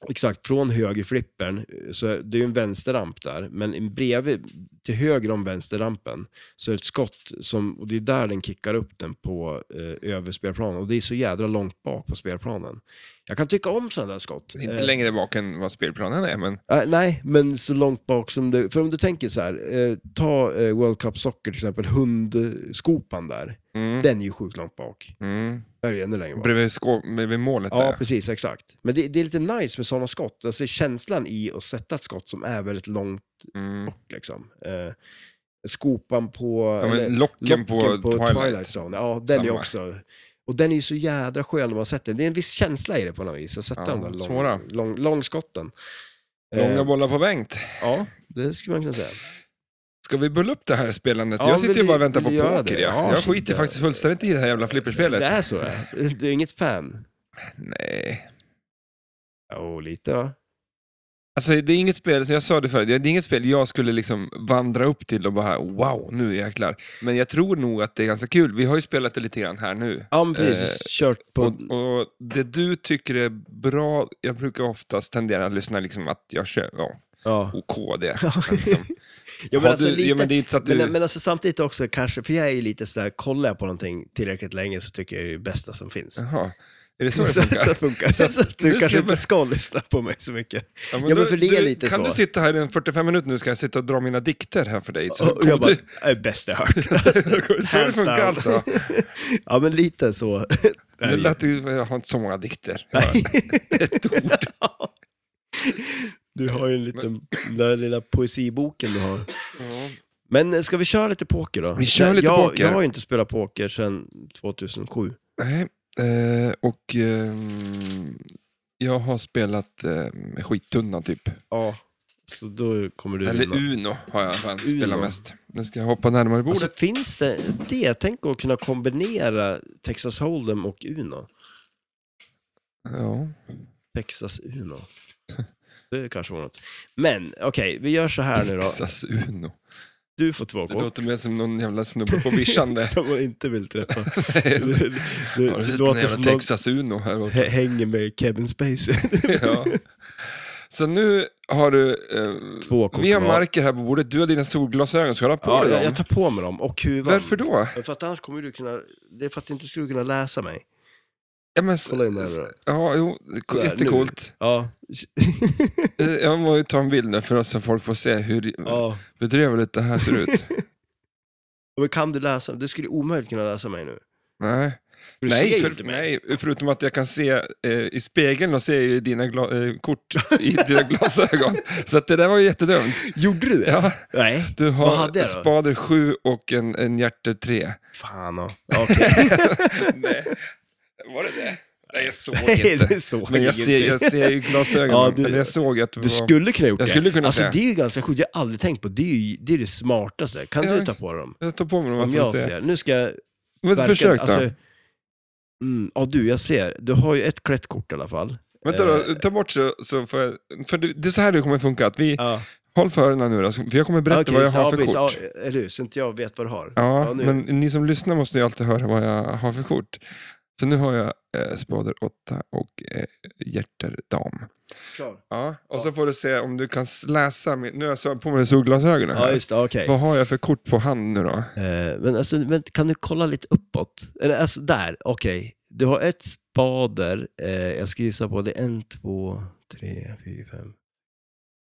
S2: Exakt, från högerflippern, så det är ju en vänsterramp där, men bredvid, till höger om vänsterrampen, så är det ett skott som, och det är där den kickar upp den på eh, över spelplanen, och det är så jädra långt bak på spelplanen. Jag kan tycka om sådana där skott.
S1: Inte
S2: Eh,
S1: längre bak än vad spelplanen är, men
S2: äh, nej, men så långt bak som du, för om du tänker så här, eh, ta eh, World Cup Soccer till exempel, hundskopan där,
S1: mm,
S2: den är ju sjukt långt bak.
S1: mm.
S2: Där är det ännu längre bak.
S1: Bredvid, skå- bredvid målet
S2: Ja,
S1: där.
S2: precis, exakt. Men det, det är lite nice med sådana skott, alltså känslan i att sätta ett skott som är väldigt långt
S1: Mm.
S2: bort liksom. Eh, skopan på...
S1: Ja, men
S2: eller
S1: locken, på, Twilight.
S2: Zone, ja den är
S1: Samma.
S2: också... Och den är ju så jädra skön när man sätter den. Det är en viss känsla i det på något vis, att sätta
S1: Ja,
S2: de där lång,
S1: svåra.
S2: lång, långskotten.
S1: Långa
S2: Eh,
S1: bollar på Bengt.
S2: ja, det skulle man kunna säga.
S1: Ska vi bulla upp det här spelandet?
S2: Ja,
S1: jag sitter
S2: vill
S1: ju bara och
S2: du-
S1: väntar på
S2: vill du göra
S1: poker.
S2: det?
S1: Jag,
S2: Ja,
S1: jag
S2: shit,
S1: skiter
S2: ja.
S1: faktiskt fullständigt i det här jävla flipperspelet.
S2: Det är så det är. Du är inget fan?
S1: Nej.
S2: Jo, lite va?
S1: Alltså, det är inget spel, som jag sa det förut, det är inget spel jag skulle liksom vandra upp till och bara wow, nu jäklar. Men jag tror nog att det är ganska kul. Vi har ju spelat det lite grann här nu.
S2: Ja, men precis.
S1: Eh,
S2: kört på...
S1: Och, och det du tycker är bra, jag brukar oftast tendera att lyssna liksom att jag kör, ja,
S2: ja.
S1: OK det. Men Liksom.
S2: Ja. Ja, men
S1: Har
S2: alltså
S1: du, ja,
S2: lite-
S1: men det är inte så att du...
S2: Men, men alltså samtidigt också kanske, för jag är ju lite sådär, kollar jag på någonting tillräckligt länge så tycker jag det är det bästa som finns.
S1: Jaha, är det så
S2: Så,
S1: det
S2: så
S1: funkar?
S2: det funkar. Så, att
S1: nu
S2: du
S1: ska
S2: kanske
S1: jag
S2: inte ska lyssna på mig så mycket. Ja, men för det är lite
S1: kan
S2: så.
S1: du sitta här i 45 minuter nu, ska jag sitta och dra mina dikter här för dig. Så
S2: Och jag
S1: kommer
S2: bara,
S1: du-
S2: det är bäst jag hört. Alltså,
S1: så det
S2: hands
S1: funkar
S2: down.
S1: alltså.
S2: Ja, men lite så. är
S1: Det
S2: ju-
S1: lät ju, jag har inte så många dikter. Jag har Ett ord.
S2: Du har ju en liten, den där lilla poesiboken du har. Men eh, ska vi köra lite poker då?
S1: Vi kör lite
S2: jag,
S1: poker.
S2: Jag har ju inte spelat poker sedan 2007.
S1: Nej, eh, och ehm, jag har spelat eh, skittunna typ.
S2: Ja, så då kommer du vinna.
S1: Eller Uno har jag fan spelat
S2: Uno.
S1: mest. Nu ska jag hoppa närmare bordet.
S2: Alltså, finns det det? Tänk att kunna kombinera Texas Hold'em och Uno. Alltså,
S1: ja.
S2: Texas Uno. Det kanske var något. Men okej, vi gör så här nu då.
S1: Texas Uno.
S2: Du får två
S1: Det
S2: kort.
S1: låter mer som någon jävla snubbe på vischan det.
S2: Som man inte vill träffa.
S1: Nej,
S2: Du, du, du,
S1: Har du sett den
S2: låter
S1: jävla
S2: som någon
S1: Texas Uno här borta?
S2: hä- hänger med Kevin Spacey.
S1: ja. Så nu har du... Eh,
S2: Två kort
S1: vi har
S2: var.
S1: marker här på bordet. Du har dina solglasögon. Ska du ha på
S2: Ja,
S1: dig
S2: jag,
S1: dem?
S2: jag tar på mig dem och huvan.
S1: Varför då?
S2: För att annars kommer du kunna... Det är för att du inte skulle kunna läsa mig.
S1: Ja, men, s-
S2: Kolla in här
S1: s-
S2: då.
S1: Ja, jo, k-
S2: Där,
S1: jättecoolt.
S2: Ja.
S1: Eh, Jag måste ta en bild nu för oss så folk får se hur
S2: ja.
S1: bedrövligt det här ser ut.
S2: Men kan du läsa? Du skulle omöjligt kunna läsa mig nu.
S1: nej.
S2: Du ser
S1: Nej,
S2: ju
S1: för,
S2: inte mig.
S1: nej, förutom att jag kan se eh, i spegeln och se i dina gla- eh, kort i dina glasögon. Så att det där var ju jättedumt.
S2: Gjorde du det?
S1: Ja,
S2: Nej.
S1: du
S2: Vad
S1: har
S2: hade jag då?
S1: spader 7 och en, en hjärter 3.
S2: Fan och. Okej.
S1: Nej, var det det? Nej, jag såg
S2: Nej,
S1: inte.
S2: det såg
S1: Men jag
S2: inte.
S1: ser, jag ser ju glasögonen.
S2: Ja, du-
S1: Eller jag såg att det
S2: Du
S1: var...
S2: skulle kunna gjort
S1: Jag
S2: det.
S1: skulle kunna
S2: alltså
S1: säga.
S2: det är ju ganska sjukt, jag har aldrig tänkt på det. Det är ju det, är det smartaste. Kan
S1: Ja,
S2: du ta på dem?
S1: Jag tar på mig dem.
S2: Om
S1: jag
S2: jag
S1: får se.
S2: ser. alltså, Nu ska jag
S1: Men försök då.
S2: mm, ja du, jag ser. Du har ju ett klätt kort i alla fall.
S1: Vänta då,
S2: Eh.
S1: ta bort så, så får jag... För det, det är så här det kommer funka. Att vi,
S2: Ja.
S1: Håll för öronen nu då, så- för jag kommer berätta vad jag har för kort.
S2: Ja, eller hur? Så inte jag vet vad du har.
S1: Ja,
S2: nu.
S1: men ni som lyssnar måste ju alltid höra vad jag har för kort. Så nu har jag eh, spader 8 och eh, hjärter dam.
S2: Klar.
S1: Ja, och så
S2: Ja.
S1: får du se om du kan s- läsa. Min, nu har jag så- på mig solglasögonen
S2: Ja,
S1: här.
S2: just det. Okej.
S1: vad har jag för kort på hand nu då?
S2: Eh, men alltså, men kan du kolla lite uppåt? Eller alltså där, okej. Du har ett spader. Eh, jag ska gissa på det. är En, två, tre, fyra, fem.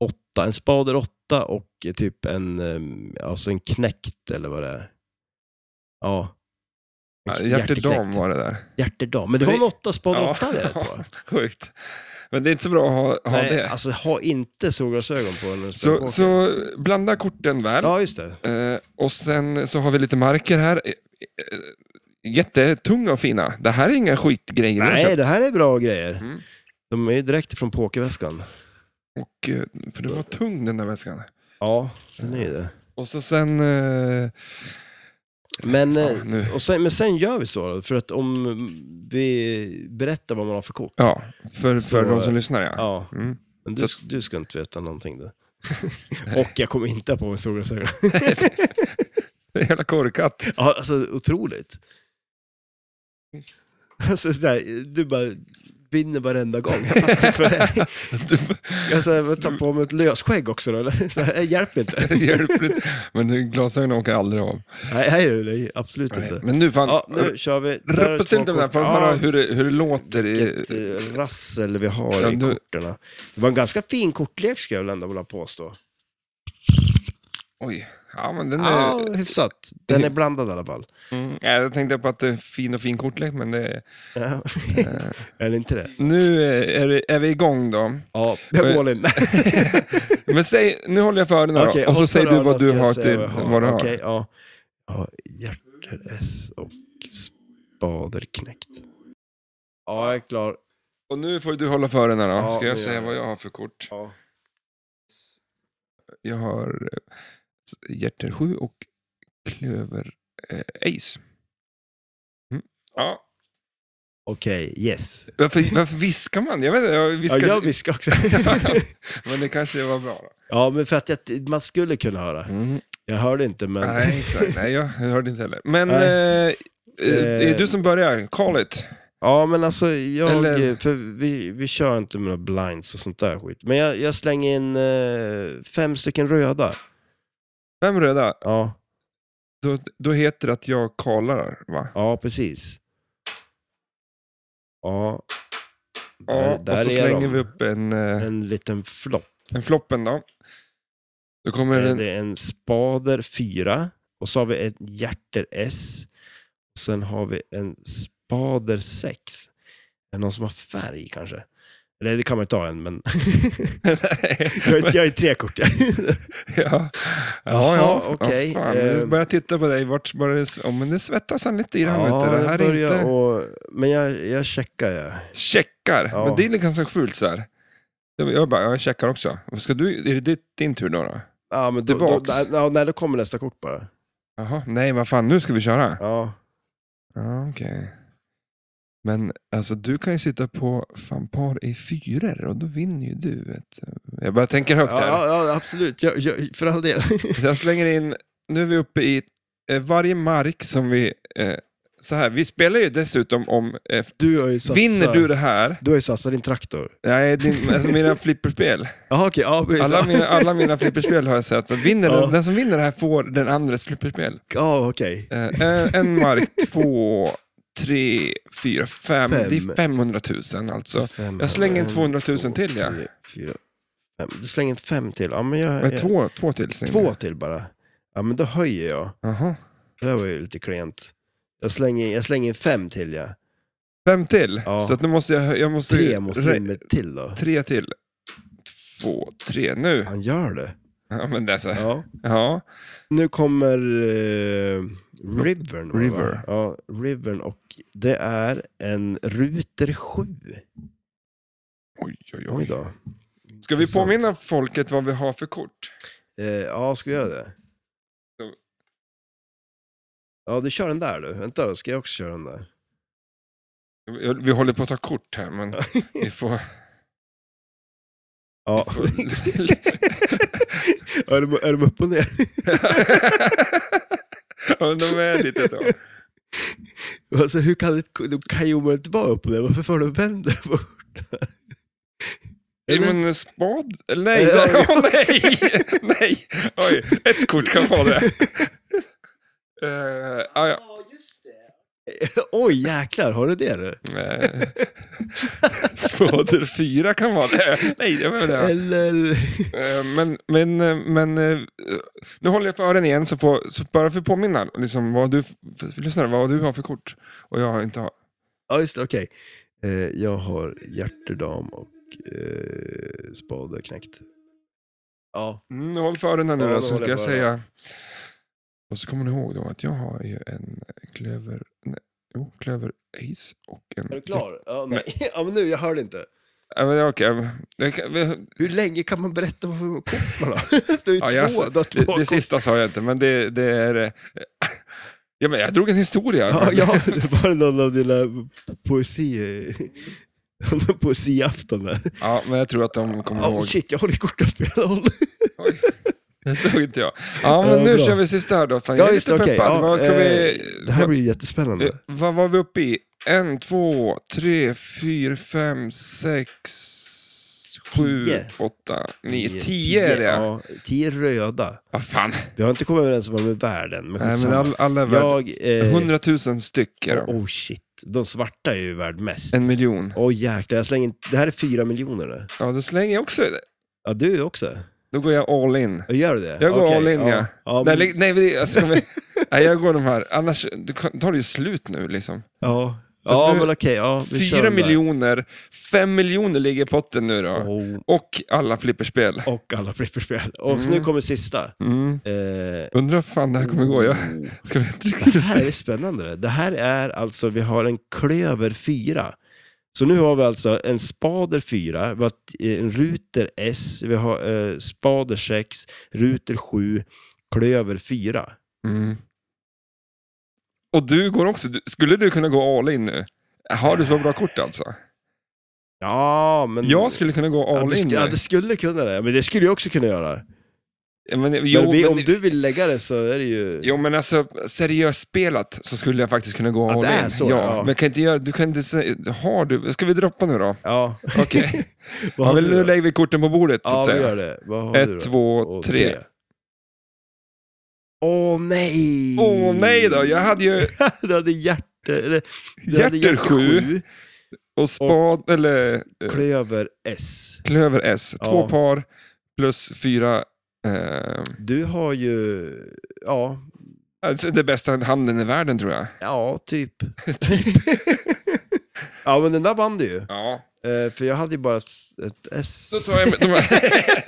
S2: Åtta. En spader åtta och eh, typ en, eh, alltså en knäckt eller vad det är. Ja.
S1: Ja,
S2: En k-
S1: Hjärter dam
S2: hjärteknäckt.
S1: var det där.
S2: Hjärtedam. Men det var
S1: Men
S2: en
S1: det-
S2: åtta, spader
S1: Ja.
S2: åtta där på.
S1: Sjukt. Men det är inte så bra att ha, ha
S2: Nej,
S1: det.
S2: alltså ha inte solglasögon på när du spelar
S1: Så,
S2: poker.
S1: så blanda korten väl.
S2: Ja, just det.
S1: Eh, och sen så har vi lite marker här. Eh, eh, Jättetunga och fina. Det här är inga skitgrejer vi har
S2: Nej,
S1: köpt.
S2: det här är bra grejer.
S1: Mm.
S2: De är ju direkt från pokerväskan.
S1: Och, eh, för det var tung den där väskan.
S2: Ja, den är ju det.
S1: Och så sen... Eh,
S2: Men, eh,
S1: nu-
S2: och sen, men sen gör vi så, då, för att om vi berättar vad man har för kort.
S1: Ja, för,
S2: Så,
S1: för de som lyssnar ja.
S2: Ja,
S1: Mm.
S2: men du, du ska inte veta någonting där. och jag kommer inte ha på mig solglasögon.
S1: Jävla korkat.
S2: Ja, alltså otroligt. Alltså, så där, du bara vinner varenda gång. Jag fattar inte vad det är. Alltså, jag tar på mig ett lösskägg också då, eller? Så här, hjälper inte.
S1: Hjälpligt. Men glasögonen åker aldrig av.
S2: Nej, nej, nej absolut inte.
S1: Men nu fan,
S2: Ja, nu kör vi. Där är
S1: rappa till
S2: två
S1: dem där
S2: kort.
S1: för att
S2: Ja,
S1: höra hur, det- hur det låter. i-
S2: vilket eh, rassel vi har
S1: Ja,
S2: i
S1: du-
S2: korten. Det var en ganska fin kortlek skulle jag väl ändå vilja påstå.
S1: Oj. Ja, men den är...
S2: Ja, hyfsat. Eh, Den är blandad i alla fall.
S1: Mm, ja, jag tänkte på att det är fin och fin kortlek, men det är...
S2: Ja. är det inte det?
S1: Nu eh, är, det, är vi igång då.
S2: Ja, jag in.
S1: Men säg, nu håller jag för öronen
S2: Okej,
S1: då, Eh, och så
S2: håll
S1: säger
S2: för
S1: du vad
S2: öronen
S1: du
S2: ska jag
S1: har
S2: säga
S1: till
S2: vad jag har.
S1: vad du har.
S2: Okej, ja. ja. Hjärter, S och spader knäckt. Ja, jag är klar.
S1: Och nu får du hålla för öronen då.
S2: Ja,
S1: Ska jag
S2: det
S1: säga
S2: gör jag.
S1: vad jag har för kort?
S2: Ja.
S1: Jag har eh, Hjärter 7 och Klöver eh, Ace. Mm. Ja.
S2: Okej, yes.
S1: Varför, varför viskar man? Jag vet inte, jag
S2: Ja,
S1: viskar...
S2: jag viskar också.
S1: men det kanske var bra då.
S2: ja, men för att jag, man skulle kunna höra. Jag hörde inte, men...
S1: Nej, exakt. Nej, jag hörde inte heller. Men eh,
S2: Nej.
S1: eh, det är
S2: Eh.
S1: du som börjar. Call it.
S2: Ja, men alltså, jag,
S1: Eller-
S2: för vi, vi kör inte med några blinds och sånt där skit. Men jag, jag slänger in eh, fem stycken röda.
S1: Fem röda.
S2: Ja,
S1: Då, då heter det att jag kallar, va?
S2: ja precis. Ja.
S1: Ja, och så slänger vi upp en, eh,
S2: En liten flopp.
S1: en floppen då. Då kommer
S2: Eh,
S1: en...
S2: Det är en spader 4 och så har vi ett hjärter S. Sen har vi en spader 6. Är det någon som har färg kanske? Eller det kan man ju ta en, men
S1: Nej.
S2: jag är- jag är tre kort. ja.
S1: ja, ja.
S2: Jaha,
S1: ja.
S2: okej.
S1: Ja, fan, nu
S2: Eh.
S1: börjar jag titta på dig. Vart börjar det... Oh, men det svettas han lite i det här. vet du. det här
S2: jag
S1: är
S2: börjar
S1: inte...
S2: och, men jag, jag checkar. Jag.
S1: Checkar.
S2: Ja.
S1: Men det är ganska fult så här. Jag jag bara, ja, jag checkar också. Och Ska du, är det ditt- din tur då? då?
S2: Ja, men då, då,
S1: Tillbaks.
S2: nej, ja, nej, då kommer nästa kort bara.
S1: Jaha, nej vad fan, nu ska vi köra.
S2: Ja,
S1: Ja, okej. Men alltså du kan ju sitta på fan par i fyror och då vinner ju du. Vet. du. Jag bara tänker högt
S2: ja,
S1: här.
S2: ja, ja absolut. Jag, jag, för all del.
S1: Så jag slänger in, nu är vi uppe i eh, varje mark som vi, eh, så här, vi spelar ju dessutom om, eh,
S2: Du har ju satsat,
S1: vinner du det här,
S2: du har ju satsat din traktor.
S1: nej, din, alltså mina flipperspel.
S2: Jaha, okej. Ja, precis.
S1: Alla mina, alla mina flipperspel har jag sett. Så vinner
S2: Ja.
S1: den, den som vinner det här får den andres flipperspel.
S2: Ja, okej.
S1: Eh, en- en mark, två, tre, fyra, fem.
S2: Fem.
S1: Det är 500 000 alltså.
S2: Fem,
S1: Jag slänger in
S2: en,
S1: 200 000
S2: två,
S1: till, ja.
S2: tre, fyra, fem. Du slänger in fem till. Ja, men jag,
S1: Men
S2: jag,
S1: två, två till slänger
S2: Eh, två
S1: jag.
S2: till bara. Ja, men då höjer jag.
S1: Jaha.
S2: Det där var ju lite klent. Jag slänger, in- jag slänger in fem till, ja.
S1: Fem till?
S2: Ja.
S1: Så att nu måste jag... jag måste,
S2: Tre måste
S1: re-
S2: du med till då.
S1: Tre till. Två, tre nu.
S2: Han gör det.
S1: Ja, men det är så. här.
S2: Ja.
S1: Ja.
S2: Nu kommer eh, Rivern. va?
S1: River.
S2: Ja, Rivern och det är en Ruter 7.
S1: Oj, oj,
S2: Oj
S1: oj.
S2: då.
S1: Ska vi
S2: Intressant.
S1: påminna folket vad vi har för kort?
S2: Eh, ja, ska vi göra det? Ja, du kör den där du. Vänta då, ska jag också köra den där?
S1: Vi håller på att ta kort här, men vi får...
S2: Ja. är, de, är de upp och ner?
S1: ja, men de är lite så.
S2: Alltså, hur kan det, de kan ju omöjligt vara upp och ner. Varför får de vända på
S1: Ja,
S2: Eller?
S1: men spad? Nej,
S2: Ja,
S1: nej, åh, nej, nej. Oj, ett kort kan vara det. Uh, ah, ja.
S2: Oj, jäklar. Har du det du?
S1: Eh, spader fyra kan vara det. Nej, det var väl det.
S2: Eller?
S1: Eh, men, men, eh, men eh, nu håller jag för öronen igen, så, får, så bara för att påminna liksom, vad, du, för, för, lyssnare, vad du har för kort och jag inte har.
S2: Ja, just det. Okej. Eh, jag har hjärterdam och eh, spade knäckt. Ja.
S1: Mm, håll för öronen nu
S2: Ja,
S1: då,
S2: då
S1: så
S2: håller
S1: ska
S2: jag
S1: jag
S2: för öronen.
S1: säga. Och så kommer ni ihåg då att jag har ju en klöver, nej, jo, klöver ace och en...
S2: Är du klar? Ja, nej. ja, men nu, jag hörde inte.
S1: Ja, men okej. Det kan- vi-
S2: Hur länge kan man berätta vad för kort man har? Det står ju
S1: Ja,
S2: två.
S1: jag
S2: du har
S1: det,
S2: två
S1: det
S2: kort.
S1: sista sa jag inte, men det, det är... eh, Ja, men jag drog en historia.
S2: Ja, ja, det var någon av dina poesi... eh, Poesiafton där.
S1: Ja, men jag tror att de kommer
S2: Ja,
S1: ihåg.
S2: shit, jag håller kort att spela roll.
S1: Oj. Det såg inte jag. Ja, men
S2: Ja,
S1: nu
S2: bra.
S1: kör vi sista här då. Fan, jag
S2: Ja,
S1: är
S2: just
S1: lite
S2: det. Okej.
S1: peppad.
S2: Ja,
S1: vad, ska
S2: eh,
S1: vi,
S2: det här blir jättespännande.
S1: Eh, Vad var vi uppe i? En, två, tre, fyra, fem, sex, sju,
S2: Tio.
S1: åtta, nio, tio är det. Ja,
S2: Ja, tio röda.
S1: fan.
S2: Vi har inte kommit överens om vad de är världen, men
S1: Nej, men
S2: skitsamma.
S1: all, alla är värda.
S2: Jag... Eh,
S1: Hundratusen styck är de.
S2: Oh shit, de svarta är ju värd mest.
S1: En miljon.
S2: Åh jäklar, jag slänger in... Det här är fyra miljoner nu.
S1: Ja, då slänger jag också det.
S2: Ja, du också.
S1: Då går jag all in.
S2: Ja, Gör du det?
S1: Jag går
S2: Okej,
S1: all in, ja.
S2: ja. Ja,
S1: Nej,
S2: men,
S1: li- nej, vi, alltså, ska vi, nej, jag går de här. Annars du kan- tar det ju slut nu liksom.
S2: ja.
S1: Så
S2: ja,
S1: nu-
S2: men okej. ja, vi kör
S1: Fyra
S2: den där.
S1: miljoner, fem miljoner ligger i potten nu då.
S2: Oh,
S1: Och alla flipperspel.
S2: och alla flipperspel. Och så
S1: Mm.
S2: nu kommer sista.
S1: Mm.
S2: Eh,
S1: Undrar fan det här kommer gå. Jag
S2: oh.
S1: ska vi inte
S2: Det
S1: riktigt
S2: här
S1: säga.
S2: är spännande. det. Det här är alltså, vi har en klöver 4. Så nu har vi alltså en spader 4, vi har ett- en ruter S, vi har eh, spader 6, ruter 7, klöver 4.
S1: Mm. Och du går också. du- Skulle du kunna gå all in nu? Har du så bra kort alltså?
S2: Ja, men...
S1: Jag skulle kunna gå
S2: ja,
S1: all
S2: det,
S1: in
S2: sk- ja,
S1: nu.
S2: det skulle kunna det. Men det skulle jag också kunna göra.
S1: Ja, Men, jo,
S2: men vi, om
S1: men,
S2: du vill lägga det så är det ju...
S1: jo, men alltså seriöst spelat så skulle jag faktiskt kunna gå
S2: Ja,
S1: all
S2: det är
S1: in.
S2: så,
S1: ja,
S2: ja.
S1: Men jag kan inte göra, du kan inte säga, har du, ska vi droppa nu då?
S2: Ja.
S1: Okej,
S2: Vad
S1: ja,
S2: har
S1: men
S2: du
S1: nu
S2: då?
S1: lägger vi korten på bordet så
S2: Ja,
S1: att
S2: vi
S1: säga.
S2: gör det. Vad har du
S1: Ett,
S2: då?
S1: två,
S2: Och
S1: tre.
S2: Åh nej!
S1: Åh nej då, jag hade ju
S2: du hade hjärter... Eller, du hade
S1: hjärter sju
S2: sju,
S1: och spad, eller eh,
S2: klöver S.
S1: klöver S. Två
S2: Ja.
S1: par plus fyra eh,
S2: Du har ju... Ja,
S1: Alltså det bästa handen i världen tror jag.
S2: ja typ. ja, men den där vann du ju.
S1: Ja.
S2: Eh, för jag hade ju bara ett, ett S.
S1: Då tar jag med de här.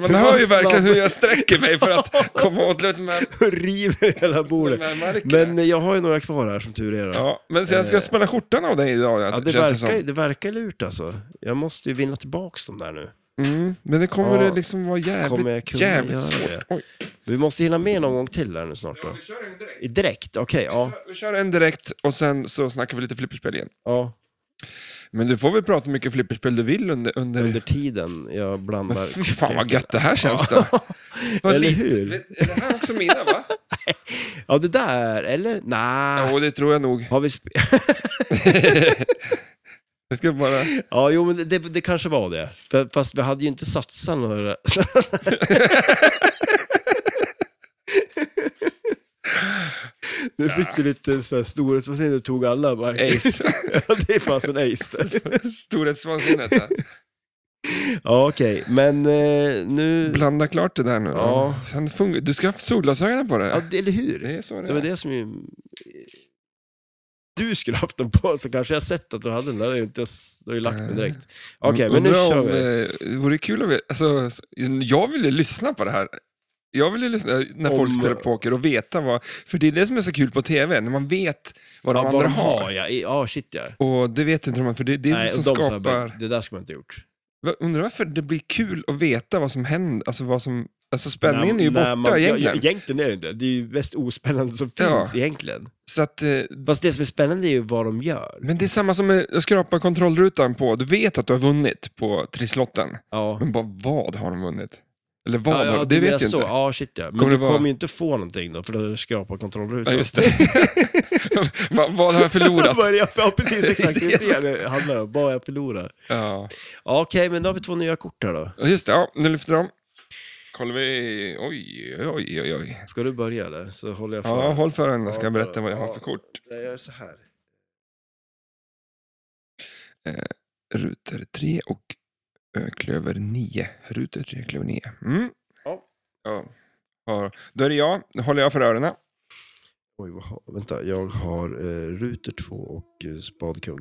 S1: Man
S2: Du
S1: hör
S2: var
S1: ju
S2: snabb.
S1: verkligen hur jag sträcker mig för att komma åt de här,
S2: River hela bordet.
S1: de här markerna.
S2: Men eh, jag har ju några kvar här som tur är. Då. Ja,
S1: Ja, men så jag ska
S2: Eh.
S1: spela skjortan av dig idag. Ja,
S2: det,
S1: känns
S2: verkar,
S1: som.
S2: det verkar lurt alltså. Jag måste ju vinna tillbaks de där nu.
S1: Mm, men det kommer
S2: Ja.
S1: det liksom vara jävligt,
S2: Kommer jag kunna
S1: jävligt
S2: göra
S1: svårt.
S2: det?
S1: Oj.
S2: Vi måste hinna med någon gång till här nu snart då.
S1: vi kör en direkt.
S2: I Direkt? Okej, ja.
S1: Vi kör en direkt och sen så snackar vi lite flipperspel igen.
S2: ja.
S1: Men du får väl prata hur mycket flipperspel du vill under... under...
S2: Under tiden jag
S1: Men
S2: blandar...
S1: fy fan vad gött det här känns då. Vad
S2: Eller
S1: lite-
S2: hur?
S1: Är det här också mina va?
S2: Ja, det där, eller? Nej.
S1: Jo, det tror jag nog.
S2: Har vi sp-
S1: Jag ska bara...
S2: ja, jo, men det, det, det kanske var det. F- Fast vi hade ju inte satsat några... Nu fick du lite så här storhetsvansinne, du tog alla marker.
S1: Ace.
S2: Ja, det är fan som ace där.
S1: Storhetsvansinnet. där.
S2: Ja, okej, men eh, nu...
S1: Blanda klart det där nu. då.
S2: Ja.
S1: Sen fun- du ska ha solglasögonen på dig.
S2: Ja, det, eller hur?
S1: Det är så det
S2: Det var
S1: är.
S2: det som ju... Du skulle haft den på, så kanske jag sett att du hade den. Där. Jag har ju inte- Du har ju lagt den direkt. Okej, men nu
S1: Eh, Undrar
S2: kör
S1: om,
S2: vi.
S1: eh, Det vore kul om vi... Alltså, jag vill ju lyssna på det här. Jag vill ju lyssna eh, när folk
S2: Om-
S1: spelar poker och veta vad... För det är det som är så kul på tv, när man vet vad de
S2: Ja,
S1: andra
S2: vad de
S1: har.
S2: har, ja. I- Ja, shit ja.
S1: Och det vet inte de här, för det, det är det
S2: Nej,
S1: som
S2: och de sa bara,
S1: skapar...
S2: det där ska man inte gjort.
S1: Va- Undrar varför det blir kul att veta vad som händer, alltså vad som... Alltså spänningen är ju
S2: När-
S1: borta
S2: när man- ja,
S1: egentligen.
S2: Ja, egentligen är det inte. Det är ju mest ospännande som
S1: Ja.
S2: finns egentligen.
S1: Så att, eh,
S2: Fast det som är spännande är ju vad de gör.
S1: Men det är samma som med att skrapa kontrollrutan på, du vet att du har vunnit på trisslotten,
S2: Ja.
S1: men bara vad har de vunnit? Eller vad
S2: ja,
S1: har
S2: ja,
S1: det
S2: du
S1: vet
S2: är
S1: jag
S2: så.
S1: inte.
S2: Ja, shit ja. Men
S1: Kommer
S2: du
S1: det vara-
S2: kommer ju inte få någonting då, för du skrapar kontrollrutan.
S1: Ja, just det. Va, vad har jag förlorat?
S2: Vad är det jag- ja, precis exakt. Det
S1: Det
S2: är det det handlar om. Vad jag förlorar.
S1: ja.
S2: Ja, Okej, men då har vi två nya kort här då.
S1: Ja, Just det, ja, nu lyfter de. Kollar vi... Oj, oj, oj, oj.
S2: Ska du börja eller? Så håller jag för.
S1: Ja, håll för den, jag
S2: Ja,
S1: ska berätta vad jag har
S2: ja.
S1: för kort.
S2: Jag gör så här.
S1: Ruter 3 och eh, klöver 9. Ruter 3, klöver 9. Mm.
S2: Ja.
S1: Ja. Ja. Då är det jag, nu håller jag för öronen.
S2: Oj, vad har... vänta. Jag har eh, ruter 2 och eh, spadkung.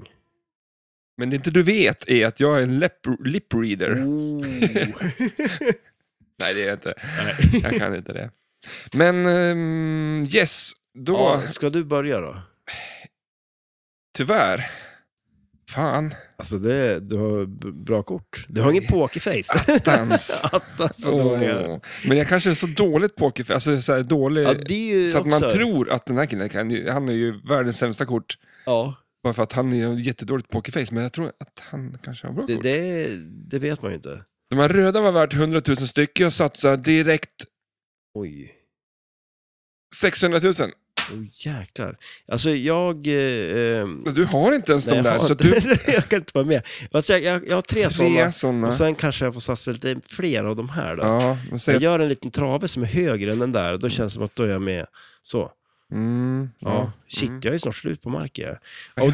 S1: Men det inte du vet är att jag är en lip, lip reader.
S2: Oh.
S1: Nej, det är jag inte.
S2: Nej.
S1: Jag kan inte det. Men ehm, yes, då
S2: ja, ska du börja då?
S1: tyvärr. Fan.
S2: Alltså det, du har b- bra kort. Du har ingen pokerface.
S1: Attans.
S2: Attans vad dåliga.
S1: Åh. Men jag kanske är så dåligt poker, alltså så här dålig,
S2: Ja, det är ju
S1: så att man
S2: också-
S1: tror att den här killen kan, ju- han är ju världens sämsta kort.
S2: Ja,
S1: Bara för att han är jättedåligt pokerface, men jag tror att han kanske har bra
S2: det,
S1: kort.
S2: det, det vet man ju inte.
S1: De här röda var värt 100 000 styck, jag satsar direkt
S2: Oj.
S1: 600 000.
S2: Oh, jäklar. Alltså jag... Eh, ehm,
S1: Men Du har inte ens
S2: nej,
S1: de där,
S2: jag, har
S1: så
S2: inte-
S1: du
S2: jag kan inte vara med. Alltså jag, jag, jag har tre
S1: tre
S2: sådana.
S1: sådana.
S2: Och sen kanske jag får satsa lite fler av de här då.
S1: Ja, Mm. men säg
S2: Jag
S1: att-
S2: gör en liten trave som är högre än den där, då känns det som att då är jag med. Så.
S1: mm,
S2: Ja, shit,
S1: mm.
S2: jag är ju snart slut på mark. Jag. Och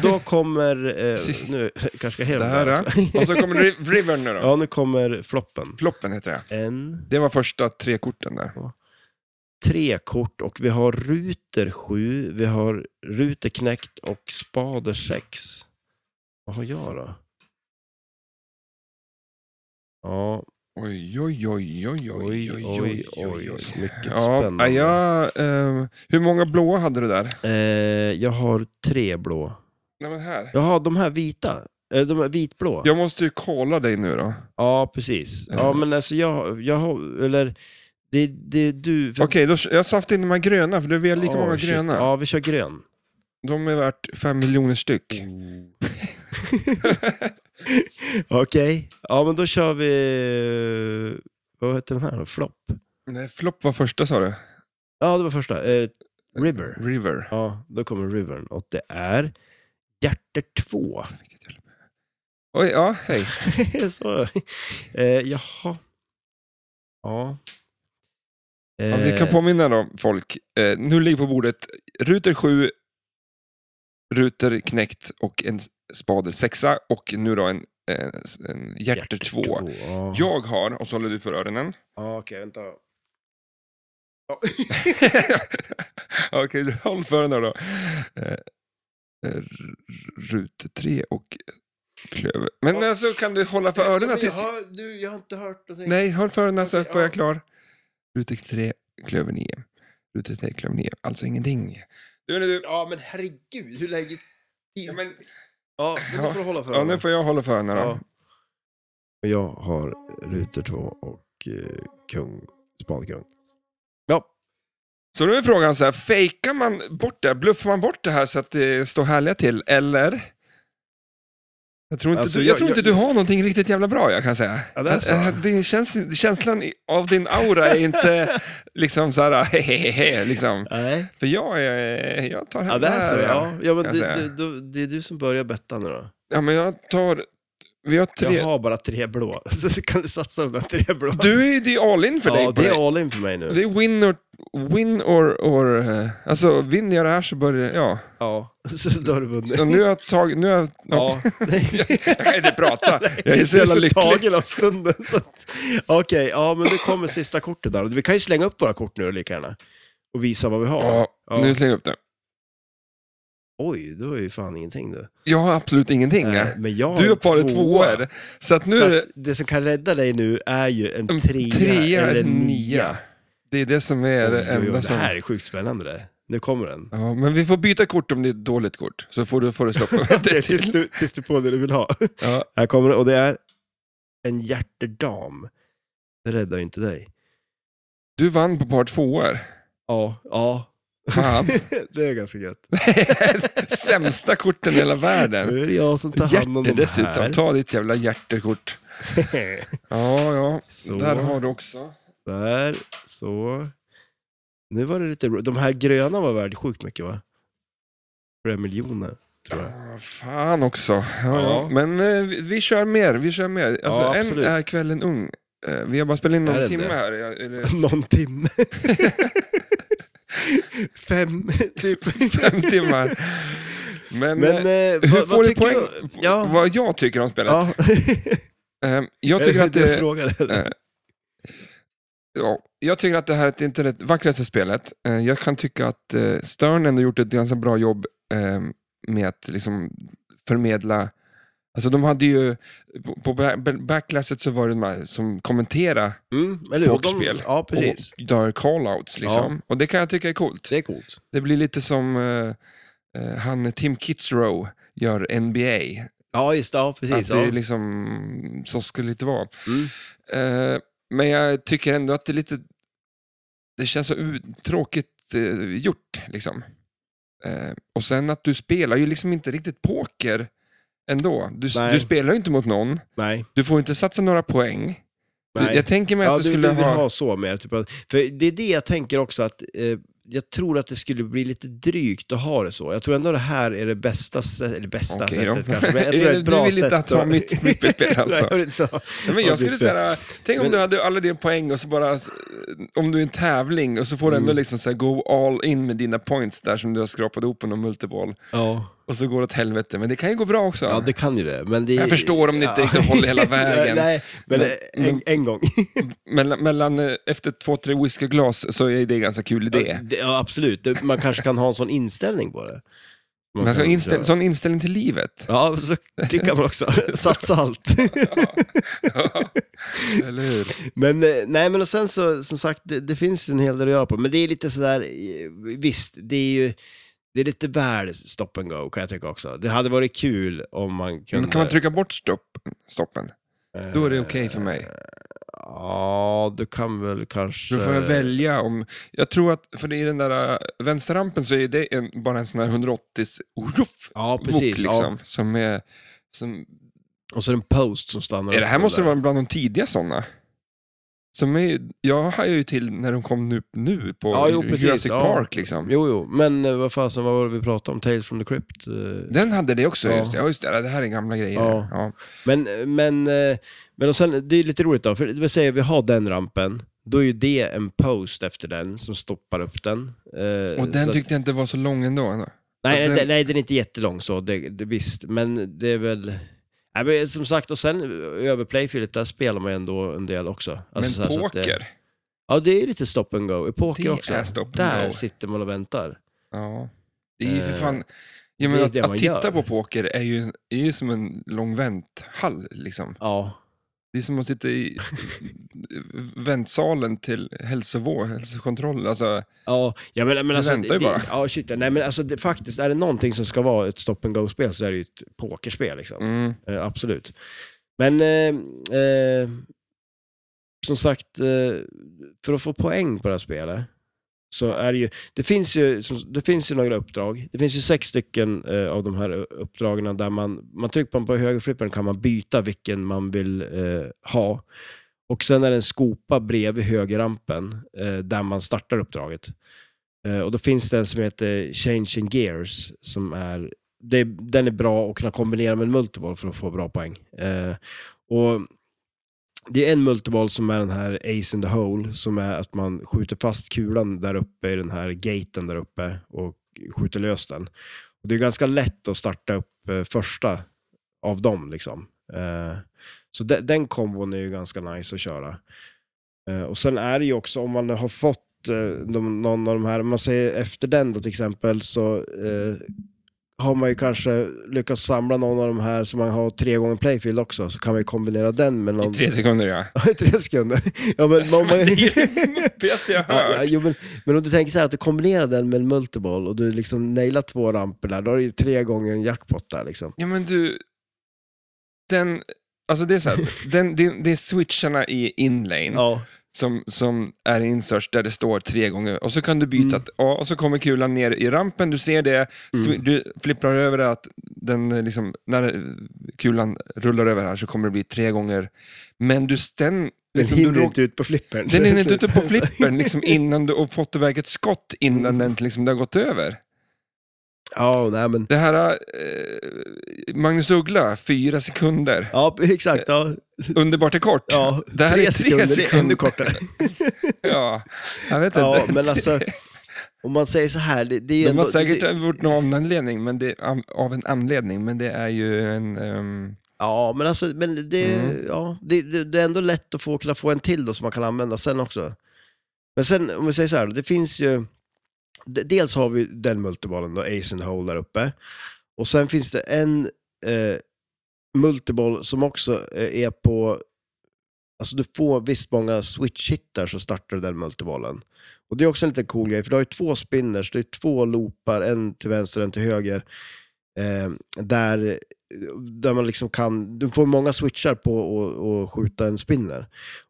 S2: då kommer... Eh, nu kanske ska jag heja
S1: Det
S2: dem
S1: här,
S2: där
S1: ja.
S2: också.
S1: och så kommer Ri- Rivern nu då.
S2: Ja, nu kommer floppen.
S1: Floppen heter det.
S2: En,
S1: Det var första tre korten där.
S2: tre kort och vi har ruter sju, vi har ruter knäckt och spader sex. Vad har jag då? Ja,
S1: Oj, oj, oj, oj,
S2: oj, oj, oj, mycket
S1: Ja,
S2: spännande.
S1: nej, jag, eh, hur många blåa hade du där?
S2: Eh, jag har tre blå.
S1: Nej, men här.
S2: Jaha, de här vita? Eh, De här vitblå?
S1: Jag måste ju kolla dig nu då.
S2: Ja, precis. Ja, men alltså jag, jag har, eller, det, det du... för-
S1: Okej, då, jag saftade in de här gröna, för vi har lika
S2: Åh,
S1: många
S2: shit.
S1: gröna.
S2: Ja, vi kör grön.
S1: De är värt fem miljoner styck.
S2: Mm. Okej, ja men då kör vi, eh, vad heter den här då? Flopp?
S1: Nej, flopp var första sa du?
S2: Ja, det var första. Eh, River.
S1: River.
S2: Ja, då kommer Rivern och det är Hjärter 2.
S1: Vilket jävla- Oj, ja, hej.
S2: Så. Eh, jaha. Ja.
S1: Ja, vi kan
S2: Eh,
S1: påminna då, folk. Eh, nu ligger på bordet ruter 7, ruter knäckt och en spader 6 och nu då en, en, en hjärter 2.
S2: två, Ja, ja.
S1: Jag har, och så håller du för öronen.
S2: okej, vänta.
S1: Okej, du håll för öronen då. Eh, eh, ruter 3 och klöver. Men
S2: Ja.
S1: alltså kan du hålla för
S2: Men
S1: öronen
S2: jag,
S1: tills...
S2: har, du, jag har inte hört någonting.
S1: Nej, håll för öronen så
S2: Okej,
S1: får
S2: ja.
S1: jag klar. Ruter 3, klöver 9. Ruter 3, klöver 9. Alltså ingenting. Du, nu, du.
S2: Ja, men herregud, hur länge...
S1: Ja, men,
S2: Ja, men då får du hålla för
S1: ja, nu får jag hålla för henne då.
S2: Ja. Jag har ruter 2 och eh, kung, spadkung. Ja,
S1: Så då är frågan så här, fejkar man bort det? Bluffar man bort det här så att det står härliga till, eller? Jag tror inte,
S2: Alltså,
S1: du, jag,
S2: jag-
S1: tror inte
S2: jag-
S1: du har någonting riktigt jävla bra, jag kan säga.
S2: Ja, det är så.
S1: Äh, Din käns- känslan i- av din aura är inte liksom så här, hehehe, liksom.
S2: nej.
S1: För jag, är, jag tar hem
S2: Ja, det är så.
S1: här,
S2: Ja, ja men
S1: kan
S2: det,
S1: jag
S2: det,
S1: säga.
S2: då- det är du som börjar betta nu då.
S1: Ja, men jag tar, vi har
S2: Jag
S1: tre.
S2: har bara tre blå, så så kan du satsa de där tre blå.
S1: Du är, det är all in för
S2: ja,
S1: dig. på
S2: det
S1: det.
S2: är all in för mig nu.
S1: Det är win or, win or, or eh, alltså vinner jag det här så börjar ja.
S2: Ja, så då har du vunnit.
S1: Och nu har jag tagit, nu har jag,
S2: Ja, nej.
S1: jag kan inte prata, jag är så
S2: Du
S1: jävla
S2: så
S1: lycklig.
S2: tagen av stunden. så att- Okej, ja men nu kommer sista kortet där. Vi kan ju slänga upp våra kort nu lika gärna. Och visa vad vi har.
S1: Ja,
S2: Ja.
S1: nu slänger jag upp det.
S2: Oj, då är ju fan ingenting du.
S1: Jag har absolut ingenting.
S2: Nej, men jag har
S1: du har
S2: en
S1: paret
S2: tvåa.
S1: tvåor, så att nu
S2: så
S1: är mm, det
S2: att det som kan rädda dig nu är ju en trea, eller en nia.
S1: Det är det som är det
S2: Oj, oj, oj,
S1: enda
S2: det
S1: som...
S2: här är sjukt spännande det. Nu kommer den.
S1: Ja, men vi får byta kort om det är ett dåligt kort, så får du, får du slå på
S2: Det är
S1: det
S2: tills,
S1: till.
S2: du, tills du får det du vill ha.
S1: Ja,
S2: Här kommer det, och det är en hjärtedam. Det räddar ju inte dig.
S1: du vann på par tvåor.
S2: Ja. Ja.
S1: Fan.
S2: det är ganska gött.
S1: Sämsta korten i hela världen.
S2: Nu är det jag som tar hand om
S1: Hjärte
S2: de
S1: dessutom.
S2: här.
S1: Ta ditt jävla hjärtekort. Ja, ja.
S2: Så.
S1: Där har du också.
S2: Där, så. Nu var det lite... De här gröna var värd sjukt mycket va? Flera miljoner, tror jag.
S1: Ah, Fan också. Ja, ja.
S2: Ja.
S1: Men eh, vi, vi kör mer. Vi kör mer. Alltså,
S2: Ja,
S1: en
S2: absolut.
S1: är kvällen ung. Eh, vi har bara spelat in
S2: Är
S1: någon
S2: den
S1: timme
S2: det?
S1: här. Jag- Eller,
S2: Någon timme. Fem, typ.
S1: fem timmar. Men,
S2: Men
S1: eh,
S2: eh,
S1: hur
S2: vad,
S1: får
S2: vad
S1: du
S2: tycker
S1: poäng?
S2: du? Ja.
S1: Vad jag tycker om spelet?
S2: ja.
S1: Eh, jag,
S2: Är
S1: tycker
S2: det
S1: att
S2: det jag
S1: det,
S2: frågar, eller?
S1: eh, ja, jag tycker att det här är ett- inte det vackraste spelet. Eh, jag kan tycka att eh, Stern ändå gjort ett ganska bra jobb eh, med att liksom förmedla Alltså de hade ju, på- på ba- backlasset så var det de här som kommenterade
S2: Mm, eller hur? Och de-
S1: pokerspel.
S2: Ja, precis.
S1: och gör call-outs. Liksom. Och det kan jag tycka är coolt.
S2: Det är coolt.
S1: Det blir lite som eh, eh, han Tim Kitzrow gör NBA.
S2: Ja, just det. Ja, precis.
S1: att det är
S2: Ja.
S1: liksom, så skulle det inte vara.
S2: Mm.
S1: Eh, men jag tycker ändå att det är lite... Det känns så u- tråkigt eh, gjort. Liksom. Eh, och sen att du spelar ju liksom inte riktigt poker ändå. Du,
S2: Nej.
S1: du spelar ju inte mot någon.
S2: Nej.
S1: Du får inte satsa några poäng.
S2: nej.
S1: Jag tänker mig att
S2: ja,
S1: du
S2: du,
S1: skulle
S2: du vill
S1: ha...
S2: ha... så mer. Typ, av- för det är det jag tänker också, att eh, jag tror att det skulle bli lite drygt att ha det så. Jag tror ändå det här är det bästa, sä- eller bästa
S1: Okej då.
S2: sättet kanske, men jag tror det är ett bra
S1: Du vill
S2: sätt.
S1: inte att ha
S2: att-
S1: mitt flipperspel alltså?
S2: Nej, jag vill inte ha-
S1: Nej, men
S2: ha
S1: jag
S2: ditt
S1: skulle
S2: spel.
S1: säga, tänk om
S2: Men-
S1: du hade alla dina poäng och så bara, eh, om du är en tävling och så får du ändå
S2: Mm.
S1: liksom så här, go all in med dina points där som du har skrapat ihop på någon multiboll.
S2: Ja.
S1: Och så går det åt helvete, men det kan ju gå bra också.
S2: ja, det kan ju det. Men det
S1: Jag förstår om det inte riktigt håller hela vägen.
S2: Nej, men,
S1: Men-
S2: eh, en, en gång.
S1: Mellan, mellan, eh, efter två, tre whiskyglas så är det en ganska kul idé.
S2: Det- Ja, absolut. Det- Man kanske kan ha en sån inställning på det. Man
S1: Men så
S2: kan-
S1: inställ, sån inställning till livet.
S2: Ja, så, det kan man också. Satsa allt.
S1: Eller hur?
S2: Men eh, nej, men och sen så, som sagt, det, det finns ju en hel del att göra på. Men det är lite sådär, eh, visst, det är ju, det är lite väl stop and go kan jag tycka också. Det hade varit kul om man kunde... eh,
S1: Men kan man trycka bort stopp, stoppen? Då är det okej för mig.
S2: Ja, du kan väl kanske...
S1: Då får jag välja om... Jag tror att, för i den där äh, vänsterrampen så är det en, bara en sån här 180 ruff
S2: Ja,
S1: wok,
S2: precis.
S1: liksom. Som är, som,
S2: Ja. Och så är det en post som stannar
S1: är det här
S2: upp
S1: måste
S2: där.
S1: vara bland de tidiga sådana. Som är, jag hajade ju till när de kom nu, nu på
S2: Ja, jo, precis,
S1: Jurassic
S2: ja.
S1: Park. Liksom.
S2: Jo, jo, men eh, vad fasen, vad var det vi pratade om? Tales from the Crypt? eh.
S1: Den hade det också,
S2: Ja.
S1: just det. Ja, just det. Det här är gamla grejer.
S2: Ja.
S1: Ja.
S2: Men, men, eh, men och sen, det är lite roligt då, för det vill säga vi har den rampen, då är ju det en post efter den som stoppar upp den. Eh,
S1: Och
S2: så
S1: den
S2: att-
S1: tyckte jag inte var så lång ändå.
S2: nej,
S1: alltså
S2: nej,
S1: den-
S2: nej, den är inte jättelång så, det, det, visst, men det är väl... Nej, men som sagt, och sen över playfieldet, där spelar man ju ändå en del också. Alltså,
S1: Men
S2: så här, så att
S1: poker,
S2: Det, ja, det är ju lite stop and go. I poker
S1: Det
S2: också.
S1: är stop and
S2: där
S1: go.
S2: sitter man och väntar.
S1: ja. Det är ju för
S2: Eh,
S1: fan...
S2: det
S1: Jag
S2: är
S1: menar, att,
S2: det
S1: att
S2: man
S1: titta
S2: gör.
S1: på poker är ju, är ju som en lång vänthall. Liksom.
S2: Ja,
S1: Det är som att sitta i väntsalen till hälsovård, hälsokontroll. Alltså,
S2: Ja, ja men, men alltså...
S1: väntar ju
S2: det,
S1: bara.
S2: Ja, shit. Nej, men alltså det, faktiskt, är det någonting som ska vara ett stop and go-spel så är det ju ett pokerspel liksom.
S1: mm.
S2: Eh, absolut. Men eh, eh, som sagt, eh, för att få poäng på det här spelet så är det ju, det finns ju, som, det finns ju några uppdrag. Det finns ju sex stycken eh, av de här uppdragen där man, man trycker på, på högerflippen kan man byta vilken man vill eh, ha. Och sen är det en skopa bredvid högerrampen eh, där man startar uppdraget. Eh, och då finns det en som heter Changing Gears som är det, den är bra att kunna kombinera med en multiboll för att få bra poäng. Eh, och det är en multiboll som är den här Ace in the Hole, som är att man skjuter fast kulan där uppe i den här gaten där uppe och skjuter lös den. Och det är ganska lätt att starta upp eh, första av dem. liksom. Eh, så de, den kombon är ju ganska nice att köra. Eh, och sen är det ju också om man har fått eh, de, någon av de här, om man säger efter den då till exempel, så eh, har man ju kanske lyckats samla någon av de här som man har tre gånger playfield också, så kan man ju kombinera den med någon...
S1: I tre sekunder ja.
S2: Ja, i tre sekunder. Ja, men, om man,
S1: Det är det muppigaste jag
S2: ja, ja,
S1: hört.
S2: jo, men, men om du tänker så här att du kombinerar den med en multiboll och du liksom nailar två ramper där, då har du ju tre gånger en jackpot där liksom.
S1: Ja men du, den, alltså det är så här, den, det, det är switcharna i inlane
S2: Ja,
S1: som, som är i inserts där det står tre gånger och så kan du byta,
S2: Mm.
S1: att, ja, och så kommer kulan ner i rampen, du ser det, swi-
S2: Mm.
S1: du flippar över det att den eh, liksom, när eh, kulan rullar över här så kommer det bli tre gånger, men du sen,
S2: den
S1: liksom,
S2: hinner
S1: du råk-
S2: inte ut på flippern.
S1: den hinner inte ut på flippen liksom, innan du har fått iväg ett skott innan
S2: Mm.
S1: den liksom, det har gått över.
S2: Ja, nej men.
S1: Det här, eh, Magnus Uggla, fyra sekunder.
S2: Ja, exakt. Ja,
S1: Underbart är kort.
S2: ja.
S1: det här
S2: tre,
S1: är tre
S2: sekunder, det är
S1: sekunder.
S2: ännu kortare.
S1: Ja, jag vet
S2: Ja,
S1: inte.
S2: men alltså, om man säger så här, det, det är ju
S1: De
S2: ändå...
S1: har säkert
S2: det,
S1: gjort någon av en anledning, men det, av- av en anledning, men det är ju en... ehm,
S2: ja, men alltså, men det,
S1: Mm.
S2: ja, det, det, det är ändå lätt att få, kunna få en till då som man kan använda sen också. Men sen, om vi säger så här, det finns ju... d- Dels har vi den multibollen då, Ace and Hole där uppe. Och sen finns det en eh, multiboll som också eh, är på... Alltså du får visst många switch-hittar så startar du den multibollen. Och det är också en liten cool grej, för du har ju två spinners, det är två loopar, en till vänster och en till höger. Eh, där, där man liksom kan, du får många switchar på att att skjuta en spinner.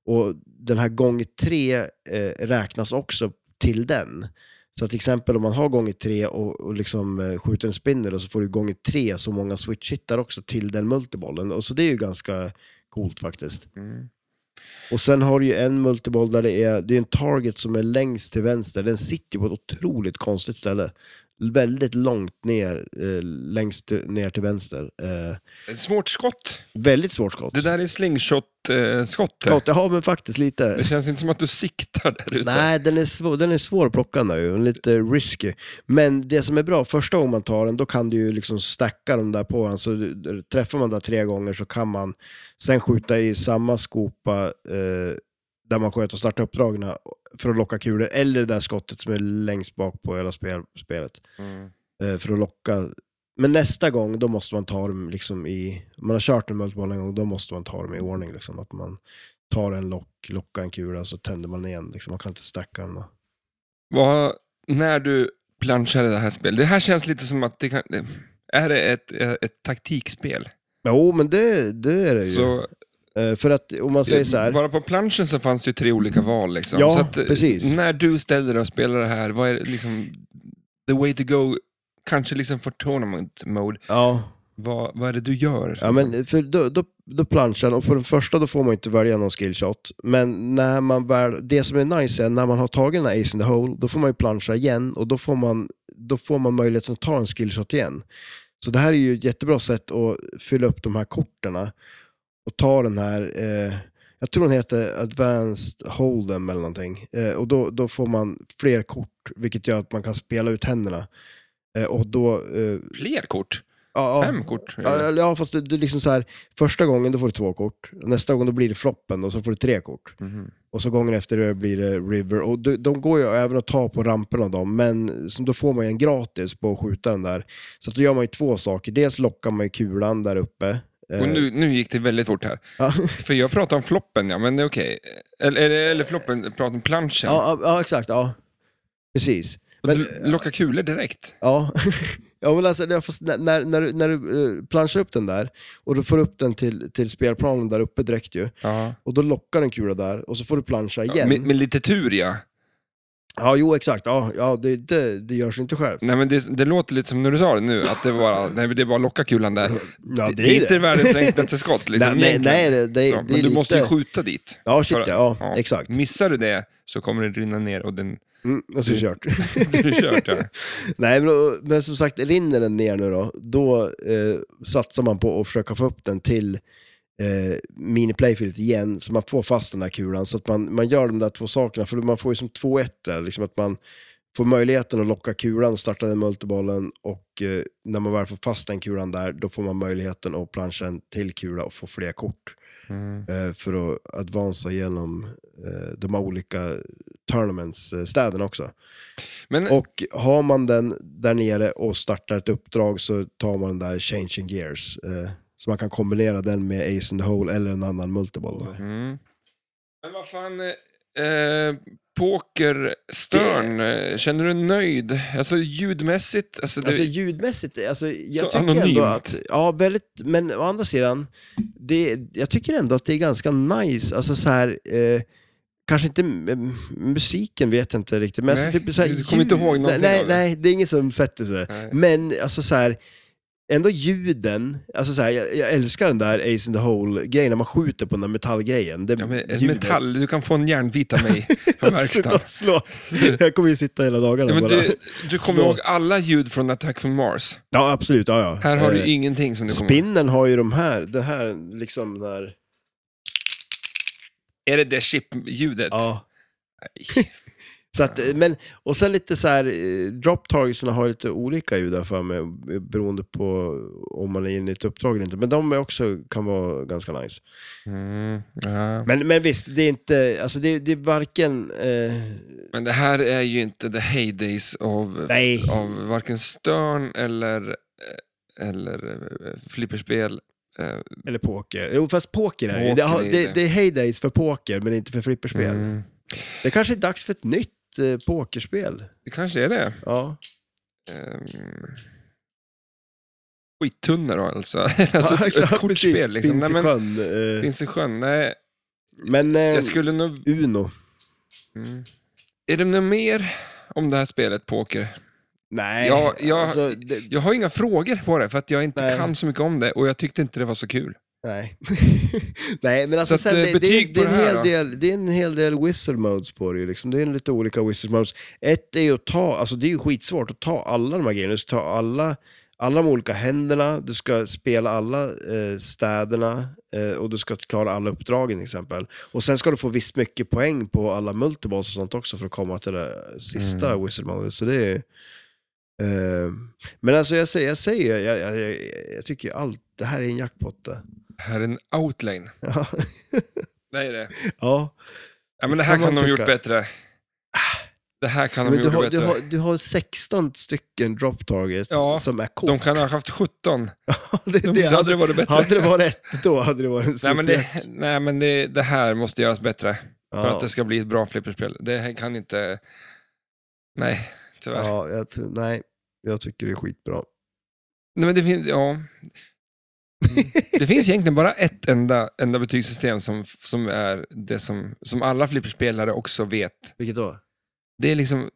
S2: Och den här gång tre eh, räknas också till den. Så till exempel om man har gånger tre och, och liksom eh, skjuter en spinner och så får du gånger tre så många switch-hittar också till den multibollen. Och så det är ju ganska coolt faktiskt.
S1: Mm.
S2: Och sen har du ju en multiboll där det är, det är en target som är längst till vänster. Den sitter på ett otroligt konstigt ställe. Väldigt långt ner, eh, längst till, ner till vänster. Eh,
S1: Ett svårt skott.
S2: väldigt svårt skott.
S1: Det där är slingshot-skott.
S2: skott. Ja, men faktiskt
S1: det
S2: lite.
S1: känns inte som att du siktar där ute.
S2: Nej, den är, svår, den är svår att plocka nu. Den är Lite risky. Men det som är bra, första gången man tar den, då kan du ju liksom stacka dem där på den. Så du- du- träffar man där tre gånger så kan man sen skjuta i samma skopa eh, där man sköt och starta uppdragna för att locka kulor. Eller det där skottet som är längst bak på hela spel, spelet.
S1: Mm.
S2: eh, för att locka. Men nästa gång, då måste man ta dem liksom i... om Man har kört en multiboll en gång, då måste man ta dem i ordning. Liksom, att man tar en lock, lockar en kula, så tänder man igen. Liksom, man kan inte stacka den. då.
S1: Vad, när du planchar i det här spelet, det här känns lite som att det kan... Är det ett, ett taktikspel?
S2: Jo, men det, det är det ju.
S1: Så,
S2: Eh, för att om man säger så här,
S1: Bara på planschen så fanns det ju tre olika val. Liksom.
S2: Ja,
S1: så att, eh,
S2: precis.
S1: När du ställer dig och spelar det här, vad är det liksom, the way to go, kanske liksom för tournament mode,
S2: ja,
S1: vad, vad är det du gör?
S2: ja, men för då, då, då planchar och på den första då får man inte välja någon skillshot. Men när man väl, det som är nice är när man har tagit den här ace in the hole, då får man ju plancha igen och då får man, då får man möjligheten att ta en skillshot igen. Så det här är ju ett jättebra sätt att fylla upp de här korten och ta den här, eh, jag tror den heter Advanced Hold'em eller någonting. Eh, och då, då får man fler kort, vilket gör att man kan spela ut händerna. Eh, och då... Eh,
S1: Fler kort?
S2: ja, ja.
S1: Fem kort?
S2: Ja, eller ja, fast det, det är liksom så här, första gången då får du två kort, nästa gång då blir det floppen och så får du tre kort.
S1: Mhm.
S2: Och så gången efter det blir det river. Och de, de går ju även att ta på ramperna av dem, men som då får man ju en gratis på att skjuta den där. Så att då gör man ju två saker. Dels lockar man ju kulan där uppe. Eh,
S1: Och nu, nu gick det väldigt fort här.
S2: ja,
S1: För jag pratade om floppen, ja men det är okej. Eller, eller, eller floppen, jag pratade om planschen.
S2: ja, ja, exakt. Ja. Precis.
S1: Och
S2: men-
S1: du lockar kulor direkt.
S2: Ja, ja men alltså, ja, fast när, när, när, du- när du eh, planschar upp den där och du får upp den till, till spelplanen där uppe direkt ju.
S1: Ja.
S2: Och då lockar den kula där och så får du planscha igen.
S1: Med, med lite tur ja.
S2: Ja, jo exakt. Ja, ja det, det, det görs inte själv.
S1: Nej, men det, det låter lite som när du sa det nu, att det bara, nej, men det är bara att locka kulan där.
S2: Ja,
S1: det, det är inte världens enklaste skott. Liksom,
S2: nej, nej,
S1: egentligen.
S2: nej, det, det,
S1: Ja,
S2: det är
S1: men du
S2: lite...
S1: måste ju skjuta dit.
S2: Ja, shit
S1: Bara-
S2: ja,
S1: ja. Mm.
S2: Exakt.
S1: Missar du det så kommer det rinna ner och den
S2: Mm, och så är det kört.
S1: du är kört. Ja.
S2: nej, men, då- men som sagt, rinner den ner nu då, då eh, satsar man på att försöka få upp den till eh, mini-playfieldet igen, så man får fast den där kulan. Så att man, man gör de där två sakerna, för man får ju som 2-1 där, liksom att man får möjligheten att locka kulan och starta den multibollen och eh, när man väl får fast den kulan där, då får man möjligheten att plancha en till kula och få fler kort.
S1: Mm.
S2: eh, för att advansa genom eh, de här olika tournaments, eh, städerna också.
S1: Men
S2: Och har man den där nere och startar ett uppdrag så tar man den där changing gears. Eh, så man kan kombinera den med Ace in the Hole eller en annan multiboll. då.
S1: Mm. Men vad fan, eh, eh, poker, Stern, eh, känner du dig nöjd? Alltså ljudmässigt, alltså, det,
S2: Alltså ljudmässigt, alltså, jag
S1: Så
S2: tycker
S1: anonymt.
S2: ändå att... Ja, väldigt, men å andra sidan, det, jag tycker ändå att det är ganska nice. Alltså så här, eh, kanske inte m- musiken vet jag inte riktigt, men
S1: Nej,
S2: alltså, typ så här,
S1: du kommer inte ihåg någonting
S2: nej,
S1: av det.
S2: nej, det är ingen som sätter sig.
S1: Nej.
S2: Men alltså så här, ändå ljuden, alltså så här, jag, jag älskar den där Ace in the Hole-grejen, när man skjuter på den där metallgrejen. Det,
S1: ja, men, eh,
S2: ljudet.
S1: metall, du kan få en järnbit av mig från
S2: Sluta
S1: verkstaden.
S2: slå. Jag kommer ju sitta hela dagarna
S1: Ja, men
S2: bara.
S1: du, du kommer
S2: slå.
S1: ihåg alla ljud från Attack from Mars.
S2: Ja, absolut. Ja, ja.
S1: Här har
S2: Eh,
S1: du ingenting som du kommer ihåg.
S2: Spinnen har ju de här, det här liksom när...
S1: Är det det chip-ljudet?
S2: Ja.
S1: Nej.
S2: Så att, eh, men, och sen lite så här, eh, drop targetsna har lite olika ljud där för mig, eh, beroende på om man är inne i ett uppdrag eller inte. Men de är också, kan vara ganska nice.
S1: Mm, ja.
S2: Men, men visst, det är inte, alltså det, det är varken, eh,
S1: Men det här är ju inte the heydays av,
S2: nej,
S1: av varken Stern eller, eller eh, flipperspel. Eh,
S2: eller poker. Jo, fast poker är det ju. Det,
S1: Poker
S2: har-
S1: är det.
S2: det, det är heydays för poker, men inte för flipperspel.
S1: mm.
S2: Det kanske är dags för ett nytt eh, pokerspel.
S1: Ehm, Det kanske är det.
S2: Ja.
S1: Ehm, skittunna då alltså. alltså ett,
S2: exakt,
S1: ett kortspel liksom.
S2: Finns
S1: Nej,
S2: i
S1: men,
S2: sjön. eh,
S1: finns i sjön. Nej,
S2: Men eh,
S1: jag skulle nog...
S2: Uno?
S1: Mm. Är det något mer om det här spelet, poker?
S2: Nej.
S1: Ja, jag-
S2: alltså, det,
S1: Jag har inga frågor på det, för att jag inte
S2: Nej.
S1: kan så mycket om det och jag tyckte inte det var så kul.
S2: nej. nej, men
S1: Så
S2: alltså,
S1: att,
S2: så här,
S1: eh,
S2: det, det,
S1: betyg
S2: det, är
S1: på
S2: en
S1: det här
S2: hel
S1: då?
S2: del, det är en hel del wizard modes på det ju. Liksom. Det är lite olika wizard modes. Ett är ju att ta, alltså det är ju skitsvårt att ta alla de här grejerna. Du ska ta alla, alla de olika händerna, du ska spela alla eh, städerna eh, och du ska klara alla uppdragen till exempel. Och sen ska du få visst mycket poäng på alla multiballs och sånt också för att komma till det sista
S1: Mm.
S2: wizard modet. Så det är eh, men alltså jag säger, jag, säger jag, jag, jag, jag tycker allt, det här är en jackpot eh. det.
S1: Det här är en outlane.
S2: Ja.
S1: Det är det.
S2: ja.
S1: Ja, men det
S2: Kan
S1: här kan,
S2: man
S1: de ha gjort
S2: tycka.
S1: bättre. Det här kan de
S2: Men
S1: ha gjort
S2: du, har,
S1: bättre.
S2: du, har, du har 16 stycken drop targets
S1: Ja,
S2: som är kort.
S1: De kan ha haft 17.
S2: det,
S1: De,
S2: det
S1: hade,
S2: hade,
S1: det varit bättre.
S2: hade det varit ett då hade det varit en
S1: nej, men, det,
S2: superjack.
S1: nej, men det, det här måste göras bättre för
S2: ja.
S1: att det ska bli ett bra flipperspel. Det här kan inte... Nej, tyvärr.
S2: ja, jag, tror- nej, jag tycker det är skitbra.
S1: Nej, men det, fin- ja.
S2: Mm.
S1: det finns egentligen bara ett enda, enda betygssystem som, som är det som, som alla flipperspelare också vet.
S2: Vilket då?
S1: Det är liksom,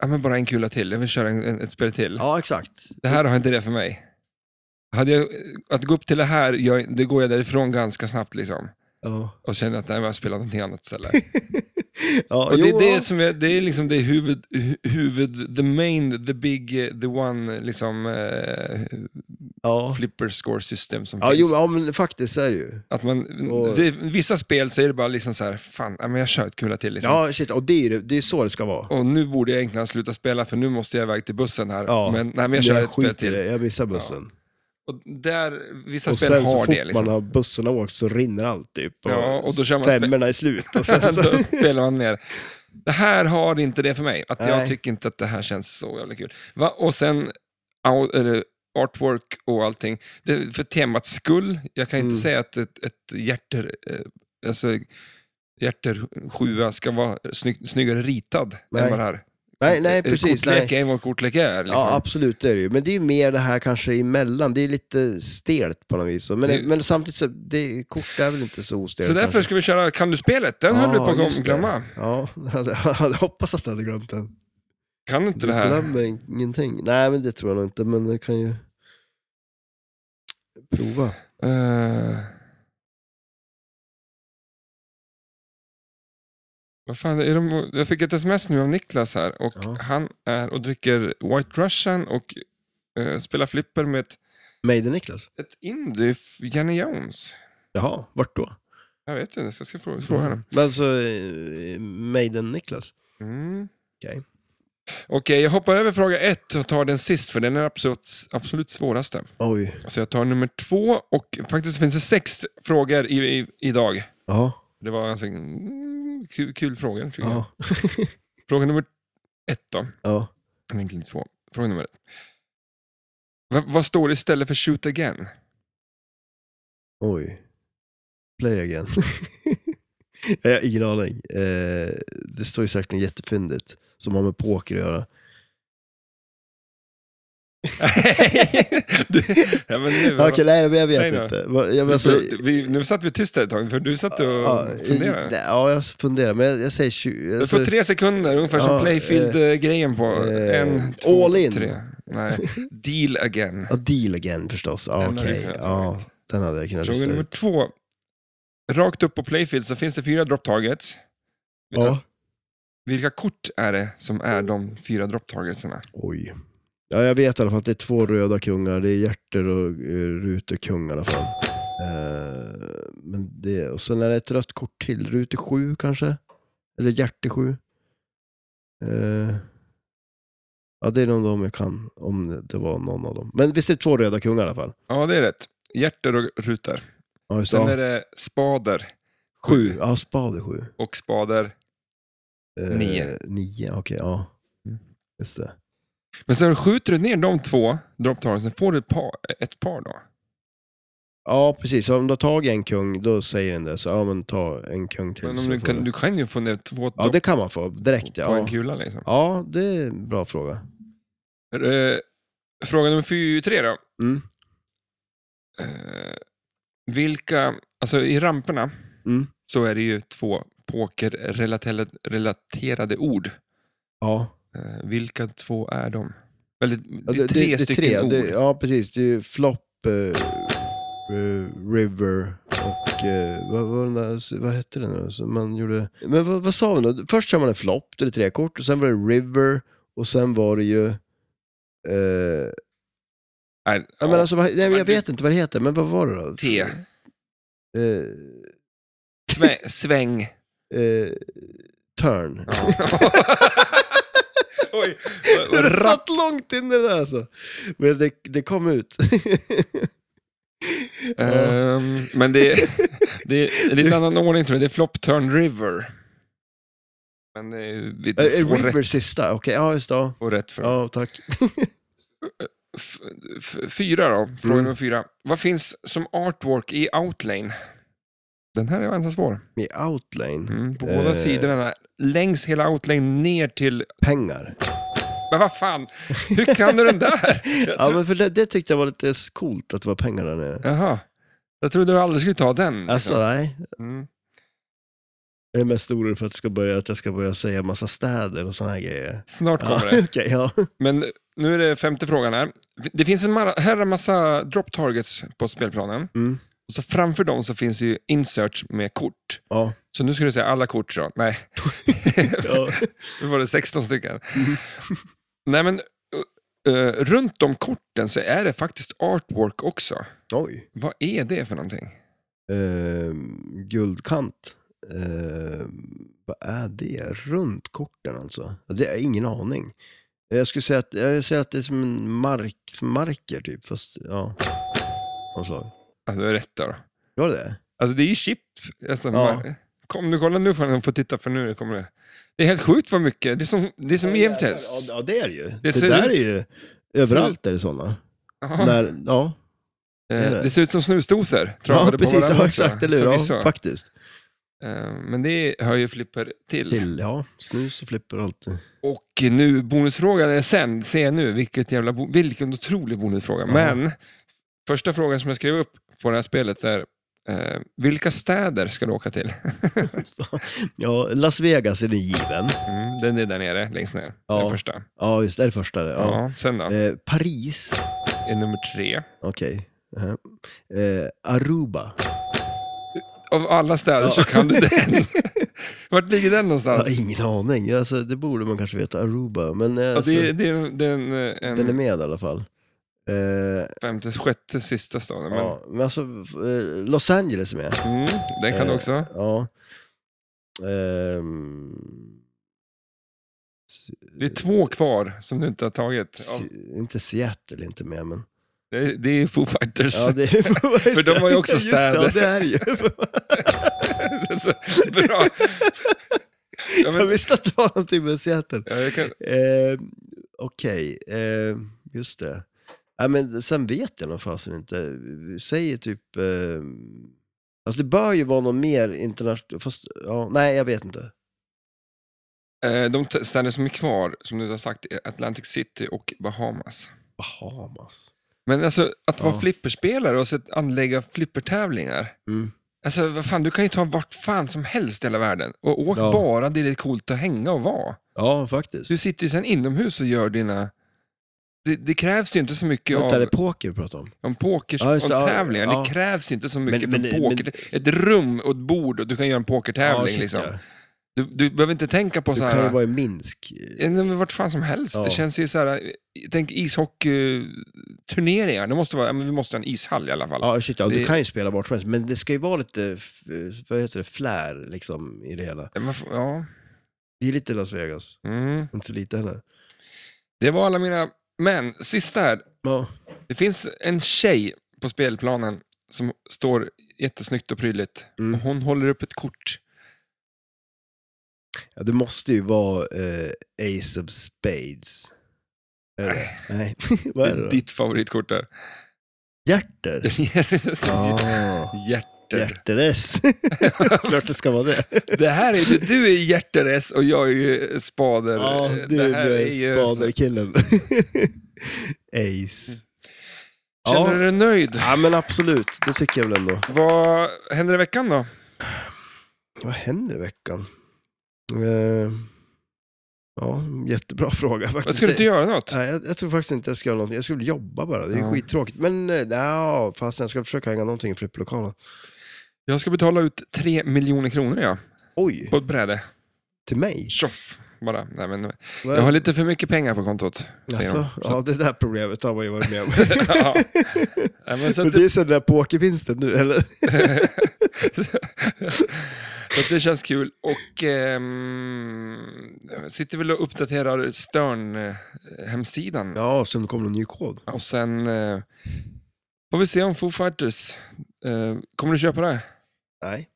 S1: ja, men bara en kula till, jag vill köra en, en, ett spel till.
S2: Ja, exakt.
S1: Det här har inte det för mig. Hade jag, att gå upp till det här, gör- det går jag därifrån ganska snabbt liksom.
S2: Ja.
S1: Och känner att nej, men jag spelar någonting annat istället.
S2: ja,
S1: Och det,
S2: jo,
S1: är
S2: ja.
S1: det, som är, det är liksom det huvud, hu- huvud, the main, the big, eh, the one liksom, eh,
S2: ja.
S1: flipper score system som
S2: Ja,
S1: finns.
S2: jo, ja, men faktiskt är det ju.
S1: Att man,
S2: Och-
S1: det, vissa spel så är det bara liksom så här, fan, ja, men jag kör ett kula till. Liksom.
S2: Ja, shit, och det är, ju- det är så det ska vara.
S1: Och nu borde jag egentligen sluta spela för nu måste jag iväg till bussen här.
S2: Ja.
S1: Men, nej, men jag kör
S2: Men
S1: ett spel
S2: skiter i
S1: till.
S2: det, jag missar bussen.
S1: Och där, vissa
S2: Och
S1: spel
S2: sen så
S1: har
S2: fort
S1: det. Liksom.
S2: man har bussen har åkt så rinner allt typ. Och
S1: Ja, och då kör man spe-
S2: femmorna är slut. Och sen så...
S1: Då spelar man ner. Det här har inte det för mig. Att jag
S2: Nej.
S1: tycker inte att det här känns så jävla kul. Va? Och sen au- eller artwork och allting. Det, för temats skull, jag kan inte
S2: Mm.
S1: säga att ett, ett hjärter, eh, alltså, hjärter 7 ska vara snygg, snyggare ritad än
S2: Nej.
S1: vad det här.
S2: nej, nej,
S1: Ett
S2: precis. Nej.
S1: Kortlek är vad kortlek är. Liksom.
S2: Ja, absolut det är det ju. Men det är ju mer det här kanske emellan. Det är lite stelt på något vis. Men,
S1: Det-
S2: men samtidigt så, det, kort är väl inte så ostelt.
S1: så därför
S2: kanske.
S1: ska vi köra Kan du-spelet. Den höll
S2: Ja,
S1: du på att
S2: just det.
S1: glömma.
S2: Ja, jag hade, jag hade hoppas att jag hade glömt den.
S1: Kan inte det
S2: Du
S1: här.
S2: glömmer ingenting. Nej, men det tror jag nog inte. Men det kan ju... Prova.
S1: Eh. Vad fan, är de, jag fick ett sms nu av Niklas här och
S2: Ja.
S1: han är och dricker White Russian och eh, spelar flipper med ett,
S2: Maiden Niklas?
S1: ett indie, f- Jenny Jones.
S2: Jaha, vart då?
S1: Jag vet inte, jag ska, ska fråga, fråga honom.
S2: Men alltså, eh, Maiden Niklas?
S1: Mm.
S2: Okej.
S1: Okej, jag hoppar över fråga ett och tar den sist för den är absolut, absolut svåraste.
S2: Oj.
S1: Så jag tar nummer två och faktiskt finns det sex frågor i, i, idag.
S2: Ja.
S1: Det var alltså, mm, kul, kul frågor tycker jag.
S2: Ja.
S1: Fråga nummer ett då.
S2: ja.
S1: Eller Egentligen två. Fråga nummer ett. Va, vad står det istället för shoot again?
S2: Oj. Play again. jag har ingen aning. Eh, det står ju säkert något jättefyndigt som har med poker att göra.
S1: du, ja, men nu,
S2: Ah, Okej, nej men jag vet
S1: Säg nu.
S2: inte. Vad- Jag, men alltså,
S1: du, vi, nu satt vi tysta ett tag, för du satt och
S2: ja,
S1: funderade.
S2: nej, ja, jag funderar, men jag, jag säger 20.
S1: Du får tre sekunder, ungefär som
S2: Ja,
S1: Playfield-grejen på.
S2: eh,
S1: en, två,
S2: all in.
S1: tre. Nej. Deal again.
S2: ja, deal again förstås. Ja,
S1: Den hade du
S2: Okej,
S1: kunnat
S2: ja,
S1: tagit.
S2: den hade jag kunnat
S1: Fråga
S2: lista
S1: nummer
S2: ut.
S1: två. Rakt upp på Playfield så finns det fyra drop targets.
S2: Ja.
S1: Vilka kort är det som är de fyra drop targetsarna?
S2: Oj. Ja, jag vet i alla fall att det är två röda kungar. Det är hjärter och eh, ruter kung i alla fall. Eh, men det, och sen är det ett rött kort till. Ruter sju kanske? Eller hjärte sju? Eh, ja, det är någon av dem jag kan. Om det var någon av dem. Men visst är det två röda kungar i alla fall?
S1: Ja, det är rätt. Hjärter och ruter.
S2: Ja, just det.
S1: Sen
S2: Ja.
S1: är det spader.
S2: Sju. Ja, spad är sju.
S1: Och spader.
S2: Eh,
S1: Nio.
S2: Nio, okej. ja.
S1: Mm.
S2: Just det.
S1: Men sen skjuter du ner de två dropptagen, sen får du ett par, ett par då.
S2: Ja, precis. Så om du har tagit en kung, då säger den det. Så ja, men ta en kung till.
S1: Men om
S2: så
S1: du,
S2: får
S1: kan, du kan ju få ner två
S2: Ja,
S1: dropp
S2: det kan man få direkt.
S1: på
S2: Ja.
S1: en kula. Liksom.
S2: Ja, det är en bra fråga.
S1: Eh, Fråga nummer fy- tre då.
S2: Mm.
S1: eh, vilka, alltså i ramperna
S2: Mm.
S1: så är det ju två pokerrelaterade relaterade ord.
S2: Ja.
S1: Eh, vilka två är de? Eller, det
S2: Ja,
S1: är tre
S2: det är
S1: stycken ord.
S2: Det, ja, precis. Det är ju flopp, eh, eh, river och eh, vad, vad, den där, vad hette den där som man gjorde? Men vad, vad sa vi då? Först sa man en flopp, det är tre kort, och sen var det river och sen var det ju... Eh,
S1: Nej,
S2: ja.
S1: ja,
S2: men alltså, vad, nej, men
S1: Ja,
S2: jag
S1: det-
S2: vet inte vad det heter, men vad var det då?
S1: T.
S2: Eh,
S1: Svä- sväng.
S2: eh, turn.
S1: Ja. Oj, vad- vad
S2: Det
S1: rapp-
S2: satt långt inne där alltså. Men det, det kom ut.
S1: Ehm, men det är, det är en lite annan ordning tror jag. Det är Flop Turn River. Men det är
S2: Eh,
S1: lite
S2: eh,
S1: få
S2: river
S1: rätt,
S2: sista, okej. Ja, just det. ja.
S1: få rätt för.
S2: Ja, tack.
S1: F- f- fyra då, fråga
S2: Mm.
S1: nummer fyra. Vad finns som artwork i Outlane? Den här är ganska svår.
S2: I outlane.
S1: Mm, på
S2: Eh.
S1: båda sidorna, längs hela Outlane ner till...
S2: Pengar.
S1: Men vad fan, hur kan du den där?
S2: Ja, men för det, det tyckte jag var lite coolt att det var pengar där nere.
S1: Jaha, jag trodde du aldrig skulle ta den. liksom.
S2: Alltså, nej.
S1: Mm.
S2: Jag är mest orolig för att, det ska börja, att jag ska börja säga massa städer och såna här grejer.
S1: Snart kommer
S2: Ja,
S1: det.
S2: okej, ja.
S1: Men nu är det femte frågan här. Det finns en ma- herra massa drop targets på spelplanen.
S2: Mm.
S1: Och så framför dem så finns ju inserts med kort.
S2: Ja,
S1: Så nu ska du säga alla kort så. Nej,
S2: ja. Mm.
S1: nu var det 16 stycken. Nej men, uh, uh, runt de korten så är det faktiskt artwork också.
S2: Oj.
S1: Vad är det för någonting?
S2: Ehm, guldkant. Ehm, vad är det? Runt korten alltså? Det är ingen aning. Jag skulle säga att, jag säger att det är som en mark, som marker typ, fast ja. Någon slag.
S1: Alltså, det är rätt då.
S2: Var det det?
S1: Alltså det är ju chip. Alltså,
S2: Ja.
S1: man- Kom nu, kolla nu får ni få titta för nu kommer det. Det är helt sjukt vad mycket. Det är som, det är som E
S2: Ja, jävlar.
S1: EM-test.
S2: Ja, ja, det är det ju. Det,
S1: ser
S2: där
S1: ut-
S2: är ju, överallt är det sådana.
S1: Jaha.
S2: När, ja,
S1: Eh,
S2: det?
S1: Det ser ut som snusdosor.
S2: ja
S1: travade på
S2: precis.
S1: varandra
S2: Ja,
S1: också.
S2: exakt, eller hur? Ja,
S1: Förvisso.
S2: faktiskt.
S1: Eh, Men det hör ju Flipper till.
S2: Till, ja, snus och flipper och allt.
S1: Och nu, bonusfrågan är sen, ser jag nu, vilket jävla bo- vilken otrolig bonusfråga.
S2: Ja.
S1: Men, första frågan som jag skrev upp på det här spelet är, eh, vilka städer ska du åka till?
S2: Ja, Las Vegas är den given.
S1: Mm, den är där nere, längst ner.
S2: Ja.
S1: Den första.
S2: Ja, just det, det är det första. Det. Ja.
S1: Ja, sen då,
S2: Eh, Paris,
S1: är nummer tre.
S2: okej. Eh, Eh, Aruba.
S1: Av alla städer
S2: Ja.
S1: så kan du den. Vart ligger den
S2: Jag
S1: någonstans?
S2: har ingen aning. Alltså, det borde man kanske veta. Aruba. Men eh,
S1: Ja,
S2: alltså,
S1: det, är- det, är- det är en, eh,
S2: den är
S1: en
S2: med i alla fall. Eh,
S1: femte, sjätte, sista staden. Men,
S2: ja, men alltså, eh, Los Angeles är med.
S1: mm, den kan du
S2: Eh,
S1: också.
S2: Ja. Ehm, s-
S1: Det är två kvar som du inte har tagit. Ja,
S2: s- Inte Seattle inte med, men...
S1: det, är, det är Foo Fighters.
S2: Ja, det är,
S1: För de har ju också
S2: Just det,
S1: städer.
S2: ja, det är ju.
S1: Det är så Alltså, Bra. Ja,
S2: Jag
S1: men,
S2: visste att det var någonting med Seattle.
S1: ja, jag kan,
S2: Ehm, Okej, ehm, just det. Ja, men sen vet jag nog fasen inte. Vi säger typ... ehm, Alltså det bör ju vara någon mer internationell... Fast, ja, nej, jag vet inte.
S1: eh, de t- städer som är kvar, som du har sagt, är Atlantic City och Bahamas.
S2: Bahamas.
S1: Men alltså, att vara
S2: Ja.
S1: flipperspelare och så att anlägga flippertävlingar.
S2: Mm.
S1: Alltså, vad fan, du kan ju ta vart fan som helst i hela världen och åk
S2: Ja.
S1: bara där det är coolt att hänga och vara.
S2: Ja, faktiskt.
S1: Du sitter ju sen inomhus och gör dina... Det, det krävs ju inte så mycket
S2: Vänta, är det
S1: av
S2: poker du pratar om?
S1: om poker,
S2: Ja, just
S1: om
S2: det, ja,
S1: tävlingar.
S2: ja.
S1: Det krävs ju inte så mycket
S2: Men-
S1: för
S2: men-
S1: poker. Ett rum och ett bord och du kan göra en
S2: Ja,
S1: pokertävling.
S2: shit,
S1: liksom.
S2: ja.
S1: du, du behöver inte tänka på
S2: Du
S1: så
S2: kan ju
S1: här...
S2: vara i Minsk.
S1: Ja, men Vart fan som helst.
S2: Ja.
S1: Det känns ju så här... Tänk ishockeyturneringar. Det måste vara, ja, men vi måste ha en ishall i alla fall.
S2: Ja, shit, ja,
S1: Det-
S2: du kan ju spela vart som helst, men det ska ju vara lite, f- vad heter det, flär liksom i det hela.
S1: Ja, men f- Ja.
S2: Det är lite Las Vegas,
S1: Mm.
S2: inte så lite heller.
S1: Det var alla mina... Men, sista här.
S2: Ja.
S1: Det finns en tjej på spelplanen som står jättesnyggt och prydligt.
S2: Mm.
S1: Och hon håller upp ett kort.
S2: Ja, det måste ju vara eh, Ace of Spades. Är det det? Nej, vad
S1: Det
S2: är
S1: är
S2: det då?
S1: ditt favoritkort där.
S2: Hjärter? Ah,
S1: Hjärter.
S2: Hjärter-S. Klart det ska vara det.
S1: Det här är ju, du är hjärteres och jag är ju spader. Eh,
S2: Ja, Ah, du
S1: det här
S2: är
S1: ju-
S2: spaderkillen. Ace.
S1: Mm. Känner du dig nöjd?
S2: Ja, men absolut. Det tycker jag väl ändå.
S1: Vad händer i veckan då?
S2: Vad händer i veckan? Eh, ja, jättebra fråga faktiskt.
S1: Vad Ska du inte göra något?
S2: Nej, jag, jag tror faktiskt inte jag ska göra någonting. Jag skulle jobba bara. Det är
S1: Ja.
S2: skittråkigt. Men eh, nja, fast jag ska försöka hänga någonting i flipplokalen.
S1: Jag ska betala ut tre miljoner kronor ja,
S2: Oj,
S1: på ett bräde.
S2: till mig?
S1: Tjoff! Bara. Nej, men,
S2: Vad-
S1: jag har lite för mycket pengar på kontot. säger de.
S2: Alltså, ja, det där problemet har man ju varit med om.
S1: ja. Nej, men så
S2: Men
S1: att
S2: det är så den där pokervinsten nu, eller?
S1: Så att det känns kul. Och ehm, jag sitter väl och uppdaterar eh, Stern-hemsidan.
S2: Ja, så nu kommer det en ny kod.
S1: Och sen eh, får vi se om Foo Fighters... Eh, kommer du köpa det?
S2: Nej,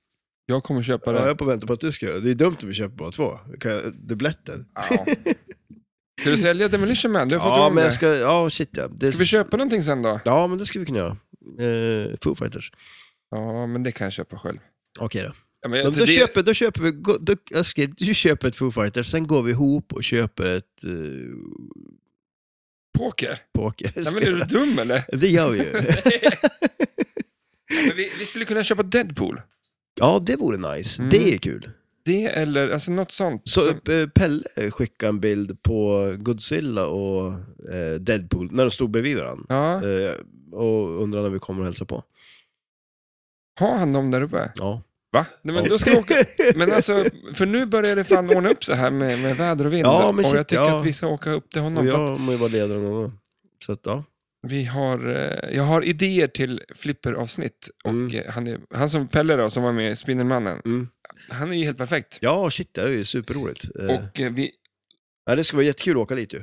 S1: Jag kommer köpa
S2: ja,
S1: det.
S2: jag är på väntan på att du ska göra det. Det är dumt om vi köper bara två. Kan jag- Dubbletter.
S1: Ja. Ska du sälja Demolition Man? Du har fått
S2: Ja,
S1: igång
S2: men
S1: det.
S2: jag ska... Ja, shit ja. Det...
S1: Ska vi köpa någonting sen då?
S2: Ja, men det ska vi kunna göra. Eh, Foo Fighters.
S1: Ja, men det kan jag köpa själv.
S2: Okej då.
S1: Ja, men,
S2: Men
S1: alltså,
S2: då,
S1: det-
S2: köper, då köper vi, gå- då, jag ska, du köper ett Foo Fighters, sen går vi ihop och köper ett uh,
S1: Poker?
S2: poker.
S1: Nej, men är du dum eller?
S2: Det gör vi ju.
S1: Men vi, vi skulle kunna köpa Deadpool.
S2: ja, det vore nice.
S1: Mm.
S2: Det är kul.
S1: Det eller alltså, något sånt.
S2: Så
S1: som-
S2: eh, Pelle skickade en bild på Godzilla och eh, Deadpool, när de stod bredvid varandra.
S1: Ja.
S2: Eh, och undrade när vi kommer och hälsar på.
S1: Har han dem där uppe?
S2: Ja.
S1: Va? Nej, men då ska vi åka. Men alltså, för nu börjar det fan ordna upp så här med, med väder och vind.
S2: Ja, men
S1: och
S2: shit,
S1: jag tycker
S2: ja.
S1: att vi ska åka upp till honom.
S2: Och
S1: för att
S2: jag må ju vara ledare någon gång. Så att, ja.
S1: Vi har, eh, jag har idéer till flipperavsnitt. Och
S2: Mm.
S1: eh, han, är, han som Pelle då, som var med i Spindelmannen,
S2: Mm.
S1: han är ju helt perfekt.
S2: ja, shit, det är ju superroligt. Eh,
S1: Och eh, vi,
S2: ja, det ska vara jättekul att åka dit ju.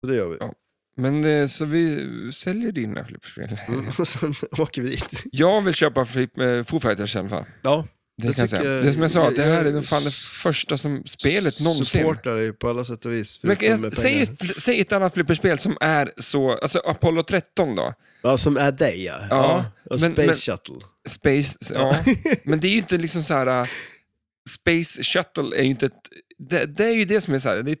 S2: Så det gör vi.
S1: Ja. men eh, så vi säljer dina flipperspel.
S2: Mm. Och sen åker vi dit.
S1: Jag vill köpa flip, eh, Foo Fighters i alla fall.
S2: Ja,
S1: Det,
S2: Det
S1: kan jag
S2: tycker
S1: säga.
S2: jag-
S1: Det som jag sa,
S2: jag-
S1: det här
S2: jag-
S1: är nog fan det första som, spelet någonsin.
S2: Supportar ju på alla sätt och vis.
S1: Men,
S2: förutom
S1: eh,
S2: med
S1: säg,
S2: pengar.
S1: ett- säg ett annat flipperspel som är så, alltså Apollo 13 då.
S2: Ja, som är dig ja.
S1: Ja,
S2: och
S1: men-
S2: Space
S1: men-
S2: Shuttle.
S1: Space, ja. Men det är ju inte liksom så här... äh, Space Shuttle är ju inte ett... Det, det är ju det som är så här, det är ett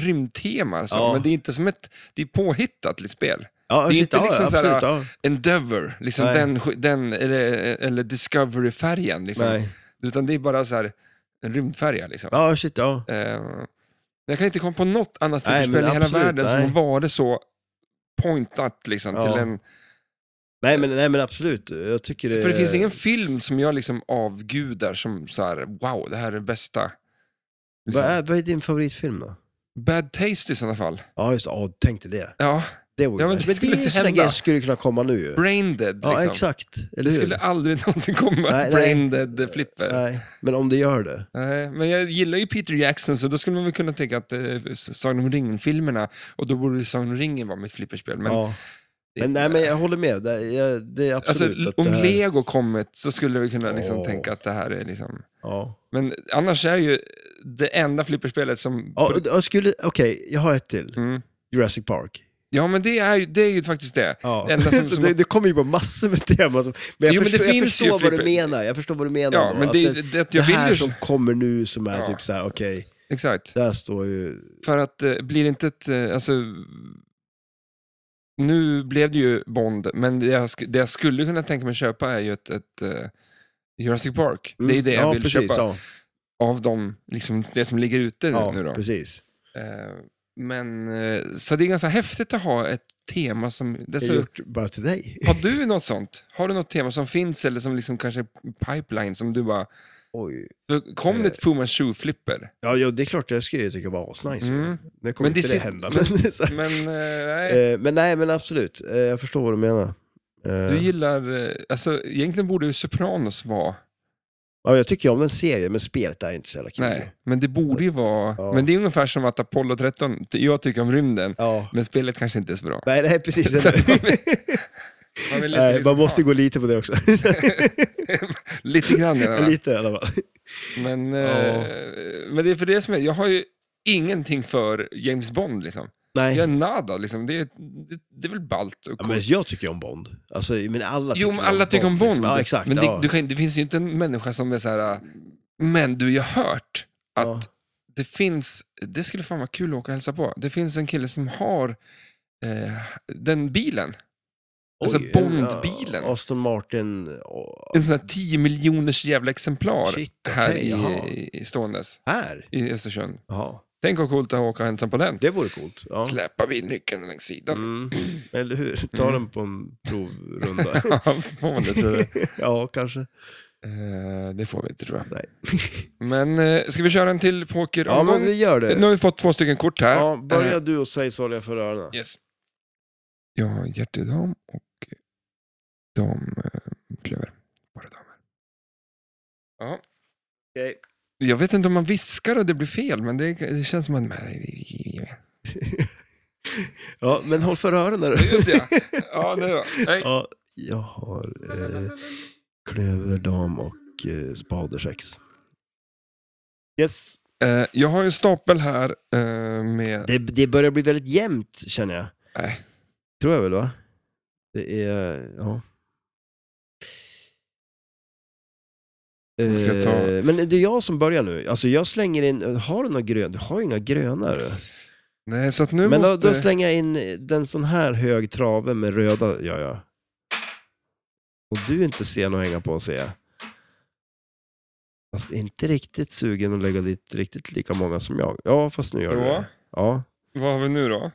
S1: rymdtema, alltså.
S2: Ja.
S1: men det är inte som ett... Det är påhittat liksom, spel.
S2: Ja,
S1: Det är
S2: shit,
S1: inte
S2: ja,
S1: liksom så här-
S2: absolut, ja.
S1: Endeavour, liksom
S2: Nej.
S1: den, sk- den eller, eller Discovery-färgen. Liksom.
S2: Nej.
S1: Utan det är bara så här, en rymdfärja. Liksom.
S2: Ja, shit, ja.
S1: Eh, jag kan inte komma på något annat
S2: Nej,
S1: flipperspel i
S2: men
S1: hela
S2: absolut,
S1: världen
S2: nej.
S1: som har varit så pointat liksom,
S2: Ja.
S1: till en...
S2: Nej men, nej, men absolut. Jag tycker det...
S1: För det finns ingen film som jag liksom avgudar som så här, wow, det här är det bästa. Liksom.
S2: Vad är, vad är din favoritfilm då?
S1: Bad taste i sådana fall.
S2: Ja, just det. Ja, tänk dig det.
S1: Ja,
S2: Det vore
S1: Ja, men
S2: nice.
S1: det skulle
S2: är
S1: inte
S2: sådana
S1: hända.
S2: grejer som skulle kunna komma nu ju.
S1: brain dead liksom.
S2: ja, exakt. Eller
S1: Det
S2: hur?
S1: skulle aldrig någonsin komma
S2: Nej, Eh.
S1: ett
S2: nej.
S1: brain dead eh, flipper. Nej.
S2: Nej, men om det gör det.
S1: men jag gillar ju Peter Jackson, så då skulle man väl kunna tänka att eh, Sagan om ringen-filmerna, och då borde ju Sagan om ringen vara mitt flipperspel. Men,
S2: Men, ja. men, nej, men jag håller med. Det, jag, det är
S1: alltså,
S2: absolut att
S1: om
S2: det här...
S1: Lego kommit så skulle vi kunna liksom
S2: Åh.
S1: tänka att det här är liksom...
S2: Ja.
S1: Men annars är ju det enda flipperspelet som...
S2: Ja, och- och skulle... Okej, jag har ett till.
S1: Mm.
S2: Jurassic Park.
S1: Ja, men det är, ju, det är ju faktiskt det.
S2: Ja.
S1: Det enda som-
S2: så
S1: som-
S2: det, det kommer ju bara massor med teman. Som, men jag
S1: Jo, men det
S2: förstår, jag
S1: finns ju
S2: förstår vad du
S1: flipper-
S2: menar. Jag förstår vad du menar.
S1: Ja,
S2: då,
S1: men
S2: att
S1: det, det,
S2: det,
S1: det,
S2: det
S1: jag
S2: här
S1: vill ju...
S2: som kommer nu som är
S1: Ja.
S2: typ så här: okej,
S1: Exakt.
S2: där står ju... mm,
S1: För att eh, blir det inte ett, eh, alltså, nu blev det ju Bond, men det jag, sk- det jag skulle kunna tänka mig köpa är ju ett, ett eh, Jurassic Park.
S2: Mm,
S1: det är ju det jag
S2: ja,
S1: vill
S2: precis,
S1: köpa
S2: Ja,
S1: av dem, liksom, det som ligger ute
S2: ja,
S1: nu. Då.
S2: precis.
S1: Eh, men, eh, så det är ganska häftigt att ha ett tema som, det är
S2: Det är
S1: så,
S2: gjort bara till dig.
S1: har du något sånt? Har du något tema som finns eller som liksom kanske är pipeline som du bara,
S2: Oj.
S1: för
S2: Eh.
S1: kom det ett Fu Manchu-flipper?
S2: Ja, ja, det är klart jag skulle ju tycka var asnice.
S1: Mm.
S2: Det kommer
S1: Men det
S2: inte det
S1: sit-
S2: hända.
S1: men-
S2: Men, så,
S1: Men eh, nej.
S2: eh, men nej, men absolut. Eh, jag förstår vad du menar. Eh,
S1: Du gillar, eh, alltså egentligen borde ju Sopranos vara,
S2: ja, jag tycker ju om den serien, men spelet är ju inte så jävla kul.
S1: nej, men det borde ju vara,
S2: Ja.
S1: men det är ungefär som att Apollo 13, ty- jag tycker om rymden,
S2: Ja.
S1: men spelet kanske inte är så bra.
S2: Nej, det är precis
S1: Så
S2: det.
S1: man Man, vill lite
S2: Nej,
S1: liksom
S2: man måste
S1: ha-
S2: gå lite på det också.
S1: Lite grann i alla fall.
S2: lite i alla fall.
S1: men,
S2: Ja.
S1: eh, men det är för det som är, jag har ju ingenting för James Bond liksom.
S2: Nej.
S1: Jag är nada liksom, det är, det, det är väl ballt och
S2: Ja, men
S1: coolt.
S2: jag tycker ju om Bond. Alltså, men alla
S1: Jo, men alla tycker om Bond,
S2: liksom. Ja, exakt.
S1: men det,
S2: ja.
S1: du kan, det finns ju inte en människa som är så här, men du, jag har hört att
S2: Ja.
S1: det finns, det skulle fan vara kul att åka och hälsa på. Det finns en kille som har eh, den bilen. Alltså
S2: Oj,
S1: Bondbilen.
S2: ja, Aston Martin. åh,
S1: En sån här 10 miljoners jävla exemplar
S2: Shit,
S1: här
S2: okej, jaha.
S1: i, i ståendes
S2: här?
S1: i Östersund.
S2: Jaha.
S1: Tänk vad coolt att åka ensam på den.
S2: Det vore coolt. Ja.
S1: Släpa bilnyckeln längs sidan.
S2: Mm. Eller hur? Ta
S1: Mm.
S2: den på en provrunda.
S1: Ja, får man det, tror jag.
S2: ja, kanske.
S1: Eh, det får vi inte tror jag.
S2: Nej.
S1: Men eh, ska vi köra en till
S2: Ja,
S1: pokeromgång?
S2: men vi gör
S1: Nu Äh,
S2: det.
S1: har vi fått två stycken kort här.
S2: Ja, börja du och säg sorgliga för öronen.
S1: Yes. Jag har hjärtedam och dam eh, klöver. Bara damer. Ja.
S2: Okej.
S1: Jag vet inte om man viskar och det blir fel, men det, det känns som att... Nej,
S2: Ja, men håll för öronen då.
S1: Just det, ja. Ja, det var. Nej.
S2: Ja, jag har eh, klöverdam och eh, spadersex. Yes.
S1: Eh, Jag har ju en stapel här eh, med...
S2: Det, det börjar bli väldigt jämnt känner jag.
S1: Nej.
S2: Tror jag väl va? Det är, ja.
S1: Jag ska ta-
S2: Eh, Men det är jag som börjar nu. Alltså jag slänger in, har du några gröna? Du har ju inga gröna du.
S1: Nej, så att nu
S2: Men då,
S1: måste...
S2: då slänger jag in den sån här hög trave med röda gör jag. Och du är inte sen att hänga på ser jag. Fast inte riktigt sugen att lägga dit riktigt lika många som jag. Ja, fast nu gör du
S1: Jo.
S2: det. Eh. Ja.
S1: Vad har vi nu då?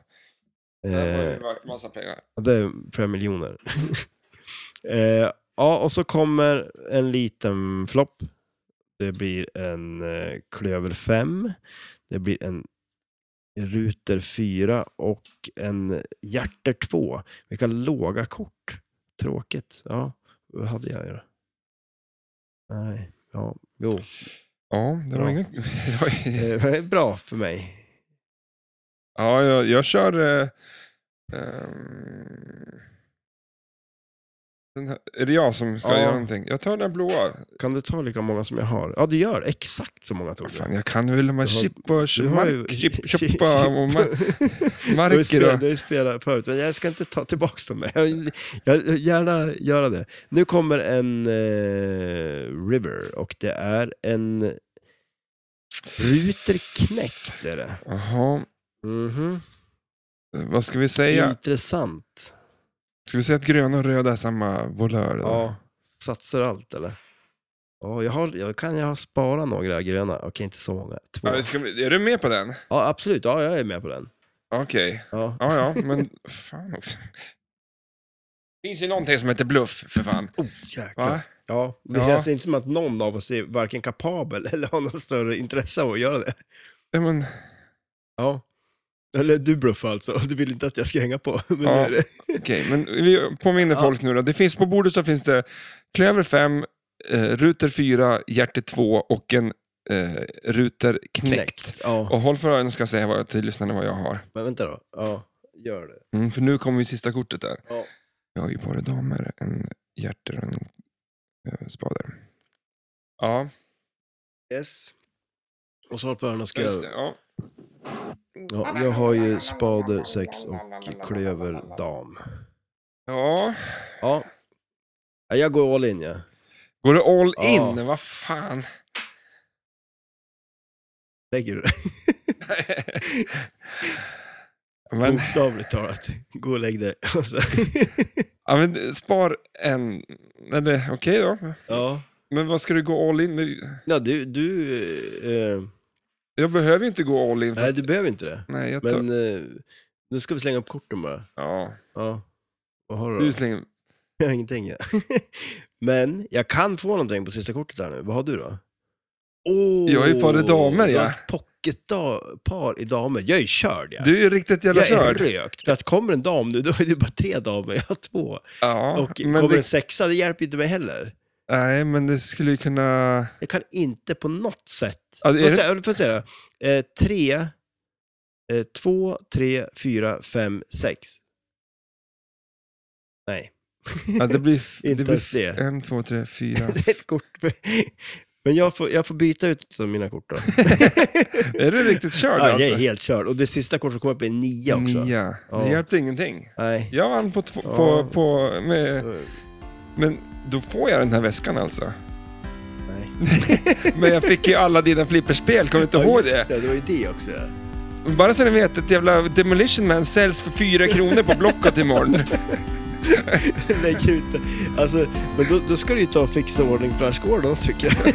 S1: Där har
S2: Eh,
S1: det varit massa pengar.
S2: det är flera miljoner. eh, ja, och så kommer en liten flopp. Det blir en eh, klöver 5. Det blir en ruter 4 och en hjärter 2. Vilka låga kort. Tråkigt. Ja, vad hade jag ju då? Nej, ja, jo.
S1: Ja, det var
S2: Bra.
S1: inga... det var-
S2: Eh, det är bra för mig.
S1: Ja, jag, jag kör... Eh, ehm, den här, är det jag som ska
S2: Ja.
S1: göra någonting? Jag tar den blåa.
S2: Kan du ta lika många som jag har? Ja, du gör exakt så många tog jag.
S1: Fan, jag kan väl de här
S2: Du har-
S1: chip och
S2: Du har ju-
S1: mark- chip- chippa och ma-
S2: Du har ju spelat-
S1: marker.
S2: Du har ju spelat förut, men jag ska inte ta tillbaka dem. Jag vill jag vill gärna göra det. Nu kommer en eh, River och det är en Ruter knäckt är det.
S1: och- Jaha,
S2: Mhm.
S1: vad ska vi säga?
S2: Intressant.
S1: Ska vi säga att gröna och röda är samma volör? eller?
S2: Ja, satsar allt eller? Ja, jag, har, jag kan jag spara några gröna. Okej, inte så många. Två.
S1: Ja, ska vi, är du med på den?
S2: Ja, absolut. Ja, jag är med på den.
S1: Okej.
S2: Ja.
S1: Ja, ja, men fan också. Finns det någonting som heter bluff, för fan?
S2: Oh, jäklar.
S1: Va?
S2: Ja, det
S1: Ja.
S2: känns inte som att någon av oss är varken kapabel eller har något större intresse av att göra det.
S1: Ja, men,
S2: Ja. Eller du bluffade alltså, du ville inte att jag ska hänga på. Men nu
S1: Ja.
S2: är det.
S1: Okej, men vi påminner
S2: Ja.
S1: folk nu då. Det finns på bordet så finns det klöver 5, eh, ruter 4, hjärte 2 och en eh, ruter knäckt.
S2: Ja,
S1: Och håll för öronen ska jag säga vad, till lyssnarna vad jag har.
S2: men vänta då. Ja, gör det.
S1: Mm, för nu kommer ju sista kortet där.
S2: Ja.
S1: Jag har ju bara damer, en hjärter och en eh, spader. Ja,
S2: Yes. Och så har Börna ska
S1: just det.
S2: jag...
S1: Ja.
S2: Ja, jag har ju spader, sex och klöver, dam.
S1: ja.
S2: Ja. Ja, Jag går all in, ja.
S1: Går det all
S2: Ja.
S1: in? Vad fan?
S2: Lägger du det?
S1: Men,
S2: Bokstavligt talat. Gå och lägg dig. Alltså.
S1: ja, men spar en. Eller okej då.
S2: Ja.
S1: Men vad ska du gå all in med?
S2: ja, du... du eh,
S1: Jag behöver ju inte gå all in. För...
S2: nej, du behöver inte det.
S1: Nej, jag tar...
S2: Men eh, nu ska vi slänga upp korten bara.
S1: Ja,
S2: Ja. Vad har du
S1: du
S2: då?
S1: slänger...
S2: Jag har ingenting. Ja. Men jag kan få någonting på sista kortet här nu. Vad har du då? Oh,
S1: Jag är ju par i damer,
S2: du har
S1: ja.
S2: ett Pocketda- par i damer. Jag är ju körd ja.
S1: Du är ju riktigt jävla
S2: jag är
S1: körd.
S2: rökt. För att kommer en dam nu, då är det bara tre damer. Jag har två.
S1: Ja,
S2: Och
S1: men
S2: kommer
S1: det...
S2: en sexa, det hjälper ju inte mig heller.
S1: Nej, men det skulle ju kunna...
S2: Jag kan inte på något sätt.
S1: Ja, det är
S2: Får jag
S1: det-
S2: säga- får jag säga det? Eh, tre, eh, två, tre, fyra, fem, sex. Nej.
S1: Ja, det blir...
S2: Inte
S1: det blir...
S2: ens det.
S1: En, två, tre, fyra.
S2: Det är ett kort. Men jag får, jag får byta ut mina kort då.
S1: är du riktigt körd
S2: ja, jag
S1: alltså?
S2: är helt körd. Och det sista kortet som kommer upp är nio också.
S1: Nia. Det
S2: Ja.
S1: hjälpte ingenting.
S2: Nej.
S1: Jag vann på, två,
S2: Ja.
S1: på, på med, Men då får jag den här väskan alltså.
S2: Nej.
S1: Men jag fick ju alla dina flipperspel, kommer du inte
S2: Ja,
S1: ihåg
S2: just
S1: det?
S2: det. Det var ju det också. ja.
S1: Bara så ni vet, ett jävla Demolition Man säljs för fyra kronor på Blocket imorgon.
S2: Lägger ut det. Alltså, men då, då ska du ju ta och fixa ordning Flash Gordon tycker jag.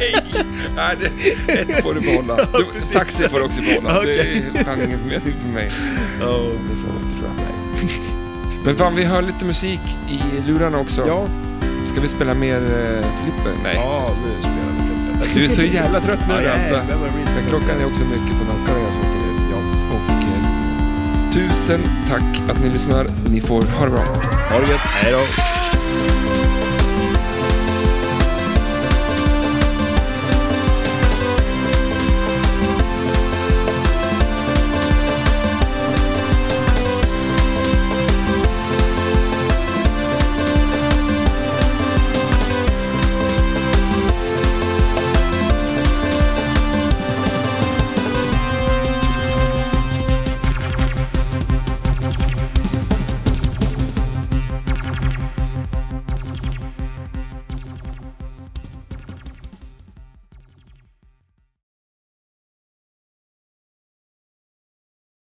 S1: Nej! Nej, det- ett får du behålla.
S2: Ja,
S1: Du,
S2: precis.
S1: taxi får du också behålla. Det
S2: Okej.
S1: är fan ingen mening för mig.
S2: Ja.
S1: Det får jag inte, tror jag. Men fan, vi hör lite musik i lurarna också.
S2: Ja,
S1: Ska vi spela mer eh, flipper? Nej.
S2: ja nu spelar vi klockan.
S1: Du är så jävla trött nu
S2: Ja,
S1: alltså.
S2: jävlar vad det blir.
S1: Men klockan är också mycket på
S2: Klockan
S1: Nacka.
S2: är så mycket. Ja.
S1: Och eh, tusen tack att ni lyssnar. Ni får ha det bra.
S2: Ha det gött. Hej då.